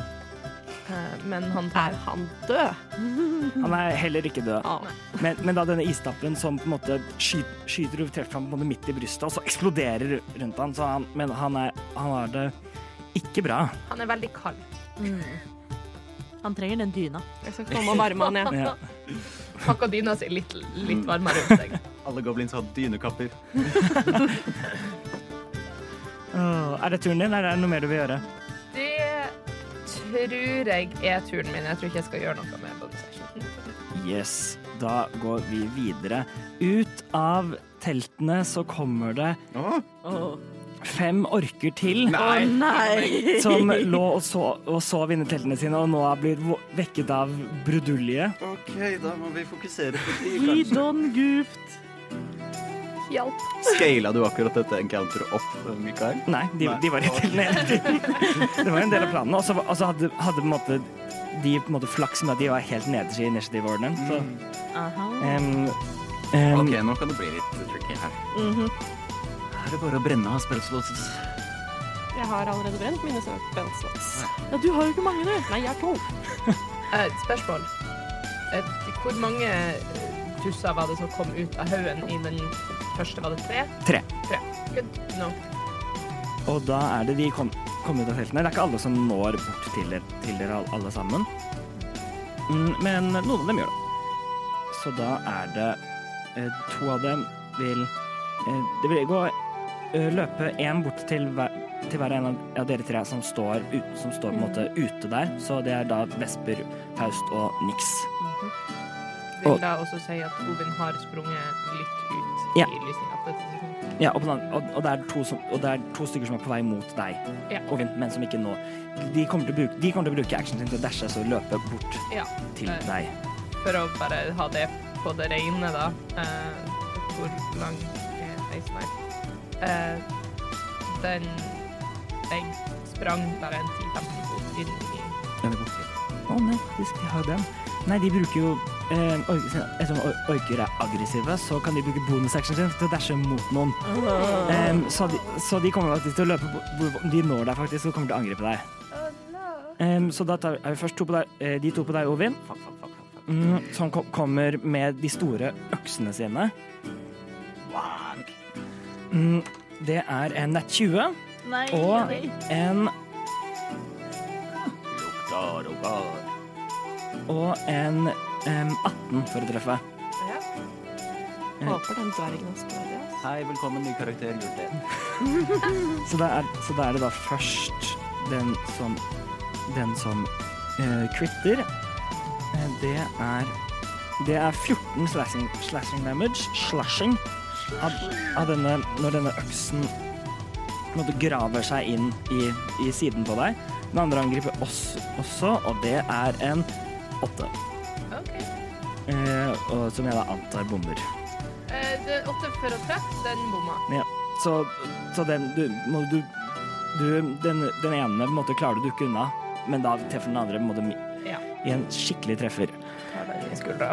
S9: men Mm. han tar
S2: Er han død?
S3: Han er heller ikke død.
S2: Ja.
S3: Men, men da denne istappen som på en måte skyter, skyter og treffer ham på en måte midt i brystet, og så eksploderer rundt han, så han, men han, er, han har det ikke bra.
S9: Han er veldig kald.
S1: Han trenger den dyna.
S2: Jeg
S3: *laughs*
S2: skal komme og varme han, jeg.
S3: Ja.
S9: Har dyna si litt, litt
S3: Mm.
S9: varmere rundt seg.
S8: Alle goblins hadde dynekapper.
S3: Åh, er det turen din, eller er det noe mer du vil gjøre?
S9: *laughs* Det tror jeg er turen min. Jeg tror ikke jeg skal gjøre noe med bonus action.
S3: Yes. Da går vi videre. Ut av teltene så kommer det fem orker til.
S13: Å nei!
S3: Som lå og, så, og sov inni teltene sine, og nå blir vo- vekket av brudulje.
S8: OK, da må vi fokusere på de,
S1: He done goofed.
S2: Hjelp.
S8: Scala du akkurat dette encounteret opp, Mikael?
S3: Nei, de,
S8: Nei.
S3: de var i teltene hele tiden. Det var jo en del av planen. Og så var- og så hadde, hadde på en måte, de på en måte flaks med at de var helt nederst i initiativordenen. Så
S1: Aha.
S3: em, em,
S8: OK, nå kan det bli litt tricky her. Her er det bare å brenne av spellslåses.
S2: Jeg har allerede brent mine spellslots.
S1: Ja, du har jo ikke mange, du.
S2: Nei, jeg har to.
S9: Eh, spørsmål. Eh, hvor mange eh, tusser var det som kom ut av haugen i den første? Var det tre?
S3: Tre.
S9: Tre. Good. No.
S3: Og da er det de kom, kom ut av teltene. Det er ikke alle som når bort til dere, til dere al- alle sammen. Mm, Men noen av dem gjør det. Så da er det eh, To av dem vil eh, Det vil gå eh, løpe én bort til hver, til hver en av ja, dere tre som står, ut, som står på en måte ute der. Så det er da Vesper, Faust og Nix.
S9: Vil
S3: Og-
S9: da også si at Ovin har sprunget litt ut
S3: Ja.
S9: i lysninga på dette tidspunktet.
S3: Ja, og, på den, andre- og, og, det er to som, og det er to stykker som er på vei mot deg,
S9: Ja.
S3: Ovin, men som ikke nå De kommer til å bruke, de kommer til å bruke actionen sin til å dashe, så løpe bort
S9: Ja.
S3: til
S9: Eh,
S3: deg.
S9: For å bare ha det på det rene, da. Eh, hvor lang er heisen her? Eh, den Jeg sprang bare en 10-15 fot inn i
S3: Ja, det går fint. Å nei, faktisk, de har jo den. Nei, de bruker jo eh, orker, Ettersom or- orker er aggressive, så kan de bruke bonusactionen sin til å dashe mot noen.
S9: Ah.
S3: Em, så, de, så de kommer faktisk til å løpe bo- bo- De når deg faktisk og kommer til å angripe deg. Em, så da tar, er vi først to på deg, eh, de to på deg, Ovin,
S5: Fuck, fuck, fuck, fuck, fuck.
S3: mm, som ko kommer med de store øksene sine. Mm, det er en nett 20
S1: Nei,
S3: og en
S5: Lukter og går.
S3: og en Em, 18 for å treffe.
S2: Håper den dvergen hans dør, ja.
S8: Hei, velkommen, ny karakter. Gjort det.
S3: Så da er, så da er det da først den som Den som eh, quitter. Eh, det er Det er 14 slashing, slashing damage. Slashing. Av, av denne Når denne øksen på en måte graver seg inn i, i siden på deg. Den andre angriper oss også, og det er en åtte.
S6: OK.
S3: Eh, og som jeg da antar bommer.
S6: Eh, det er åtte for å treffe, den bomma.
S3: Så, så den du, må, du, du den, den ene på en måte klarer du å dukke unna, men da treffer den andre på en måte, mi-
S9: Ja.
S3: i en skikkelig treffer.
S9: Skuldra.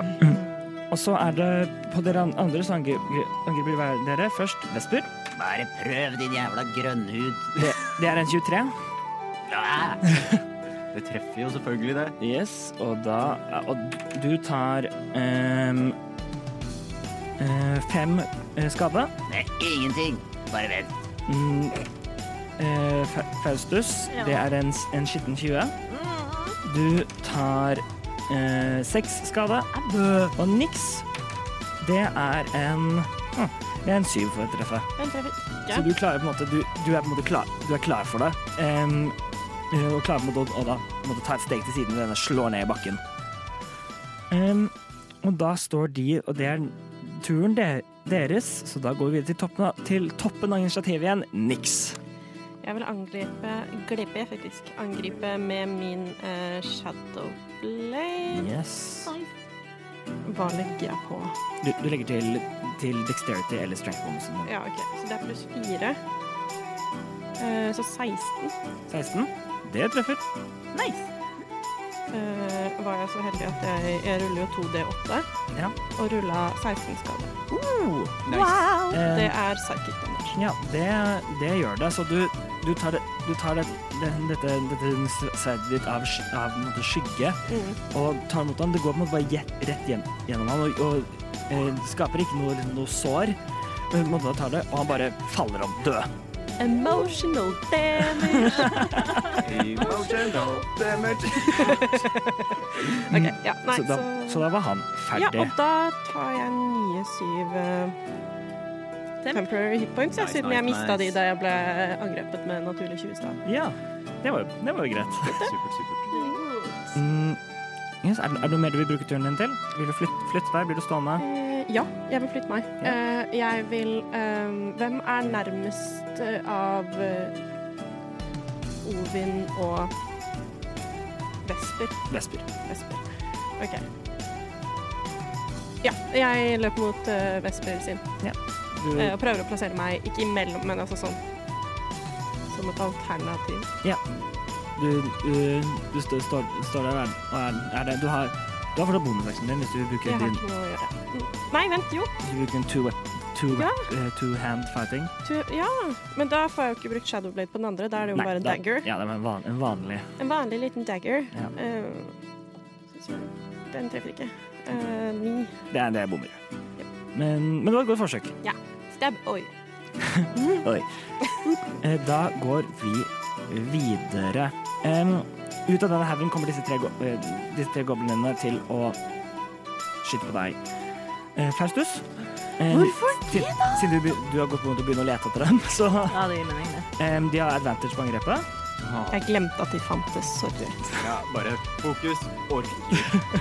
S3: Og så er det på dere an- andre som angriper, angriper hver- dere. Først Vesper.
S5: Bare prøv, din jævla grønnhud.
S3: Det, det er en 23.
S8: Ah! Det treffer jo selvfølgelig det.
S3: Yes, og da Og du tar ehm, eh, fem eh, skade.
S5: Det er ingenting. Bare vent.
S3: Mm, eh, Fa- Faustus,
S13: Ja.
S3: det er en, s- en skitten 20.
S1: Mm-hmm.
S3: Du tar eh, seks skade. Og niks, det er en hm, Det er en syv for å treffe.
S1: Den treffer
S3: Så du klarer på en måte Du, du er på en måte klar, du er klar for det. Em, eh, og klarer på en måte å- å da på en måte ta et steg til siden og denne slår ned i bakken. Em, og da står de Og det er turen de, deres, så da går vi videre til toppen, av- til toppen av initiativet igjen. Niks.
S2: Jeg vil angripe Glebbe, faktisk. Angripe med min eh, shadow blade.
S3: Yes.
S2: Hva legger jeg på?
S3: Du, du legger til, til dexterity eller strength bonusen.
S2: Ja, OK. Så det er pluss fire. Eh, så 16.
S3: 16. Det treffer.
S1: Nice.
S2: eh, var jeg så heldig at jeg, jeg ruller jo 2D8
S3: Ja.
S2: og rulla 16 skade.
S1: Wow.
S3: Eh,
S2: Det er psychic damage.
S3: Ja, det, det gjør det. Så du, du tar, det, du tar det, det, dette, dette sverdet ditt av, sky- av på en måte skygge
S2: Mm.
S3: og tar mot ham. Det går på en måte bare jet- rett gjen- gjennom ham og, og eh, skaper ikke noe, noe sår. Men på en måte tar det, og han bare faller om død.
S2: Emotional damage.
S1: *laughs*
S8: Emotional damage.
S2: OK. Ja, nei,
S3: så, da, så... da var han
S2: Ja,
S3: ferdig.
S2: og da tar jeg nye syv eh, temporary hit points, ja,
S8: Nice,
S2: siden
S8: nice,
S2: jeg mista
S8: nice.
S2: de da jeg ble angrepet med naturlig 20 stav.
S3: Ja, det var, jo- det var jo greit.
S8: *laughs* Supert, supert.
S3: Mm, yes, er, det- er det noe mer du vil bruke turen din til? Vil du flytte, flytte deg? Blir du stående?
S2: Eh, ja, jeg vil flytte meg.
S3: Ja.
S2: Eh, jeg vil eh, Hvem er nærmest eh, av eh, Ovin og Vesper?
S3: Vesper.
S2: Vesper. OK. Ja, jeg løper mot eh, Vesper sin
S3: Du,
S2: eh, og prøver å plassere meg ikke imellom, men altså sånn som et alternativ.
S3: du, du, du står, står, står der og er, og er, er det, du har du har fortsatt bonusveksten din hvis du
S2: Jeg
S3: bruker
S2: har
S3: din
S2: ikke noe å gjøre. Mm. Nei, vent, jo.
S3: hvis du bruker en two, wep- two, eh,
S2: Ja.
S3: two hand fighting.
S2: Du, ja, men da får jeg jo ikke brukt Shadowblade på den andre. Da er det jo bare en
S3: da-
S2: dagger.
S3: Ja, det er en, van, en vanlig
S2: En vanlig liten dagger.
S3: Ja.
S2: Eh, så- så- den treffer ikke. Eh, ni.
S3: Det er det jeg bommer. Men, men det var et godt forsøk.
S2: Stab. Oi.
S3: Eh, Da går vi videre. Em, ut av denne haugen kommer disse tre, go eh, disse tre goblinene til å skyte på deg. Eh, Faustus? Hvorfor det, da? Siden du, be- du har gått rundt og begynner å lete etter dem, *laughs* så
S1: Ja, det gir mening, det.
S3: em, de har advantage på angrepet.
S2: Jeg glemte at de fantes. Sorry.
S8: Ja, bare fokus. Ork.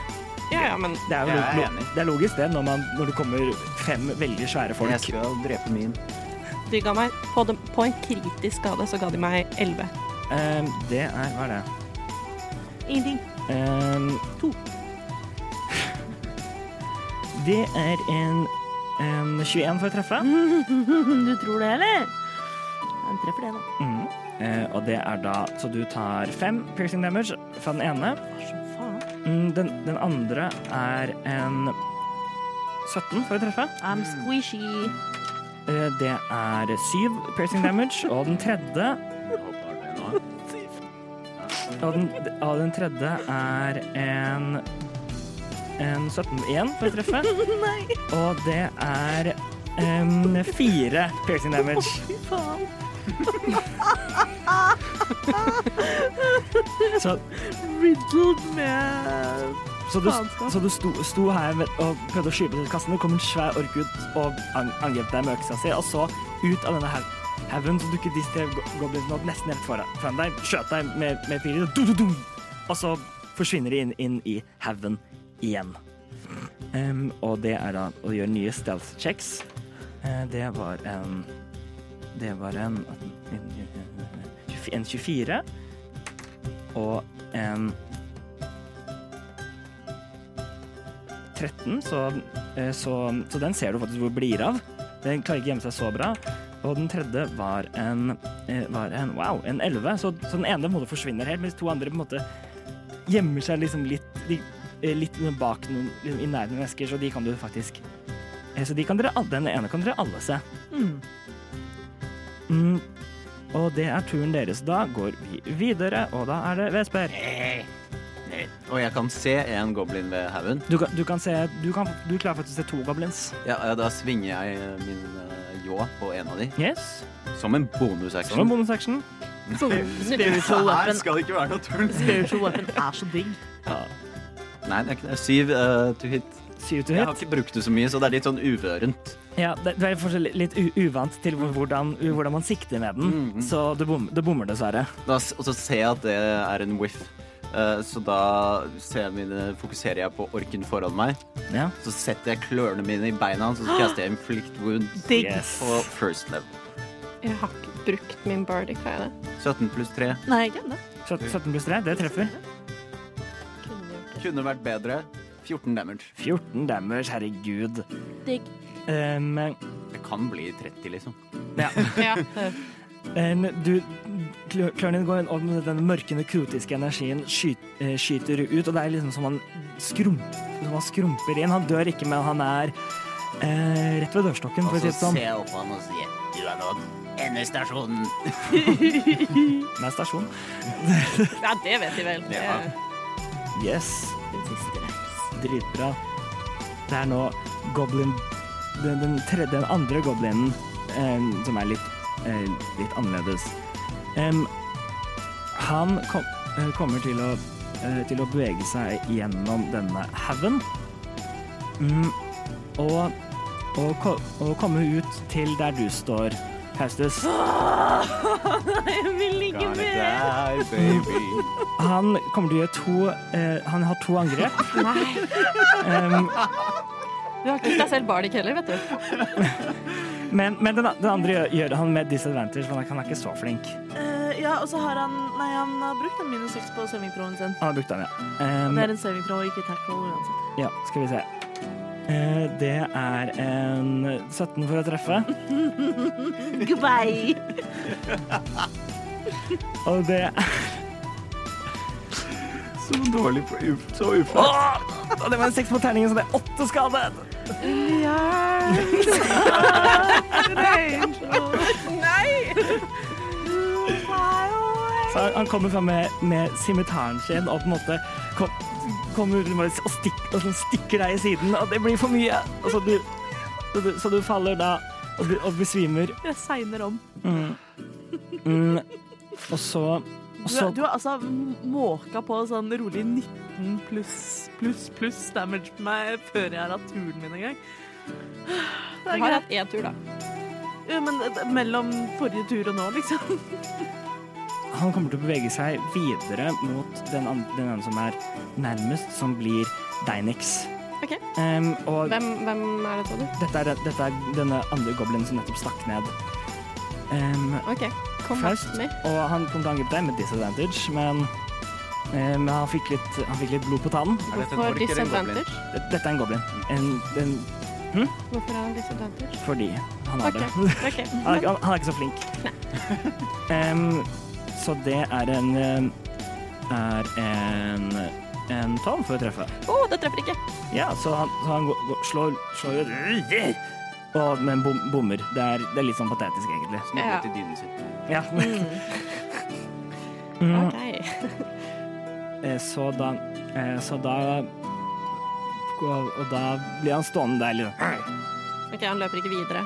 S2: Ja, ja, men
S3: Det er, jo
S8: Jeg er
S3: lo-
S8: enig.
S3: det er logisk det, når, man, når det kommer fem veldig svære folk.
S8: Jeg skal drepe min.
S2: de ga meg på, dem- på en kritisk skade så ga de meg 11.
S3: Ehm, det er Hva er det?
S1: Ingenting. *laughs*
S3: Ehm, to. *laughs* Det er en, en 21 for å treffe.
S1: Du tror det, eller? Den treffer det, da.
S3: Mhm. Eh, og det er da Så du tar fem piercing damage fra den ene.
S1: Som faen.
S3: Mm, Den, den andre er en 17 for å treffe.
S1: I'm squishy.
S3: Eh, det er syv piercing damage. Og den tredje
S8: Hopper det nå?
S3: Og den, og den tredje er en en 17 igjen for å treffe. Og det er em, fire piercing damage. *laughs*
S1: Faen.
S3: Så
S1: Riddled med
S3: Så du, så du sto, sto her ved- og prøvde å skyve til kassen. Det kom en svær ork ut og an- angrep deg med øksa si. Og så ut av denne her haugen så dukket disse tre go- goblinene opp nesten rett foran foran deg. Skjøt deg med, med piler. Du, du, du. Og så forsvinner de inn, inn i haugen igjen. Em, og det er da å gjøre nye stealth checks. Eh, det var en Det var en En 24 og en 13, så, eh, så, så den ser du faktisk hvor blir av. Den klarer ikke å gjemme seg så bra. Og den tredje var en, eh, var en wow, en 11. Så, så den ene på en måte forsvinner helt, mens to andre på en måte gjemmer seg liksom litt, de, eh, litt bak noen, liksom i nærheten av mennesker, så de kan du faktisk eh, Så de kan dere, alle- den ene kan dere alle se. Mm. Og det er turen deres. Da går vi videre, og da er det Vesper.
S8: Og jeg kan se en goblin ved haugen.
S3: Du kan, du kan se Du, kan, du klarer faktisk å se to goblins.
S8: Ja, ja, da svinger jeg eh, min eh, ljå på en av de.
S3: Yes.
S8: Som en
S3: Så er det
S8: *laughs* bonusaction.
S3: bonus action.
S8: Her
S1: Spiritual weapon,
S8: skal det ikke være noe tull.
S1: spiritual weapon er så digg.
S8: Nei, det er ikke det. Syv eh, to hit.
S3: Syv to
S8: Jeg
S3: hit.
S8: har ikke brukt det så mye, så det er litt sånn uvørent.
S3: Ja, det, du er fortsatt litt u uvant til hvor- hvordan, hvordan man sikter med den, så du, bom, du bommer dessverre.
S8: Da, s- og så ser jeg at det er en whiff. Eh, så da ser jeg mine, fokuserer jeg på orken foran meg.
S3: Ja.
S8: Så setter jeg klørne mine i beina hans, og så kaster jeg inflict wound
S1: Digg.
S3: Yes.
S8: på first level.
S2: Jeg har ikke brukt min bardic, har jeg det?
S8: 17 pluss 3.
S1: Nei, glem det.
S3: Sjut- 17 pluss 3, det treffer.
S8: Kunne vært bedre. 14 damage.
S3: 14 damage, herregud.
S13: Digg.
S3: Um,
S8: Det kan bli 30, liksom.
S3: *laughs* ja.
S6: Ja.
S3: um, du, klø- klørne dine går inn, og den mørkende, krotiske energien skyt, eh, skyter ut, og det er liksom som han, skrum, som han skrumper inn. Han dør ikke, men han er eh, rett ved dørstokken, for å si det sånn.
S5: jeg opp på han og sier Du er nå endestasjonen.
S3: Med stasjon.
S1: Ja, det vet de vel.
S8: Ja.
S3: Yes. Dritbra. Det er nå goblin Den, den, tredje, den andre goblinen, eh, som er litt, eh, litt annerledes. Em, han kom, eh, kommer til å, eh, til å bevege seg gjennom denne haugen. Mm, og, og, ko- og komme ut til der du står, Faustus.
S1: Jeg vil ikke mer.
S8: Der, baby.
S3: Han kommer til å gjøre to eh, Han har to angrep. Em,
S2: Du har ikke gitt deg selv bardic heller, vet du.
S3: Men, men den, den andre gjør, gjør han med disadvantage, for han er- han er ikke så flink.
S1: Eh, ja, og så har han Nei, han har brukt en minus 6 på savingproen sin.
S3: Han har brukt den, ja. Ehm,
S1: Det er en savingpro, ikke tackle uansett.
S3: ja. Skal vi se. Eh, det er en 17 for å treffe,
S13: Goodbye.
S3: og det er
S8: Så dårlig på uf så uflaks.
S3: Åh! Og det var en 6 på terningen, så det er 8 skade. Så han- han kommer fram med, med simitaren sin og på en måte kom, kommer ut og, stikk, og sånn stikker deg i siden, og det blir for mye. Og så, du, så, du, så du faller da og, du, og besvimer.
S1: Jeg segner om.
S3: Mm. Og så, og
S1: Du,
S3: så
S1: du har altså m- måka på sånn rolig 19 pluss pluss pluss damage på meg før jeg har hatt turen min engang.
S2: Du
S1: Det er
S2: har
S1: greit.
S2: hatt én tur, da.
S1: Ja, men det- det- mellom forrige tur og nå, liksom.
S3: Han kommer til å bevege seg videre mot den, an den ene som er nærmest, som blir Deinix.
S2: Ok.
S3: Em, og
S2: Hvem, hvem er det, sa du?
S3: dette er, dette er denne andre goblinen som nettopp stakk ned. Em,
S2: OK, kom
S3: Faust.
S2: med.
S3: og han kom til å angripe deg med disadvantage, men, eh, men han, fikk litt, han fikk litt blod på tannen.
S8: dette en
S2: Hvorfor
S8: ork eller en goblin?
S2: disadvantage?
S3: Dette- Dette er en goblin. En, en,
S2: Hvorfor er han disadvantage?
S3: fordi han er
S2: OK.
S3: det. *laughs*
S2: ok.
S3: Han er, ikke- han er ikke så flink. *laughs* Em, så det er en em, er en en tom for å treffe.
S2: *laughs* Å, det treffer ikke.
S3: Ja, så han, så han går, går, slår, slår og, Men bom, bommer. Det er, det er litt sånn patetisk, egentlig.
S2: Ja.
S8: Til dynen sin.
S3: Ja. Mm.
S2: OK.
S3: *laughs* Eh, Så da eh, Så da Og og da blir han stående der litt sånn.
S2: Ok, Han løper ikke videre.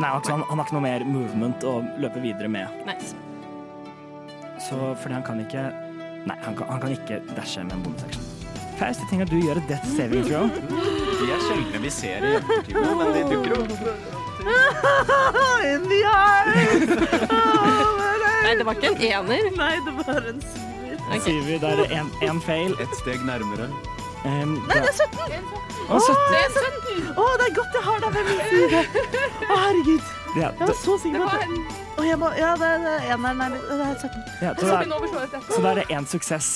S3: Nei, altså, han, han har ikke noe mer movement å løpe videre med.
S2: Nice.
S3: Så fordi han kan ikke Nei, han kan, han kan ikke dashe med en bonusaction. Faust, jeg tenker at du gjør et death saving throw.
S4: De er sjeldne vi ser i ettertiden, men de dukker opp.
S1: *laughs* In the eye!
S2: Nei, det var ikke en ener.
S1: Nei, det var en syver.
S3: Sier vi der er en, en fail.
S4: Et steg nærmere.
S3: Um,
S1: Nei,
S3: ja.
S1: det er 17!
S3: Å, så-
S1: Å, det er godt jeg har deg med min side. Å, herregud.
S3: ja,
S1: Jeg
S3: da-
S1: var så sikker på at Å, jeg må Ja, det er det er eneren. Nei, det er 17.
S3: ja, så, da, så da er det én suksess.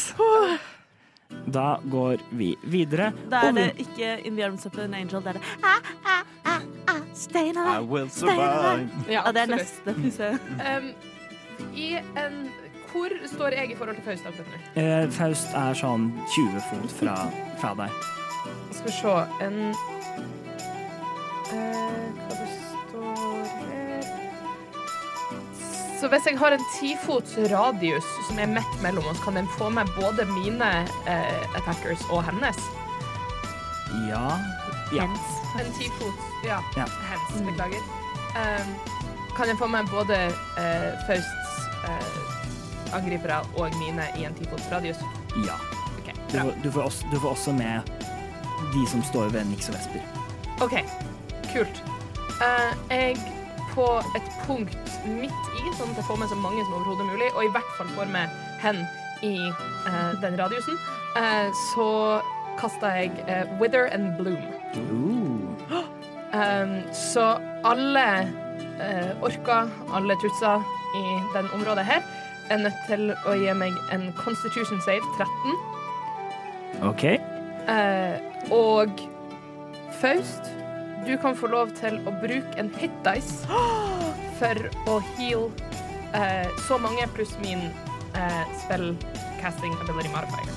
S3: Da går vi videre.
S1: Da
S3: Og
S1: er det
S3: vi-
S1: ikke In the Arms of an Angel. Det er det ah, ah, ah, ah, Stay in
S4: I
S1: alive.
S4: will survive.
S2: Ja,
S1: Ja, det er
S2: sorry.
S1: neste. Fy søren.
S6: Um, I en Hvor står jeg i forhold til Faust Agdøkner?
S3: eh, Faust er sånn 20 fot fra, fra deg.
S9: Skal vi se en eh, Hva det står her Så hvis jeg har en tifots radius som er midt mellom oss, kan den få med både mine eh, attackers og hennes?
S3: Ja. ja.
S9: En tifots Ja.
S3: Ja.
S9: Hens, beklager. Um, kan jeg få med både eh, Fausts eh, angripere og mine i en tifots radius?
S3: ja.
S9: OK,
S3: Du,
S9: bra.
S3: får- du, får også, du får også med de som står ved Nix og Vesper.
S9: OK, kult. Eh, jeg på et punkt midt i, sånn at jeg får med så mange som overhodet mulig, og i hvert fall får med hen i eh, den radiusen, eh, så kaster jeg eh, Wither and Bloom. Um, så alle eh, orker, alle trutser i den området her, er nødt til å gi meg en Constitution save 13.
S3: OK.
S9: Eh, og Faust, du kan få lov til å bruke en hit dice for å heal eh, så mange pluss min eh, spellcasting ability modifier.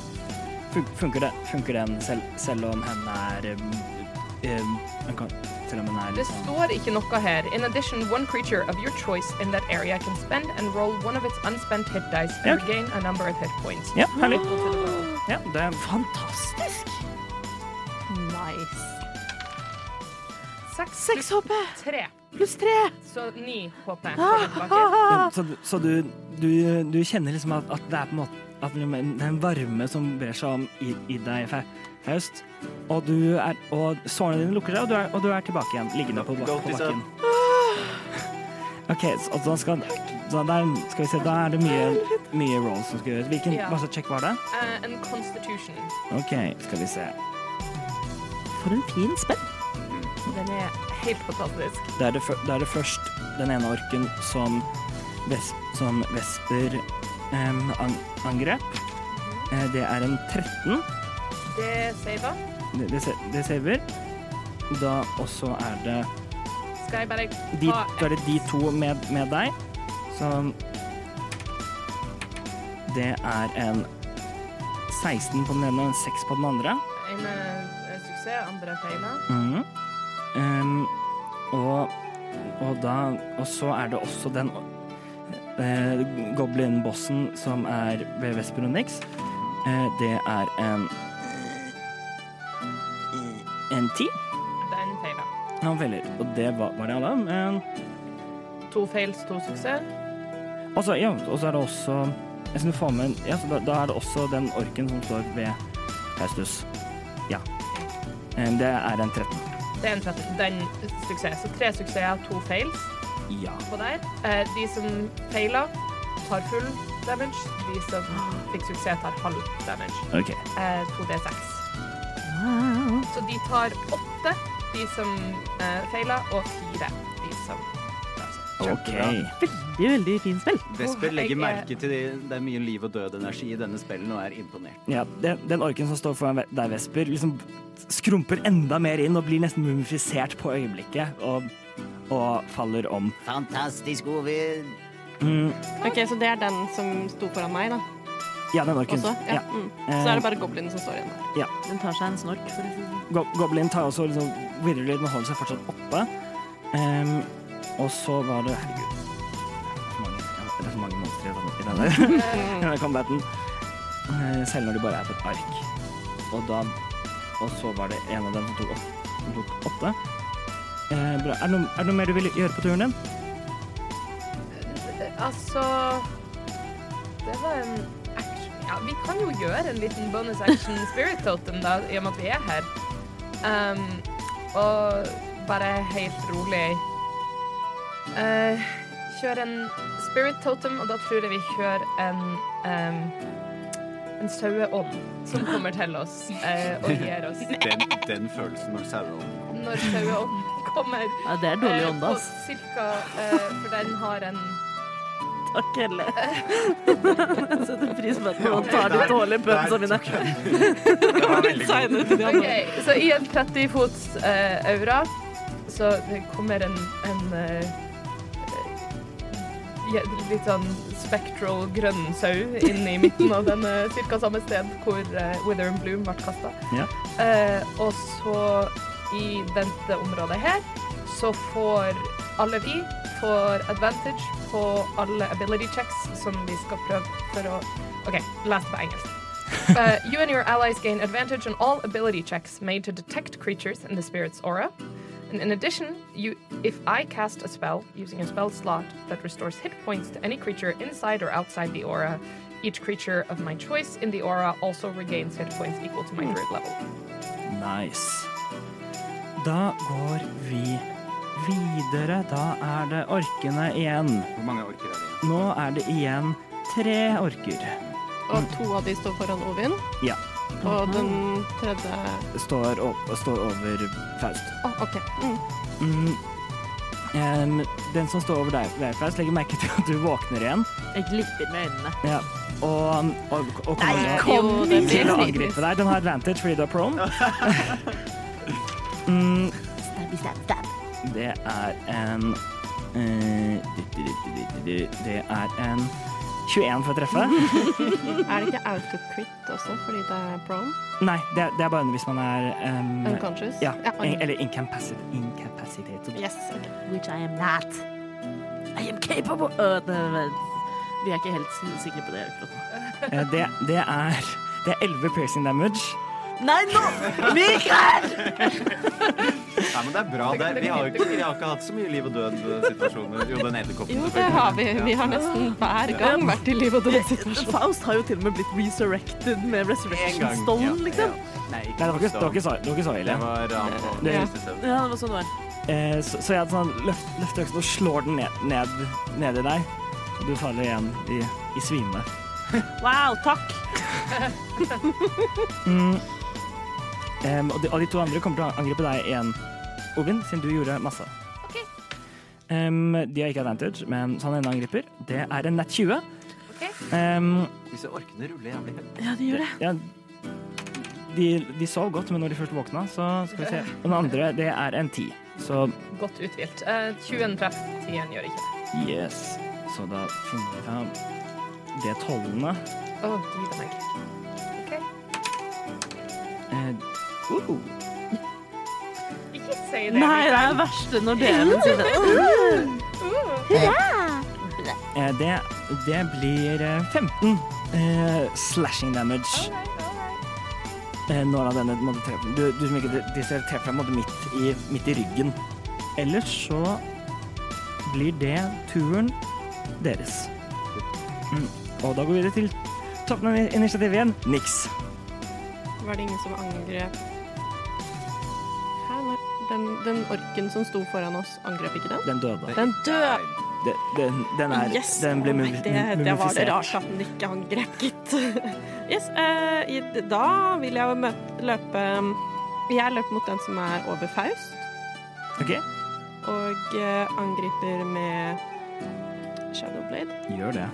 S3: Fun- Funker, det, funker den selv, selv om hen er um, um, han kan- Selv om hen er
S9: Det
S3: litt sånn
S9: står ikke noe her. In addition, one creature of your choice in that area can spend and roll one of its unspent hit dice
S3: Ja.
S9: and regain a number of hit points.
S3: Ja, herlig. Ja, det er
S1: Fantastisk. Nice.
S9: Seks
S1: Seks
S9: pluss
S1: HP
S9: tre,
S1: pluss tre.
S9: så ni HP. får jeg tilbake.
S3: *laughs* Men, Så, så du, du, du kjenner liksom at, at det er på en måte at det er en varme som brer seg om i, i deg, Fa- Faust. Og, du er, og sårene dine lukker seg, og du er, og du er tilbake igjen, liggende på, bak- på bakken. OK, så, og da skal, så der, skal vi se, da er det mye, mye rolls som skal gjøres. Hvilken
S9: Ja.
S3: hva slags check var det?
S9: Eh, en constitution.
S3: OK, skal vi se.
S1: For en fin spenn.
S9: Den er helt fantastisk.
S3: Da er det, fø- da er det først den ene orken som, ves, som Vesper em, an, angrep. Eh, Det er en 13.
S9: Det saver.
S3: Det, det, sa- det saver. Da også er det
S9: Skal jeg bare
S3: de,
S9: ta
S3: Da er det de to med, med deg. Så Det er en 16 på den ene og en 6 på den andre.
S9: en eh, suksess, andre feiler?
S3: Mhm. Em, og, og da Og så er det også den eh, goblin-bossen som er ved Vesper og Nix. Eh, det er en En ti.
S9: Den feiler.
S3: Han feiler. Og det var, var det alle. Men,
S9: To fails, to suksess.
S3: og så ja, og så er det også jeg synes du får med, en- ja, så da, da er det også den orken som står ved Faustus. Ja. Em, Det er en 13.
S9: Det er en fett- den suksess. Så tre suksesser, to fails
S3: Ja.
S9: på der. Eh, de som feiler, tar full damage. De som fikk suksess, tar halv damage.
S3: OK.
S9: Eh, 2D6. Så de tar åtte, de som eh, feiler, og fire, de som
S3: Ok.
S1: Veldig, veldig fin spill.
S4: Vesper
S9: Åh,
S4: legger
S9: jeg er-
S4: merke til det. Det er mye liv og død-energi i denne spillen og er imponert.
S3: Ja, den, den orken som står foran ve- deg, Vesper, liksom skrumper enda mer inn og blir nesten mumifisert på øyeblikket og, og faller om.
S5: Fantastisk, Ovin.
S3: Mm,
S2: Ok, Så det er den som sto foran meg, da.
S3: ja, den orken.
S2: Også? Ja.
S3: Ja. Eh.
S2: Mm. Så er det bare goblinen som står igjen. der.
S1: Den tar seg en snork. For å si det.
S3: Go Goblin tar også liksom virrer litt, men holder seg fortsatt oppe. Em, og så var det Herregud. Det er for mange, det er for mange monstre i denne, i denne, *laughs* i denne combaten. Eh, Selv når de bare er på et ark. Og da Og så var det en av dem som tok, opp, som tok åtte. Eh, bra. Er det, noe, er det noe mer du vil gjøre på turen din?
S9: Altså Det var en action. Ja, vi kan jo gjøre en liten bonus action spirit totem, da, i og med at vi er her. Um, og bare helt rolig eh, Kjør en spirit totem, og da tror jeg vi kjører en um, en saueånd som kommer til oss eh, og gir
S1: *laughs*
S9: oss
S8: Den, den følelsen når sauene
S9: når saueånden kommer.
S1: Ja, det er dårlig
S9: eh,
S1: ånde,
S9: på
S1: ass.
S9: Cirka, eh, for den har en
S1: Takk, Helle. Jeg *laughs* setter pris på at noen tar de dårlige pønsene mine. *laughs* Seinere til de andre.
S9: Ok, så i en 30 fots eh, aura så det kommer en, en eh, ja, litt sånn spectral grønn sau inn i midten av den eh, cirka samme sted hvor eh, Wither and Bloom ble kasta.
S3: Ja.
S9: Eh, og så i dette området her så får alle vi får advantage på alle ability checks som vi skal prøve for å OK, les det på engelsk. Uh, you and your allies gain advantage on all ability checks made to detect creatures in the spirit's aura. And in addition, you, if I cast a spell using a spell slot that restores hit points to any creature inside or outside the aura, each creature of my choice in the aura also regains hit points equal to my
S1: Hmm.
S9: third level.
S3: Nice. Da går vi videre. Da er det orkene igjen.
S8: Hvor mange orker er det igjen?
S3: Nå er det igjen tre orker.
S2: Og to av de står foran Ovin.
S3: Ja.
S2: Og den tredje
S3: Står, opp, står over Faust.
S2: Å, OK. Mm.
S3: Mm. Em, den som står over deg, deg, Faust, legger merke til at du våkner igjen.
S1: Jeg glipper med øynene.
S3: Ja. Og, og, og kommer
S2: kom igjen!
S3: til å angripe deg. Den har advantage fordi du er prone. mm,
S13: Stabby, stab, stab.
S3: det er en eh, dit, dit, dit, dit, dit. Det er en 21 for å treffe.
S2: *laughs* Er det ikke autocrit også, fordi det er prone?
S3: Nei, det, er- det er bare hvis man er em,
S2: Unconscious?
S3: ja,
S2: ok.
S3: eller incapacit, incapacitated.
S2: Yes. ok.
S13: Which I am not.
S1: I am capable Øh, det- Vi er ikke helt s- sikre på det akkurat nå.
S3: Eh, Det, det er det er 11 piercing damage.
S1: Nei, nå! Mikael!
S8: Nei, men det er bra. Det er, vi, har jo ikke, vi har ikke hatt så mye liv og død-situasjoner. Jo, den edderkoppen.
S2: Jo, det
S8: selvfølgelig.
S2: har vi. Vi har nesten hver gang vært i liv og *laughs* død-situasjon.
S1: *laughs* Faust har jo til og med blitt resurrected med resurrection
S8: En gang,
S1: stone,
S8: ja,
S1: liksom.
S8: ja. Nei,
S3: Nei, det var ikke, det var
S8: stone.
S3: ikke, så, det var ikke så ille.
S8: Det var han på
S3: Det-
S8: den siste stedet.
S1: Ja, det var sånn det var.
S3: Eh, så, så jeg hadde sånn løft, løfter øksen og slår den ned, ned, ned i deg. Og du faller igjen i, i svime.
S1: Wow, takk.
S3: Mm. Em, og, de, og de to andre kommer til å angripe deg igjen, Ovin, siden du gjorde masse.
S6: Ok.
S3: Em, de har ikke advantage, men så han ene angriper. Det er en nett 20.
S6: Ok.
S3: Em,
S8: Disse orkene ruller jævlig høyt.
S1: Ja, det gjør det.
S3: ja, de, de sov godt, men når de først våkna, så skal
S6: *laughs*
S3: vi se. Og den andre, det er en 10. Så
S9: Godt utvilt. Eh, 20 treff, 10 gjør ikke det.
S3: yes. Så da finner vi fram det tolvende.
S9: Å,
S1: Oh,
S9: gud meg.
S3: Eh, uh,
S9: Ikke si det.
S1: Nei, det er det verste når *laughs* dere sier det.
S3: Eh, Det, det blir eh, 15 eh, slashing damage eh, når av denne måtte treffe. Du, du som ikke de- disse treffer deg måtte midt, i- midt i ryggen. Ellers så blir det turen deres. Mm. Og da går vi videre til toppen av ini- initiativet igjen. Niks.
S2: Var det ingen som angrep Hæ? Når- Den, den orken som sto foran oss, angrep ikke den?
S3: Den døde.
S2: Den døde!
S3: Den, den, den, er, den ble
S2: Å, nei,
S3: mumif-
S2: det, det var det
S3: mumifisert.
S2: rart at den ikke angrep, gitt. *laughs* Yes, eh, i- da vil jeg møte, løpe mm, Jeg løper mot den som er over Faust,
S3: Ok,
S2: og eh, angriper med Shadowblade.
S3: gjør det.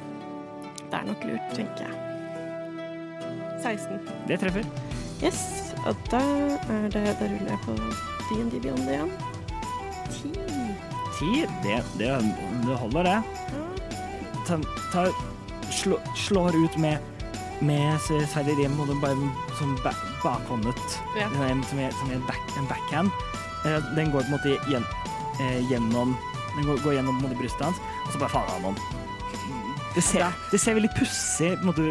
S2: Det er nok lurt, tenker jeg. 16.
S3: Det treffer.
S2: Yes, og da er det Da ruller jeg på D&D Beyond igjen. 10.
S3: Ti, det, det, det holder, det. ta, ta, slå, slår ut med, med sverdet i rim, og det bare sånn ba, bakhåndet.
S2: Ja.
S3: Det er En, som er, som er en, back, en backhand. Eh, Den går på en måte gjen, eh, gjennom Den går, går gjennom på en måte, brystet hans, og så bare faller han om. Det ser, det ser veldig pussig på en måte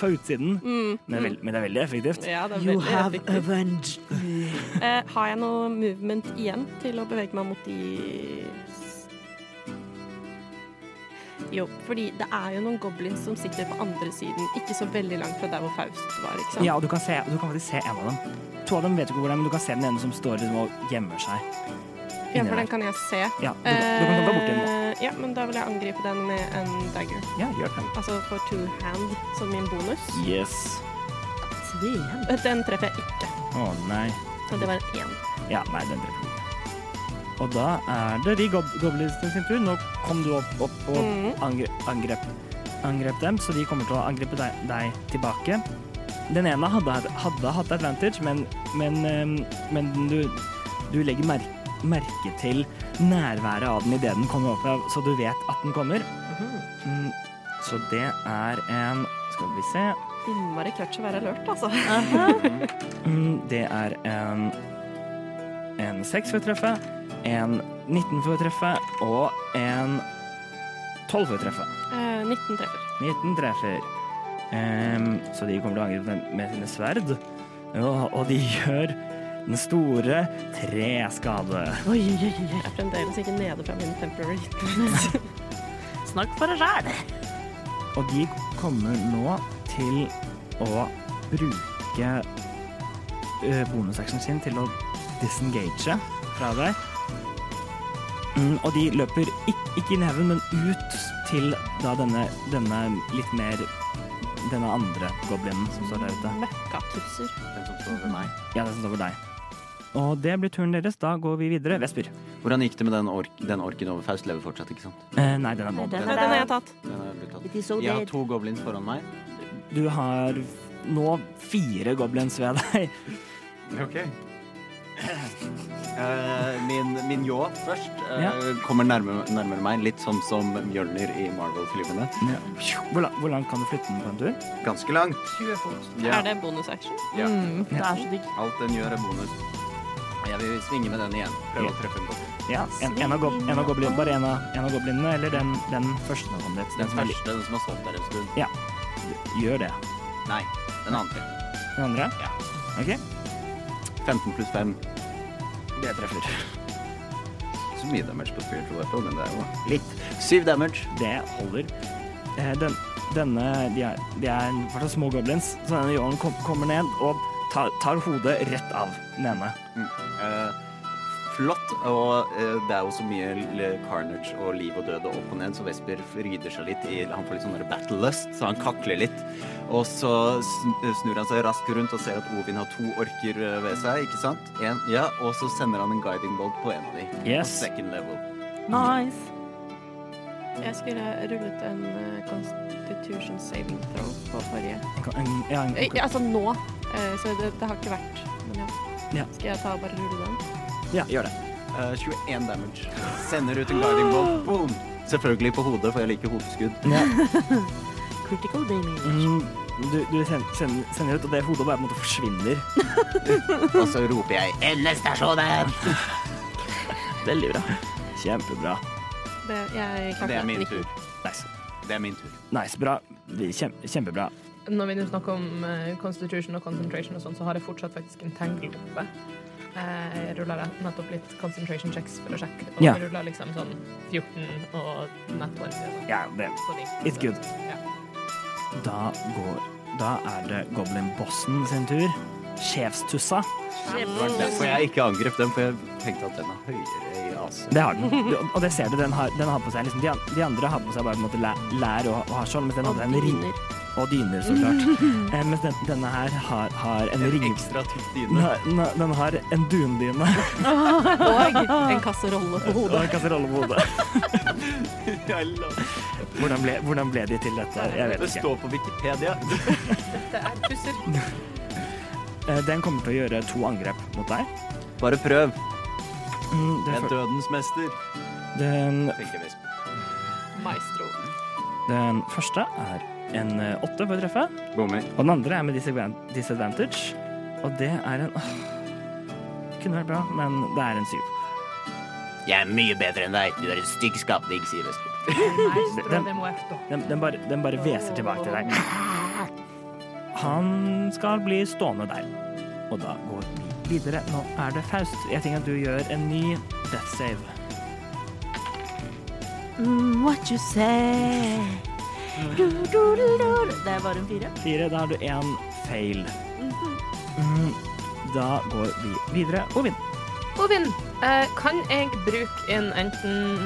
S3: fra utsiden,
S2: Mm.
S3: men, det er veld, men det er veldig effektivt.
S2: Ja, det er
S13: You
S2: veldig
S13: have
S2: effektivt.
S13: avenged me.
S2: Eh, har jeg noe movement igjen til å bevege meg mot de s- Jo, fordi det er jo noen goblins som sitter på andre siden, ikke så veldig langt fra der hvor Faust var, ikke sant?
S3: Ja, og du kan, se, du kan faktisk se en av dem. To av dem vet du ikke hvor det er, men du kan se den ene som står liksom og gjemmer seg.
S2: Ja,
S3: inni
S2: for
S3: der.
S2: den kan jeg se.
S3: Ja, du, du kan gå bort til den. nå.
S2: Eh, ja, men da vil jeg angripe den med en dagger.
S3: Ja, gjør det.
S2: Altså for two hand som min bonus.
S3: Yes.
S1: Sveen.
S3: Mm.
S2: Den treffer jeg ikke.
S3: Å nei.
S2: Og det var en én.
S3: Ja, nei, den dreper du. Og da er det de gob goblinsene sin tur. Nå kom du opp, opp og
S2: Mhm.
S3: angre angrep, angrep dem, så de kommer til å angripe deg, deg tilbake. Den ene hadde, hadde hatt advantage, men, men, ehm, men du, du legger mer merke til nærværet av den idet den kommer opp, av- så du vet at den kommer. Mm, så det er en Skal vi se.
S2: Innmari clutch å være alert, altså.
S3: Mm, Det er en En 6 for å treffe, en 19 for å treffe og en 12 for å treffe.
S2: Eh, 19 treffer.
S3: 19 treffer. Ehm, så de kommer til å angripe den med sine sverd. Og, og de gjør den store tre skade.
S1: Oi, oi, oi, oi.
S2: Jeg er fremdeles ikke nede fra min temporary hit.
S1: Snakk for deg sjæl.
S3: Og de kommer nå til å bruke eh, bonusactionen sin til å disengage fra deg. Mm, og de løper ikke, ikke i neven, men ut til da denne, denne litt mer Denne andre goblinen som står der ute.
S2: Møkkatusser.
S8: Den som står ved meg.
S3: Ja, den som står over deg. Og det blir turen deres. Da går vi videre. Vesper.
S8: Hvordan gikk det med den, ork den orken over Faust? Lever fortsatt, ikke sant?
S3: Eh, nei, den er
S13: Nei,
S3: nå.
S13: den
S2: Nei,
S13: er
S2: den har
S13: der.
S2: jeg tatt.
S8: Den er blitt tatt.
S13: It is so
S8: Jeg har
S13: dead.
S8: to goblins foran meg.
S3: Du har nå fire goblins ved deg.
S8: Ok. Eh, min, min ljå først eh,
S3: Ja.
S8: kommer nærmere, nærmere meg, litt sånn som Mjølner i Marvel-filmene.
S3: Hvor, la- hvor langt kan du flytte den på en tur?
S8: Ganske langt.
S9: 20 fot.
S8: Ja.
S2: Er det bonusaction?
S8: Ja.
S1: Mm, det er så digg.
S8: Alt den gjør, er bonus. Jeg vil svinge med den igjen. Prøve å treffe en goblin.
S3: Ja, en, en av gob- en av goblin, bare en av, en av goblinene, eller den, den første som kom dit.
S8: Den
S3: som er
S8: første, den som har stått der en stund.
S3: litt- Gjør det.
S8: Nei, den andre.
S3: Den andre?
S8: Ja.
S3: Ok,
S8: 15 pluss 5.
S3: det treffer.
S8: Så mye damage på spiritual weapon, men det er jo litt. 7 damage.
S3: Det holder. Eh, Den, denne, de er, de er i hvert fall små goblins, så denne jorden kom, kommer ned og tar, tar hodet rett av den ene.
S8: Eh, flott, og eh, det er jo så mye l- carnage og liv og død og opp og ned, så Vesper rydder seg litt i Han får litt sånn der battle lust, så han kakler litt. Og så sn- snur han seg raskt rundt og ser at Ovin har to orker eh, ved seg, ikke sant? En, ja, og så sender han en guiding bolt på en av de. På
S3: Yes.
S8: second level.
S1: Nice.
S2: Jeg skulle rullet en eh, constitution saving throw på forrige.
S3: En, en, ja, en,
S2: Eh, ja, altså nå, eh, så det, det har ikke vært. Men ja.
S3: Ja.
S2: Skal jeg ta og bare rulle den?
S3: ja, gjør det.
S8: Eh, 21 damage. Sender ut en guiding bolt. Boom! Selvfølgelig på hodet, for jeg liker hodeskudd.
S3: Ja.
S1: Critical damage.
S3: Mm, Du, du send, send, sender ut, og det hodet bare på en måte forsvinner.
S8: Og så roper jeg *laughs* 'Endestasjonen!'
S3: Veldig bra. Kjempebra.
S2: Det, jeg klarte
S8: Det er min
S2: nitten.
S8: tur.
S3: Nice.
S8: Det er min tur.
S3: Nice, bra. Kjem, kjempebra.
S9: Når vi nå snakker om eh, constitution og concentration og sånn, så har jeg fortsatt faktisk en tangle oppe. Eh, Jeg ruller nettopp litt concentration checks for å sjekke, og
S3: Ja.
S9: jeg ruller liksom sånn 14 og network.
S3: Ja, det It's good.
S9: Ja.
S3: Da går Da er det Goblin-bossen sin tur. Sjefstussa.
S8: Det var derfor jeg ikke angrep den, for jeg tenkte at den er høyere i AC.
S3: Det har den. Du- Og det ser du, den har, den har på seg liksom De, an- de andre har på seg bare på en måte lær, lær og, og har skjold, mens den hadde en ring Og dyner, så *laughs* klart. Eh, mens den, denne her har, har en ring...
S8: Ekstra tykk
S3: Den
S8: dyne.
S3: har, den- den har en dundyne
S2: Og
S9: *laughs*
S2: en kasserolle
S3: *laughs*
S2: på
S3: og
S2: hodet.
S3: en kasserolle på hodet.
S8: *laughs* Jeg la-
S3: Hvordan ble, hvordan ble de til dette? Jeg vet
S8: Det
S3: ikke.
S8: står på Wikipedia.
S9: Det er tusser.
S3: Eh, Den kommer til å gjøre to angrep mot deg.
S8: Bare prøv.
S3: Mm,
S8: Jeg
S3: Det,
S8: er
S3: fyr-
S8: dødens mester.
S3: den
S8: tenker jeg visst.
S9: Maestro.
S3: Den første er en eh, åtte for å treffe.
S8: Bommer.
S3: Og den andre er med disadvan- disadvantage. Og det er en åh, Kunne vært bra, men det er en syv.
S5: Jeg er mye bedre enn deg. Du er en stygg skapning, sier
S3: *laughs*
S5: Vesper.
S9: Maestro
S3: Den-
S9: de muerto.
S3: Den, den, bare, den bare hveser tilbake til deg. Han skal bli stående der. Og da går vi videre. Nå er det Faust. Jeg tenker at du gjør en ny death save.
S13: Mm, what you say du, du, du, du. Det var en fire.
S3: Fire, da har du én feil. Mm, Da går vi videre. Ovin.
S9: Ovin, eh, kan jeg bruke en enten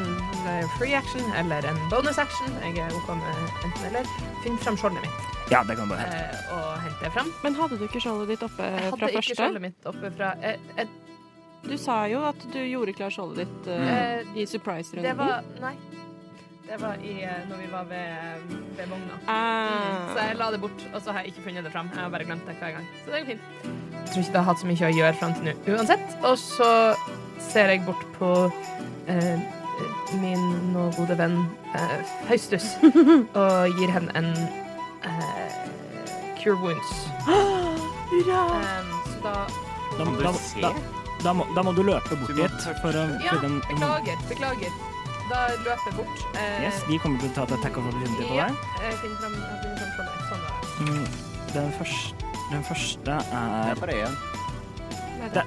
S9: eh, free action eller en bonus action? Jeg er OK med enten eller. Finn fram skjoldet mitt
S3: Ja, det kan du hente.
S9: eh, og hent det fram.
S2: Men hadde du ikke skjoldet ditt oppe
S9: Jeg hadde
S2: Eh, fra
S9: ikke
S2: første?
S9: skjoldet mitt oppe fra eh, eh,
S2: Du sa jo at du gjorde klar skjoldet ditt
S3: Mm.
S2: eh,
S9: eh,
S2: i surprise-runden.
S9: Det var Nei. Det var i, eh, når vi var ved, ved vogna.
S2: Ah.
S9: Så jeg la det bort, og så har jeg ikke funnet det fram. Jeg har bare glemt det hver gang. Så det er jo fint. Jeg tror ikke det har hatt så mye å gjøre fram til nå uansett. Og så ser jeg bort på eh, min nå gode venn eh, *laughs* Faustus og gir henne en eh, Cure *gasps* Wounds.
S13: Hurra!
S9: Um, så da
S3: Da, da, da, da, må, da må du løpe bort dit for å
S9: Ja,
S3: for den-
S9: beklager. Beklager. Da løper jeg bort. Eh,
S3: Yes, de kommer til å ta et attack of opportunity på
S9: Ja,
S3: deg.
S9: jeg finner fram- jeg finner fram skjoldet. Sånn var det.
S3: Mm, Den første, den første
S8: Det
S3: er
S8: er bare én. Du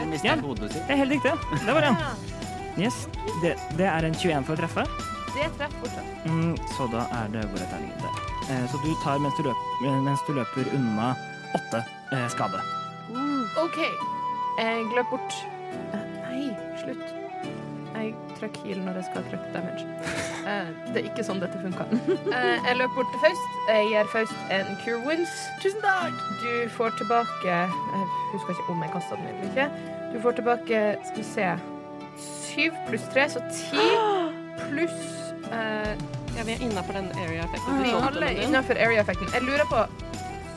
S3: Ja.
S8: mister hodet sitt.
S3: Det er helt riktig. Det var den. Yes. Det, det er en 21 for å treffe.
S9: Det treffer fortsatt.
S3: Mm, så da er det hvor er terningen der. Eh, så du tar mens du, løp, eh, mens du løper unna åtte eh, skade.
S9: OK. Jeg løp bort. Eh, Nei, slutt. Jeg trykker heal når jeg skal trykke *laughs* damage. Eh, Det er ikke sånn dette funka. Eh, Jeg løp bort til Faust. Jeg gir Faust en cure wounds. Tusen takk! Du får tilbake Jeg husker ikke om jeg kasta den eller ikke. Du får tilbake, skal vi se Syv pluss tre, så *gasps* ti. Pluss eh,
S2: Ja, vi er innafor den area-effekten.
S9: Vi
S3: Sånn.
S2: til skjoldet
S9: Ah. alle
S2: din.
S9: innenfor area-effekten. Jeg lurer på,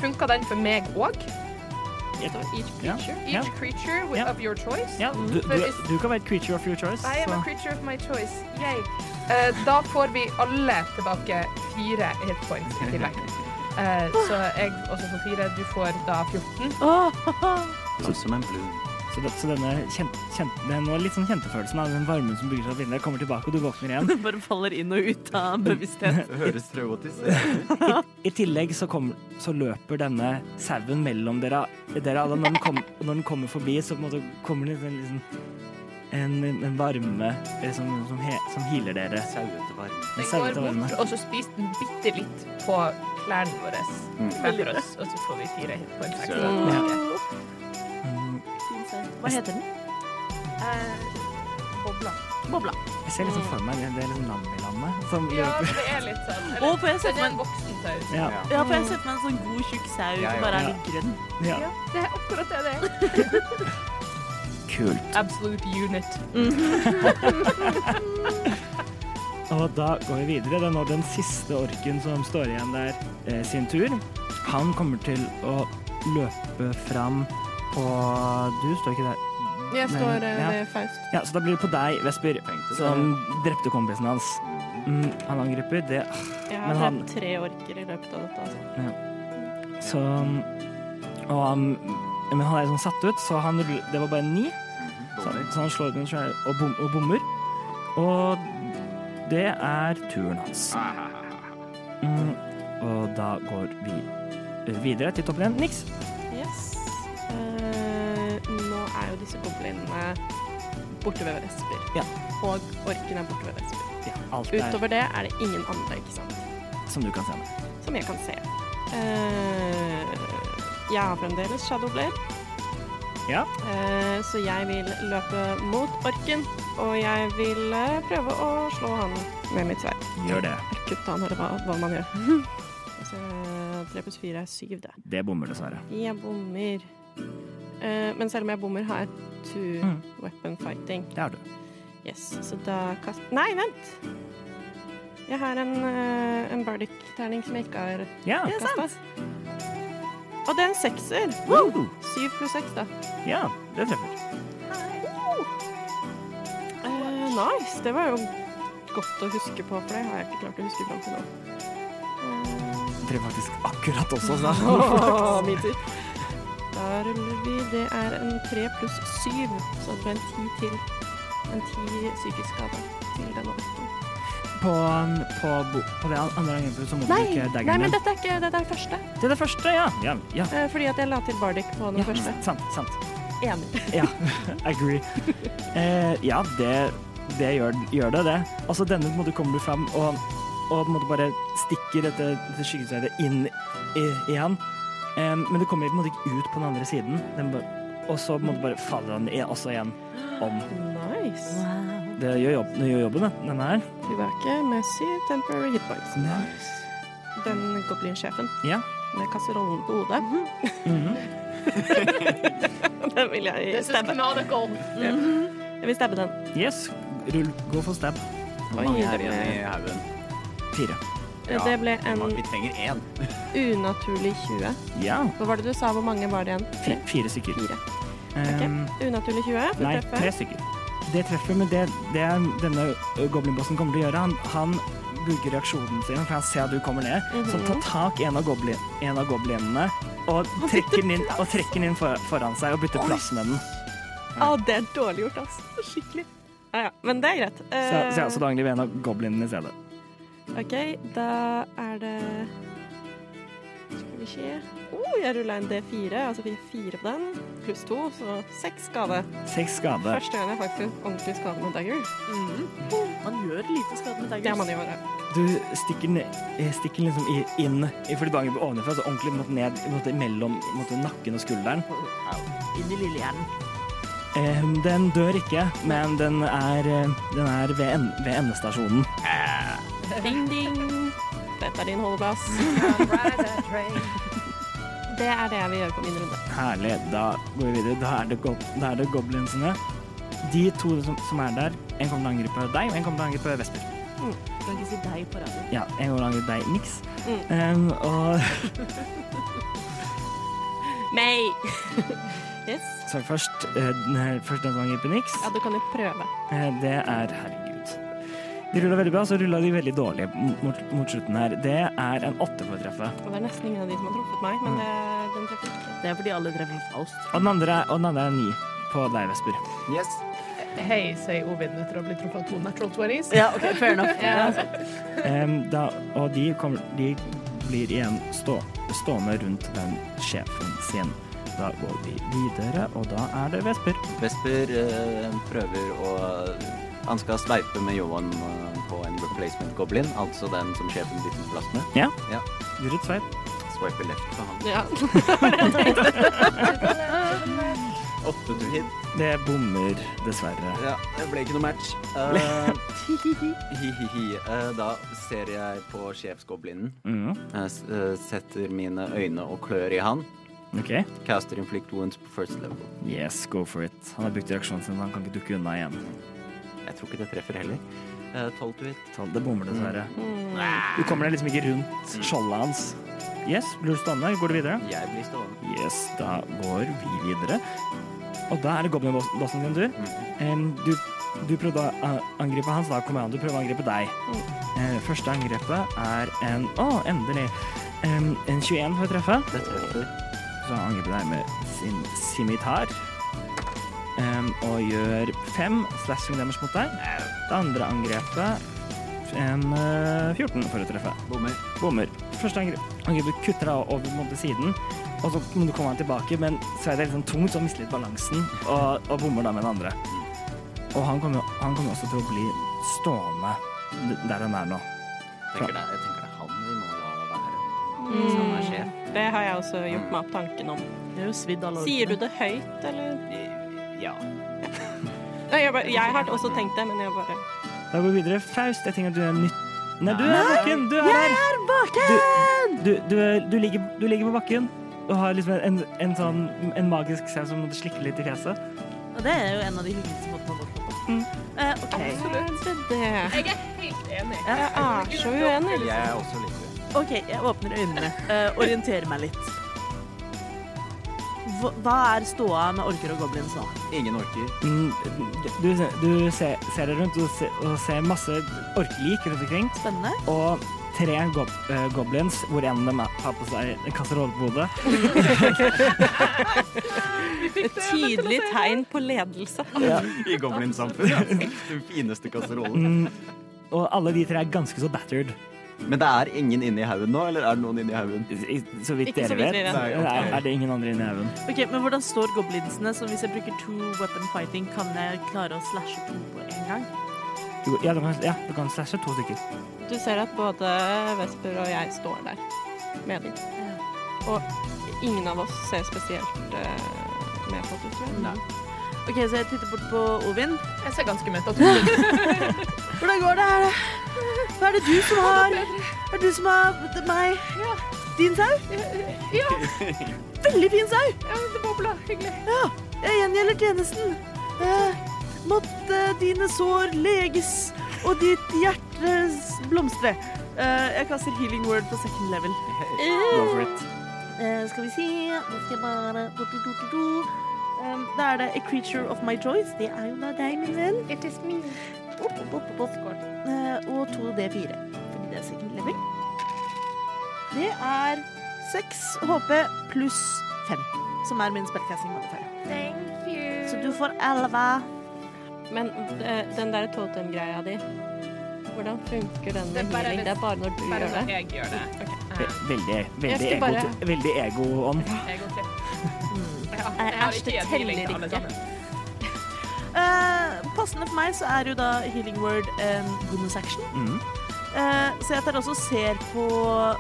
S9: funka den for meg òg?
S2: Så each
S3: Ja.
S2: creature.
S3: Ja.
S9: Each creature with
S3: Ja.
S9: of your choice?
S3: Ja, du, du, du kan være et creature of your choice.
S9: I am a
S3: Så.
S9: creature of my choice. Yay. Eh, da får vi alle tilbake fire hit points i tillegg. Eh, så jeg også får fire. Du får da 14.
S8: Sånn Som en blue.
S3: Så, det, så denne, kjent, kjent, denne litt sånn kjentefølelsen av den varmen som bygger seg opp inni deg, kommer tilbake, og du våkner igjen.
S1: *laughs* Det bare faller inn og ut av bevissthet.
S8: Det høres *laughs* traumatisk ut.
S3: I tillegg så, kommer- så løper denne sauen mellom dere. dere alle. når, den kom, og når den kommer forbi, så på en måte kommer det en, liksom, en, en varme eh, som, som, he, som healer dere.
S8: Sauete varme.
S3: En
S9: Den går
S3: sauete varme.
S9: bort, og så spiser den bitte litt på klærne våre. Hver for oss, og så får vi fire hit points. ekstra tilbake.
S3: Mm,
S1: Hva heter den?
S9: Eh, bobla.
S1: Bobla.
S3: Jeg ser liksom for meg det det er liksom lam i landet som
S9: Ja,
S3: løper.
S9: det er litt sånn.
S1: Å, for jeg ser for
S9: det er
S1: meg
S9: en voksen sau.
S3: Ja.
S1: ja, for jeg ser for meg en sånn god, tjukk sau
S8: Ja,
S1: som
S8: ja,
S1: bare er
S3: ja.
S1: litt grønn.
S3: Ja.
S9: Ja, det er akkurat det det er.
S3: Kult.
S9: Absolute unit.
S3: Og da går vi videre. Det er nå den siste orken som står igjen der, eh, sin tur. Han kommer til å løpe fram på Du står ikke der.
S2: Jeg
S3: Nei,
S2: står eh,
S3: ja.
S2: ved Faust.
S3: Ja, Så da blir det på deg, Vesper, som drepte kompisen hans. Mm, han angriper. Det
S2: Jeg
S3: Men
S2: har
S3: han-
S2: drept tre orker i løpet av dette. Altså.
S3: Så Og han Men han er sånn satt ut, så han Det var bare ni. Så, så han slår den sjøl og, bom, og bommer. Og det er turen hans. Mm, og da går vi videre til toppen igjen. Niks.
S2: Yes. Eh, nå er jo disse goblinene borte ved Vesper.
S3: Ja.
S2: Og orken er borte ved Vesper.
S3: Ja, alt er
S2: Utover det er det ingen andre, ikke sant?
S3: som du kan se nå.
S2: Som jeg kan se. Eh, jeg har fremdeles Shadowblade.
S3: Ja.
S2: Eh, så jeg vil løpe mot orken, og jeg vil eh, prøve å slå han med mitt sverd.
S3: Gjør det.
S2: Kutte han, eller hva, hva man gjør. *laughs* så, tre pluss fire er syv, det.
S3: Det bommer, dessverre.
S2: Jeg bommer. Eh, men selv om jeg bommer, har jeg two
S3: Mm.
S2: weapon fighting.
S3: Det har du.
S2: Yes, så da kast... Nei, vent! Jeg har en, eh, en bardic-terning som jeg ikke har
S3: Ja.
S2: kasta. Og det er en sekser.
S3: Woo!
S2: Syv pluss seks, da.
S3: Ja, det treffer.
S2: Eh, nice! Det var jo godt å huske på, for det har jeg ikke klart å huske fram til nå.
S3: Det treffer faktisk akkurat også, så
S2: *laughs* *laughs* Åh, min tur. Da ruller vi. Det er en tre pluss syv, så det blir en ti til. En ti psykisk skade til denne orken.
S3: på, um, på, bo- på det andre angrepet så må du
S2: Nei,
S3: bruke
S2: nei,
S3: daggeren
S2: men
S3: din.
S2: dette er ikke dette er første.
S3: Til det første, ja. Ja. ja.
S2: Eh, fordi at jeg la til Bardic på den
S3: ja.
S2: første.
S3: Sant. sant.
S2: Enig.
S3: *laughs* Ja, agree. Eh, ja, det det gjør, gjør det, det. Altså, denne på en måte kommer du fram og, og på en måte bare stikker dette, dette skyggesverdet inn i, i han. Em, men det kommer på en måte ikke ut på den andre siden. Den bare, og så på en måte bare faller han i, også igjen om.
S2: *laughs* Nice.
S3: Det gjør, jobb, det gjør jobben, det, denne her.
S2: Du er ikke med syv temporary hitpoints. Den goblinsjefen
S3: Ja.
S2: med kasserollen på hodet,
S3: Mhm.
S2: *laughs* den vil jeg
S9: This is
S2: stabbe.
S9: canonical.
S2: Jeg vil stabbe den.
S3: Yes. Rull. Gå for stab.
S2: Oi, det ble,
S3: Fire.
S2: det ble en
S8: Vi trenger én.
S2: unaturlig 20.
S3: Ja.
S2: Hva var det du sa? Hvor mange var det igjen?
S3: Fire, fire stykker.
S2: Fire.
S3: Em,
S2: Unaturlig 20? for
S3: Ehm, Nei,
S2: å treffe.
S3: tre stykker. Det treffer, men det, det er denne øh, goblinbossen kommer til å gjøre. Han, han bruker reaksjonen sin, for han ser at du kommer ned. Så han tar tak i en av, goblin, en av goblinene og trekker den inn, og trekker den inn for, foran seg og bytter plass med den.
S2: Å, det er dårlig gjort, altså. Skikkelig. Ja, ja. Men det er greit.
S3: Så,
S2: Eh,
S3: så, ja, så altså da angrer vi en av goblinene i stedet.
S2: OK, da er det Skal vi se oh, Jeg rulla en D4, altså fikk jeg fire på den. Pluss to, så seks skade.
S3: Seks skade.
S2: Første gang jeg faktisk ordentlig skade med dagger.
S1: Man gjør lite skade med
S2: Det
S1: daggers.
S2: må man gjøre.
S3: Du stikker den eh, stikker den liksom i- inn, i- fordi du angrer ovenfra, så ordentlig mot ned mot, mellom mot nakken og skulderen.
S1: Inn i lillehjernen.
S3: Eh, Den dør ikke, men den er, eh, den er ved, en, ved endestasjonen.
S2: Ding, ding. Dette er din holdeplass. Det er det jeg vil gjøre på min runde.
S3: Herlig. Da går vi videre. Da er det, go da er det goblinsene. De to som, som er der, en kommer til å angripe deg, og en kommer til å angripe Vesper.
S1: Kan ikke si deg på radioen.
S3: Ja, en kommer til å angripe deg, Nix.
S2: Mm.
S3: Um, og *laughs*
S2: Meg! *laughs* yes.
S3: så først, eh, den her- først den som angriper Nix.
S2: Ja, du kan jo prøve.
S3: Eh, Det er Herregud. De rulla veldig bra, så rulla de veldig dårlig mot, mot slutten her. Det er en åtte for å treffe.
S2: Og det er nesten ingen av de som har truffet meg, men det, den treffer ikke.
S1: Det er fordi alle drev med Faust.
S3: Og den andre, og den andre er ni på deg, Vesper.
S8: Yes.
S9: Hei, sier Ovid etter å ha blitt truffet av to natural 20s.
S1: Ja, ok, fair enough.
S3: Em, da, og de, kommer, de blir igjen stå, stående rundt den sjefen sin. Da går vi videre, og da er det Vesper.
S8: Vesper eh, prøver å Han skal sveipe med Johan eh, på en replacement goblin, altså den som sjefen byttet plass med.
S3: Ja.
S8: Ja.
S3: Gjør et sveip.
S8: Swipe left på han.
S2: Ja. *laughs*
S8: Åtte to hit.
S3: Det bommer, dessverre.
S8: Ja, det ble ikke noe match. *laughs* Eh, Hi-hi-hi. Eh, da ser jeg på sjefsgoblinen.
S3: Mm,
S8: Jeg s- eh, setter mine øyne og klør i han.
S3: OK.
S8: Caster inflict wounds på first level.
S3: Yes, go for it. Han har brukt reaksjonen sin, han kan ikke dukke unna igjen.
S8: Jeg tror ikke det treffer heller. Eh, Tolv to hit.
S3: Så det bommer, dessverre. Du kommer deg liksom ikke rundt skjoldet hans. Yes, blir du stående? Går du videre?
S8: Jeg blir stående.
S3: Yes, da går vi videre. Og da er det goblinbossen sin tur. Em, du, du prøvde å eh, angripe hans, da kommer han til å prøve å angripe deg. Eh, første angrepet er en Å, endelig! Em, en 21 for å treffe.
S8: Det treffer.
S3: Så han angriper deg med sin simitar. Em, og gjør fem slashing damage mot deg. Det andre angrepet en eh, 14 for å treffe.
S8: Bommer.
S3: Bommer. Første angrep, angrepet kutter deg over mot siden, og så må du komme deg tilbake, men så er det litt sånn tungt, så han mister litt balansen, og, og bommer da med den andre. Og han kommer, han kommer også til å bli stående d- der han er nå.
S8: Tenker det, jeg tenker det er han vi må la være.
S2: Mm.
S8: Som er sjef.
S2: Det har jeg også gjort meg opp tanken om.
S1: Det er jo svidd alle
S2: Sier du
S1: ordene.
S2: det høyt, eller?
S8: Eh, Ja.
S2: Nei, jeg, bare, jeg har også tenkt det, men jeg bare
S3: Da går vi videre. Faust, jeg tenker at du er nytt... Nei, du er bakken! Du er der!
S13: Er baken!
S3: Du, du, du, ligger, du ligger på bakken og har liksom en, en sånn en magisk saus som måtte slikke litt i fjeset.
S1: Og det er jo en av de hyggeligste måtene å gå på. Eh, ok.
S2: Absolutt det.
S9: Jeg er helt enig.
S2: Jeg er så uenig.
S8: Jeg er også litt uenig.
S1: OK, jeg åpner øynene. eh, orienterer meg litt. Hva, hva er ståa med orker og goblins nå?
S8: Ingen orker.
S3: Mm, Du, du ser, ser deg rundt og ser, og ser masse orkelik rundt omkring.
S1: Spennende.
S3: Og tre gob eh, goblins, hvor en av dem er- har på seg en kasserolle på hodet.
S2: Et tydelig tegn på ledelse.
S8: I *laughs* goblinsamfunnet. Den fineste kasserollen.
S3: Mm, og alle de tre er ganske så battered,
S8: Men det er ingen inni haugen nå, eller er det noen inni haugen?
S3: i- så vidt
S2: Ikke så
S3: dere vet.
S2: vidt vi vet.
S8: Nei, ok.
S3: er, er det ingen andre inni haugen?
S1: Ok, Men hvordan står goblinsene? Så hvis jeg bruker two weapon fighting, kan jeg klare å slashe to på en gang?
S3: Du- Ja, du kan, ja, du kan slashe to stykker.
S2: Du ser at både Vesper og jeg står der med de. Og ingen av oss ser spesielt eh, med på det, tror jeg.
S9: Mm.
S1: OK, så jeg titter bort på Ovin.
S9: Jeg ser ganske mett ut. Jeg
S1: Hvordan går det? Er det- Hva er det du som har Er det du som har d- meg? Din sau?
S6: Ja.
S1: Veldig fin sau!
S6: Ja, det bobla. Hyggelig.
S1: Ja, jeg gjengjelder tjenesten. Eh, måtte dine sår leges og ditt hjerte s- blomstre. Eh, jeg kaster healing word på second level.
S3: Go for it.
S1: Eh, skal vi se Nå skal jeg bare do, do, do, do, do. Um, Da er det A Creature of My Choice. Det er jo da deg, min venn.
S6: It is me.
S1: Opp, opp, opp, opp, opp. Eh, og 2D4, fordi det er second level. Det er 6 HP pluss 5, som er min spellcasting modifier.
S6: Thank you.
S1: Så du får 11.
S2: Men eh, den der totem-greia di, hvordan funker den
S9: Det er
S2: med
S9: bare
S2: healing?
S9: litt-
S2: Det er bare når du
S9: Bare
S2: gjør
S9: så
S2: det?
S9: jeg gjør det.
S3: Ve- Veldig, veldig,
S2: Jeg skal
S3: ego,
S2: bare-
S3: veldig ego-ånd.
S9: Jeg går til. Ja,
S2: Eh,
S9: Mm. jeg har
S2: Ash,
S9: ikke
S2: det
S9: gitt healing til
S2: teller
S9: alle
S2: ikke.
S9: sammen.
S1: Eh, passende for meg så er jo da healing word en bonus action.
S3: Mhm.
S1: Eh, så jeg tar også og ser på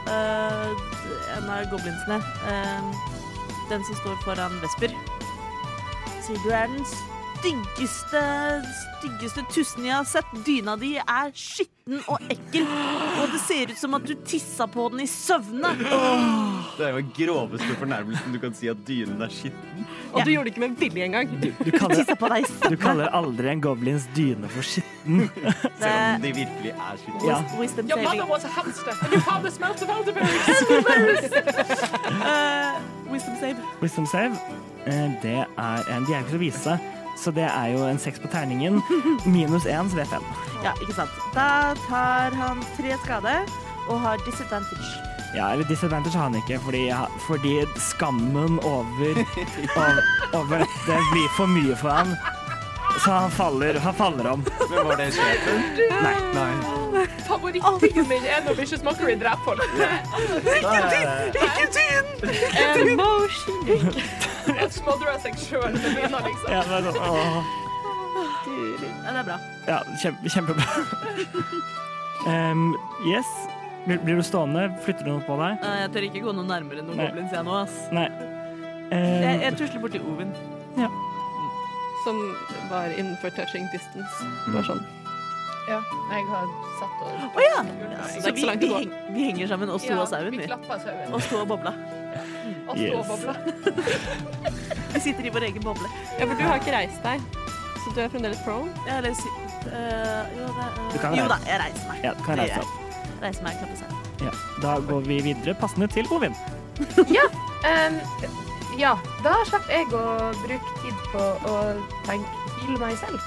S1: eh, en av goblinsene. eh, den som står foran Vesper. Sier du er den styggeste, styggeste tussen jeg har sett. Dyna di er skitten og ekkel, og det ser ut som at du tissa på den i søvne.
S8: Det er jo den groveste fornærmelsen du kan si at dynen er skitten.
S2: Og du gjorde det ikke med vilje engang.
S3: Du,
S2: *laughs*
S3: du, kaller,
S1: Tissa på deg i søvne.
S3: du kaller aldri en goblins dyne for skitten.
S8: Selv om de virkelig er skitten.
S3: Ja.
S1: Wisdom
S9: Your
S1: saving.
S9: mother was a hamster, and your father smelt of *laughs* elderberries.
S1: Eh, wisdom save.
S3: Wisdom save, liksom eh, det er en De er jo ikke så vise, så det er jo en seks på
S2: *laughs*
S3: terningen. Minus én, så det er fem.
S1: Ja, ikke sant. Da tar han tre skade og har disadvantage.
S3: Ja, eller disadvantage har han ikke, fordi, fordi skammen *laughs* over, over, over dette blir for mye for han. Så han faller, han faller om.
S8: Men var det sjefen?
S3: Nei.
S8: Nei.
S9: Favorittingen min er når Vicious Mockery dreper folk. Og smadrer seg sjøl med dyna, liksom.
S3: Ja, det er sånn, åh.
S1: Ja, det er bra.
S3: Ja, kjempe, kjempebra. Em, yes. Blir, blir du stående? Flytter du noe på deg?
S1: Eh, Jeg tør ikke gå noe nærmere noen
S3: Nei.
S1: goblins jeg nå, ass.
S3: Nei.
S1: Jeg,
S3: Em,
S1: jeg tusler borti Ovin.
S2: Som var innenfor touching distance. Bare sånn.
S9: Ja, jeg har satt og
S1: Å ja!
S9: Så
S1: Så
S2: ikke
S1: vi,
S2: så langt
S1: vi,
S2: å gå.
S1: heng, vi henger sammen og
S9: Ja,
S1: står av sauen,
S9: vi
S1: vi.
S9: klapper sauen.
S1: Og står og bobla.
S9: Og
S3: Yes.
S9: ståbobla.
S1: Vi sitter i vår egen boble.
S2: Ja, for du har ikke reist deg, så du er fremdeles prone.
S1: Ja, Eller si... eh, jo, det, eh,
S3: Du kan reise.
S1: jo da, jeg reiser meg.
S3: ja, du kan reise deg opp.
S1: Reiser meg og klapper seg.
S3: Ja, da går vi videre, passende til Ovin.
S6: Um, ja, da slapp jeg å bruke tid på å tenke heal meg selv.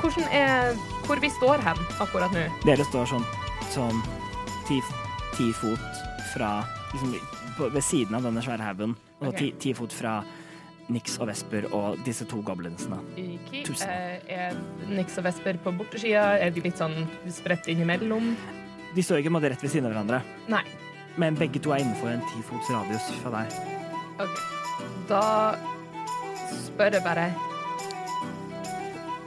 S9: Hvordan er Hvor vi står hen akkurat nå?
S3: Dere står sånn, sånn ti, ti fot fra liksom, på, Ved siden av denne svære haugen. Og
S9: Ok.
S3: ti, ti fot fra Nix og Vesper og disse to goblinsene.
S9: Iki,
S3: Tusen.
S9: eh, er Nix og Vesper på bortesida? Er de litt sånn spredt innimellom?
S3: De står ikke på en måte rett ved siden av hverandre,
S9: Nei.
S3: men begge to er innenfor en ti fots radius fra deg.
S9: OK. Da spør jeg bare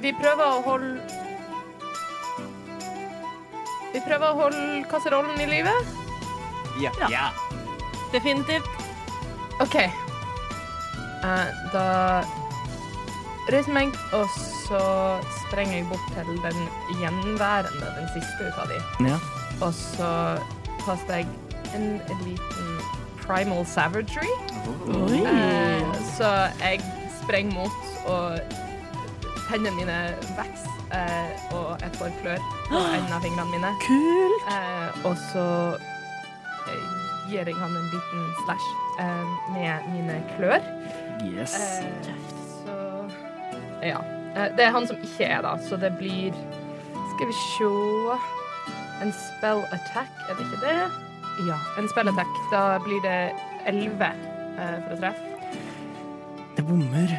S6: Vi prøver å holde Vi prøver å holde kasserollen i live.
S8: Ja.
S5: Ja.
S2: Definitivt.
S9: OK. Eh, da reiser jeg meg, og så sprenger jeg bort til den gjenværende, den siste ut av de.
S3: Ja.
S9: Og så kaster jeg en liten primal savagery. Eh, så jeg sprenger mot og hendene mine vokser, eh, og jeg får klør på enden av fingrene mine.
S1: Kul!
S9: Eh, og så eh, gir jeg han en liten slash eh, med mine klør.
S3: Yes.
S9: Eh, så Ja. Eh, det er han som ikke er, da, så det blir Skal vi sjå En spell attack, er det ikke det? Ja, en spell attack. Da blir det elleve eh, for å treffe.
S3: Det bommer.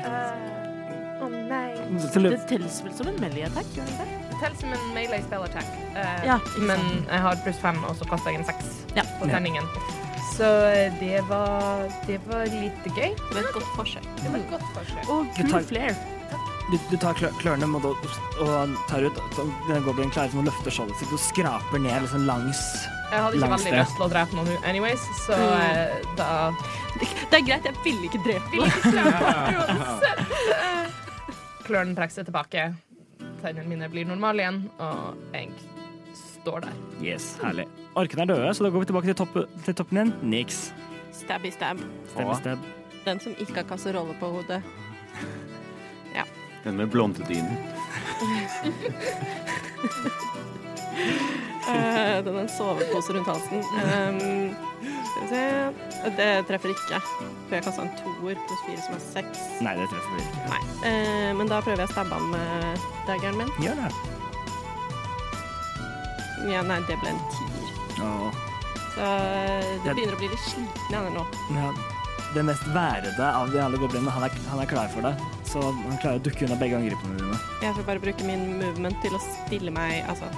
S9: Å nei.
S3: Til
S1: Det
S3: løp.
S1: telles vel som en melee-attack? gjør det ikke det?
S9: Det teller som en melee spell attack, eh,
S1: Ja, ikke
S9: men jeg har pluss fem, og så kaster jeg en seks
S1: Ja.
S9: på terningen. Så eh, det var Det var litt gøy.
S2: Det var et godt forsøk.
S9: Det var et godt forsøk.
S1: Å,
S3: Du
S1: kul
S3: tar-
S1: flair.
S3: Du, du tar klø klørne mot, og, og tar ut sånn, den goblinen klarer som å løfte skjoldet sitt og skraper ned liksom langs
S9: Jeg hadde ikke
S3: Langs
S9: veldig
S3: det.
S9: lyst til å drepe noen anyways, så
S1: Mm.
S9: eh, da
S2: Det er greit, jeg ville ikke drepe
S9: Vil ikke drepe noen. Klørne trekker seg tilbake. Tennene mine blir normale igjen, og jeg står der.
S3: Yes, herlig. Orkene er døde, så da går vi tilbake til, topp, til toppen igjen. Niks.
S2: Stabby stab.
S3: Stemmer sted.
S2: Den som ikke har kasserolle på hodet.
S8: Den med blondedynen.
S2: Eh, den har en sovepose rundt halsen. Ehm, skal vi se Det treffer ikke. For jeg kasta en toer pluss fire, som er seks.
S3: Nei, det treffer vi ikke.
S2: Nei. Eh, men da prøver jeg å stabbe han med daggeren min.
S3: Gjør det.
S2: Ja, nei, det ble en tier.
S3: Åh.
S2: Så eh, det begynner å bli litt sliten jeg nå.
S3: Ja, det mest værede av de alle goblinene, han, er- han er klar for det. Så han klarer å dukke unna begge angripene dine.
S2: Jeg skal bare bruke min movement til å stille meg Altså,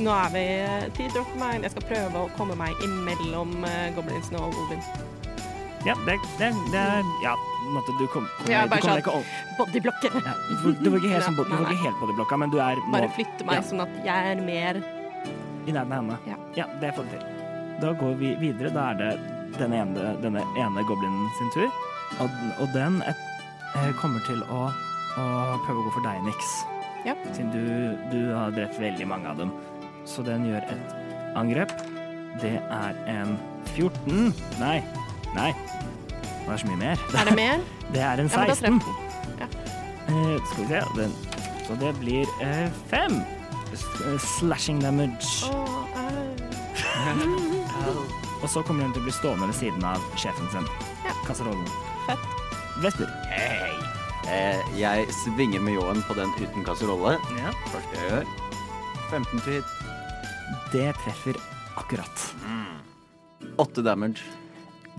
S2: nå er vi eh, ti drop mine. Jeg skal prøve å komme meg imellom eh, goblinsene og Ovin.
S3: Ja, det, det, det er Ja, på en måte, du kom- kommer
S2: Ja,
S3: du
S2: bare
S3: kommer
S2: sånn.
S3: ikke opp.
S2: Bodyblokker.
S3: Ja, du får- du får ikke
S2: *laughs*
S3: helt,
S2: Ja,
S3: sånn, du får
S2: nei,
S3: ikke helt på det blokka, men du er nå
S2: Bare flytte meg
S3: Ja.
S2: sånn at jeg er mer
S3: i nærheten av henne.
S2: Ja.
S3: Ja, det får du til. Da går vi videre. Da er det denne ene, denne ene goblinen sin tur. Og, den- og den et, eh, kommer til å, å prøve å gå for deg, Nix.
S2: Ja.
S3: Siden du, du har drept veldig mange av dem. Så den gjør et angrep. Det er en 14 Nei. Nei. Det er så mye mer.
S2: Er det mer?
S3: Det er en
S2: Ja, men da
S3: 16.
S2: treffer
S3: Eh, skal vi se. Den, så det blir eh, fem. S- eh, Slashing damage.
S2: Åh, au.
S3: Og så kommer hun til å bli stående ved siden av sjefen sin.
S2: Ja.
S3: Kasserollen.
S2: Fett.
S3: Vesper.
S8: Hei! Eh, jeg svinger med ljåen på den uten kasserolle.
S3: Ja.
S8: Første jeg gjør. 15 til hit.
S3: Det treffer akkurat.
S8: 8 damage.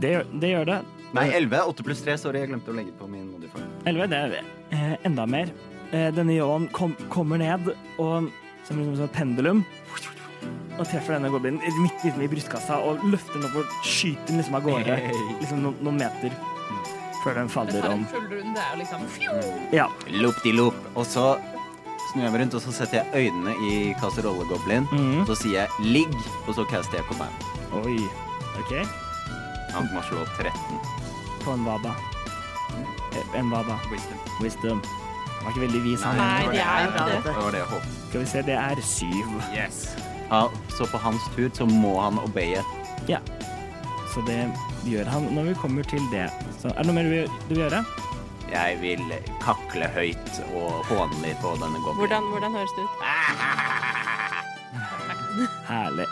S3: Det gjør det. Gjør det.
S8: Nei, 11. 8 pluss 3. Sorry, jeg glemte å legge på min modifier.
S3: 11, det er eh, enda mer. Eh, denne ljåen kom, kommer ned og som liksom som et pendulum. Og treffer denne goblinen midt liksom i brystkassa og løfter den opp og skyter den liksom av gårde liksom no, noen meter før den
S9: Det
S3: faller
S9: tar
S3: om.
S9: en full runde og liksom fjo!
S3: Ja.
S8: Loop-de-loop. Og så snur jeg meg rundt, og så setter jeg øynene i kasserollegoblin.
S3: Mhm.
S8: Og så sier jeg 'ligg', og så caster jeg command.
S3: Oi. OK.
S8: Han må slå 13.
S3: På en vaba. Eh, En vaba.
S8: Wisdom.
S3: Wisdom. Han var ikke veldig vis, han.
S2: Nei, det er
S13: bra,
S2: ikke det.
S8: Det var det jeg håpet.
S3: Skal vi se, det er syv.
S8: Ja, så på hans tur så må han obeie.
S3: Så det gjør han når vi kommer til det. Så er det noe mer du vil, du vil gjøre?
S8: Jeg vil kakle høyt og hånlig på denne goblinen.
S2: Hvordan, hvordan høres det ut?
S3: Herlig.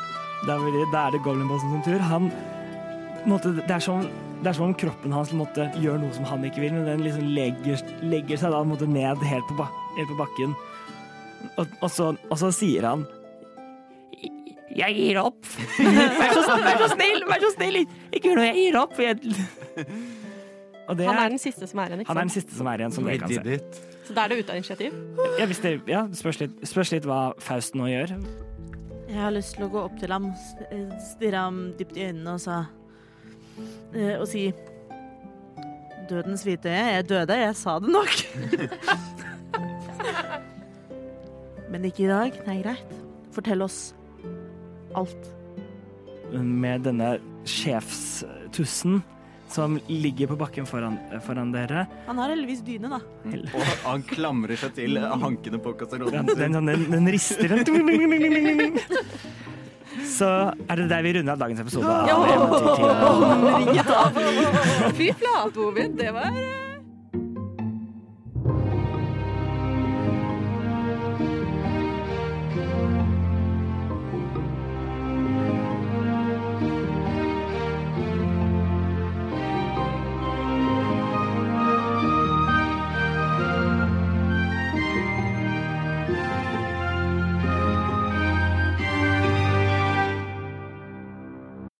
S3: Da er, vi, da er det Goblin-bossen sin tur. Han på en måte, det, er som, det er som om kroppen hans på en måte, gjør noe som han ikke vil, men den liksom legger, legger seg da på en måte, ned helt på, ba, helt på bakken. Og, og, så, og så sier han Jeg gir opp. Vær så, snill, vær så snill, vær så snill! Ikke gjør noe, jeg gir opp. Jeg... Og det
S2: Han er
S3: er,
S2: den siste som er igjen, ikke
S3: han er den
S2: sant?
S3: siste som er igjen, som dere kan se.
S2: Så da er det ute av initiativ.
S3: Ja, hvis det, ja, spørs, litt, spørs litt hva Faust nå gjør.
S13: Jeg har lyst til å gå opp til ham, s- eh, stirre ham dypt i øynene og, sa, eh, og si Dødens hvite øye, jeg døde, jeg sa det nok. *laughs* Men ikke i dag. Det er greit. Fortell oss alt.
S3: med denne sjefstussen som ligger på bakken foran, foran dere.
S13: Han har heldigvis dyne, da.
S8: Og han klamrer seg til hankene på
S3: Den,
S8: kasserollen
S3: den,
S8: sin.
S3: den, den rister den. Så er det der vi runder av dagens episode. Av Eventyrtime.
S2: Fy flate, Ovin. Det var eh,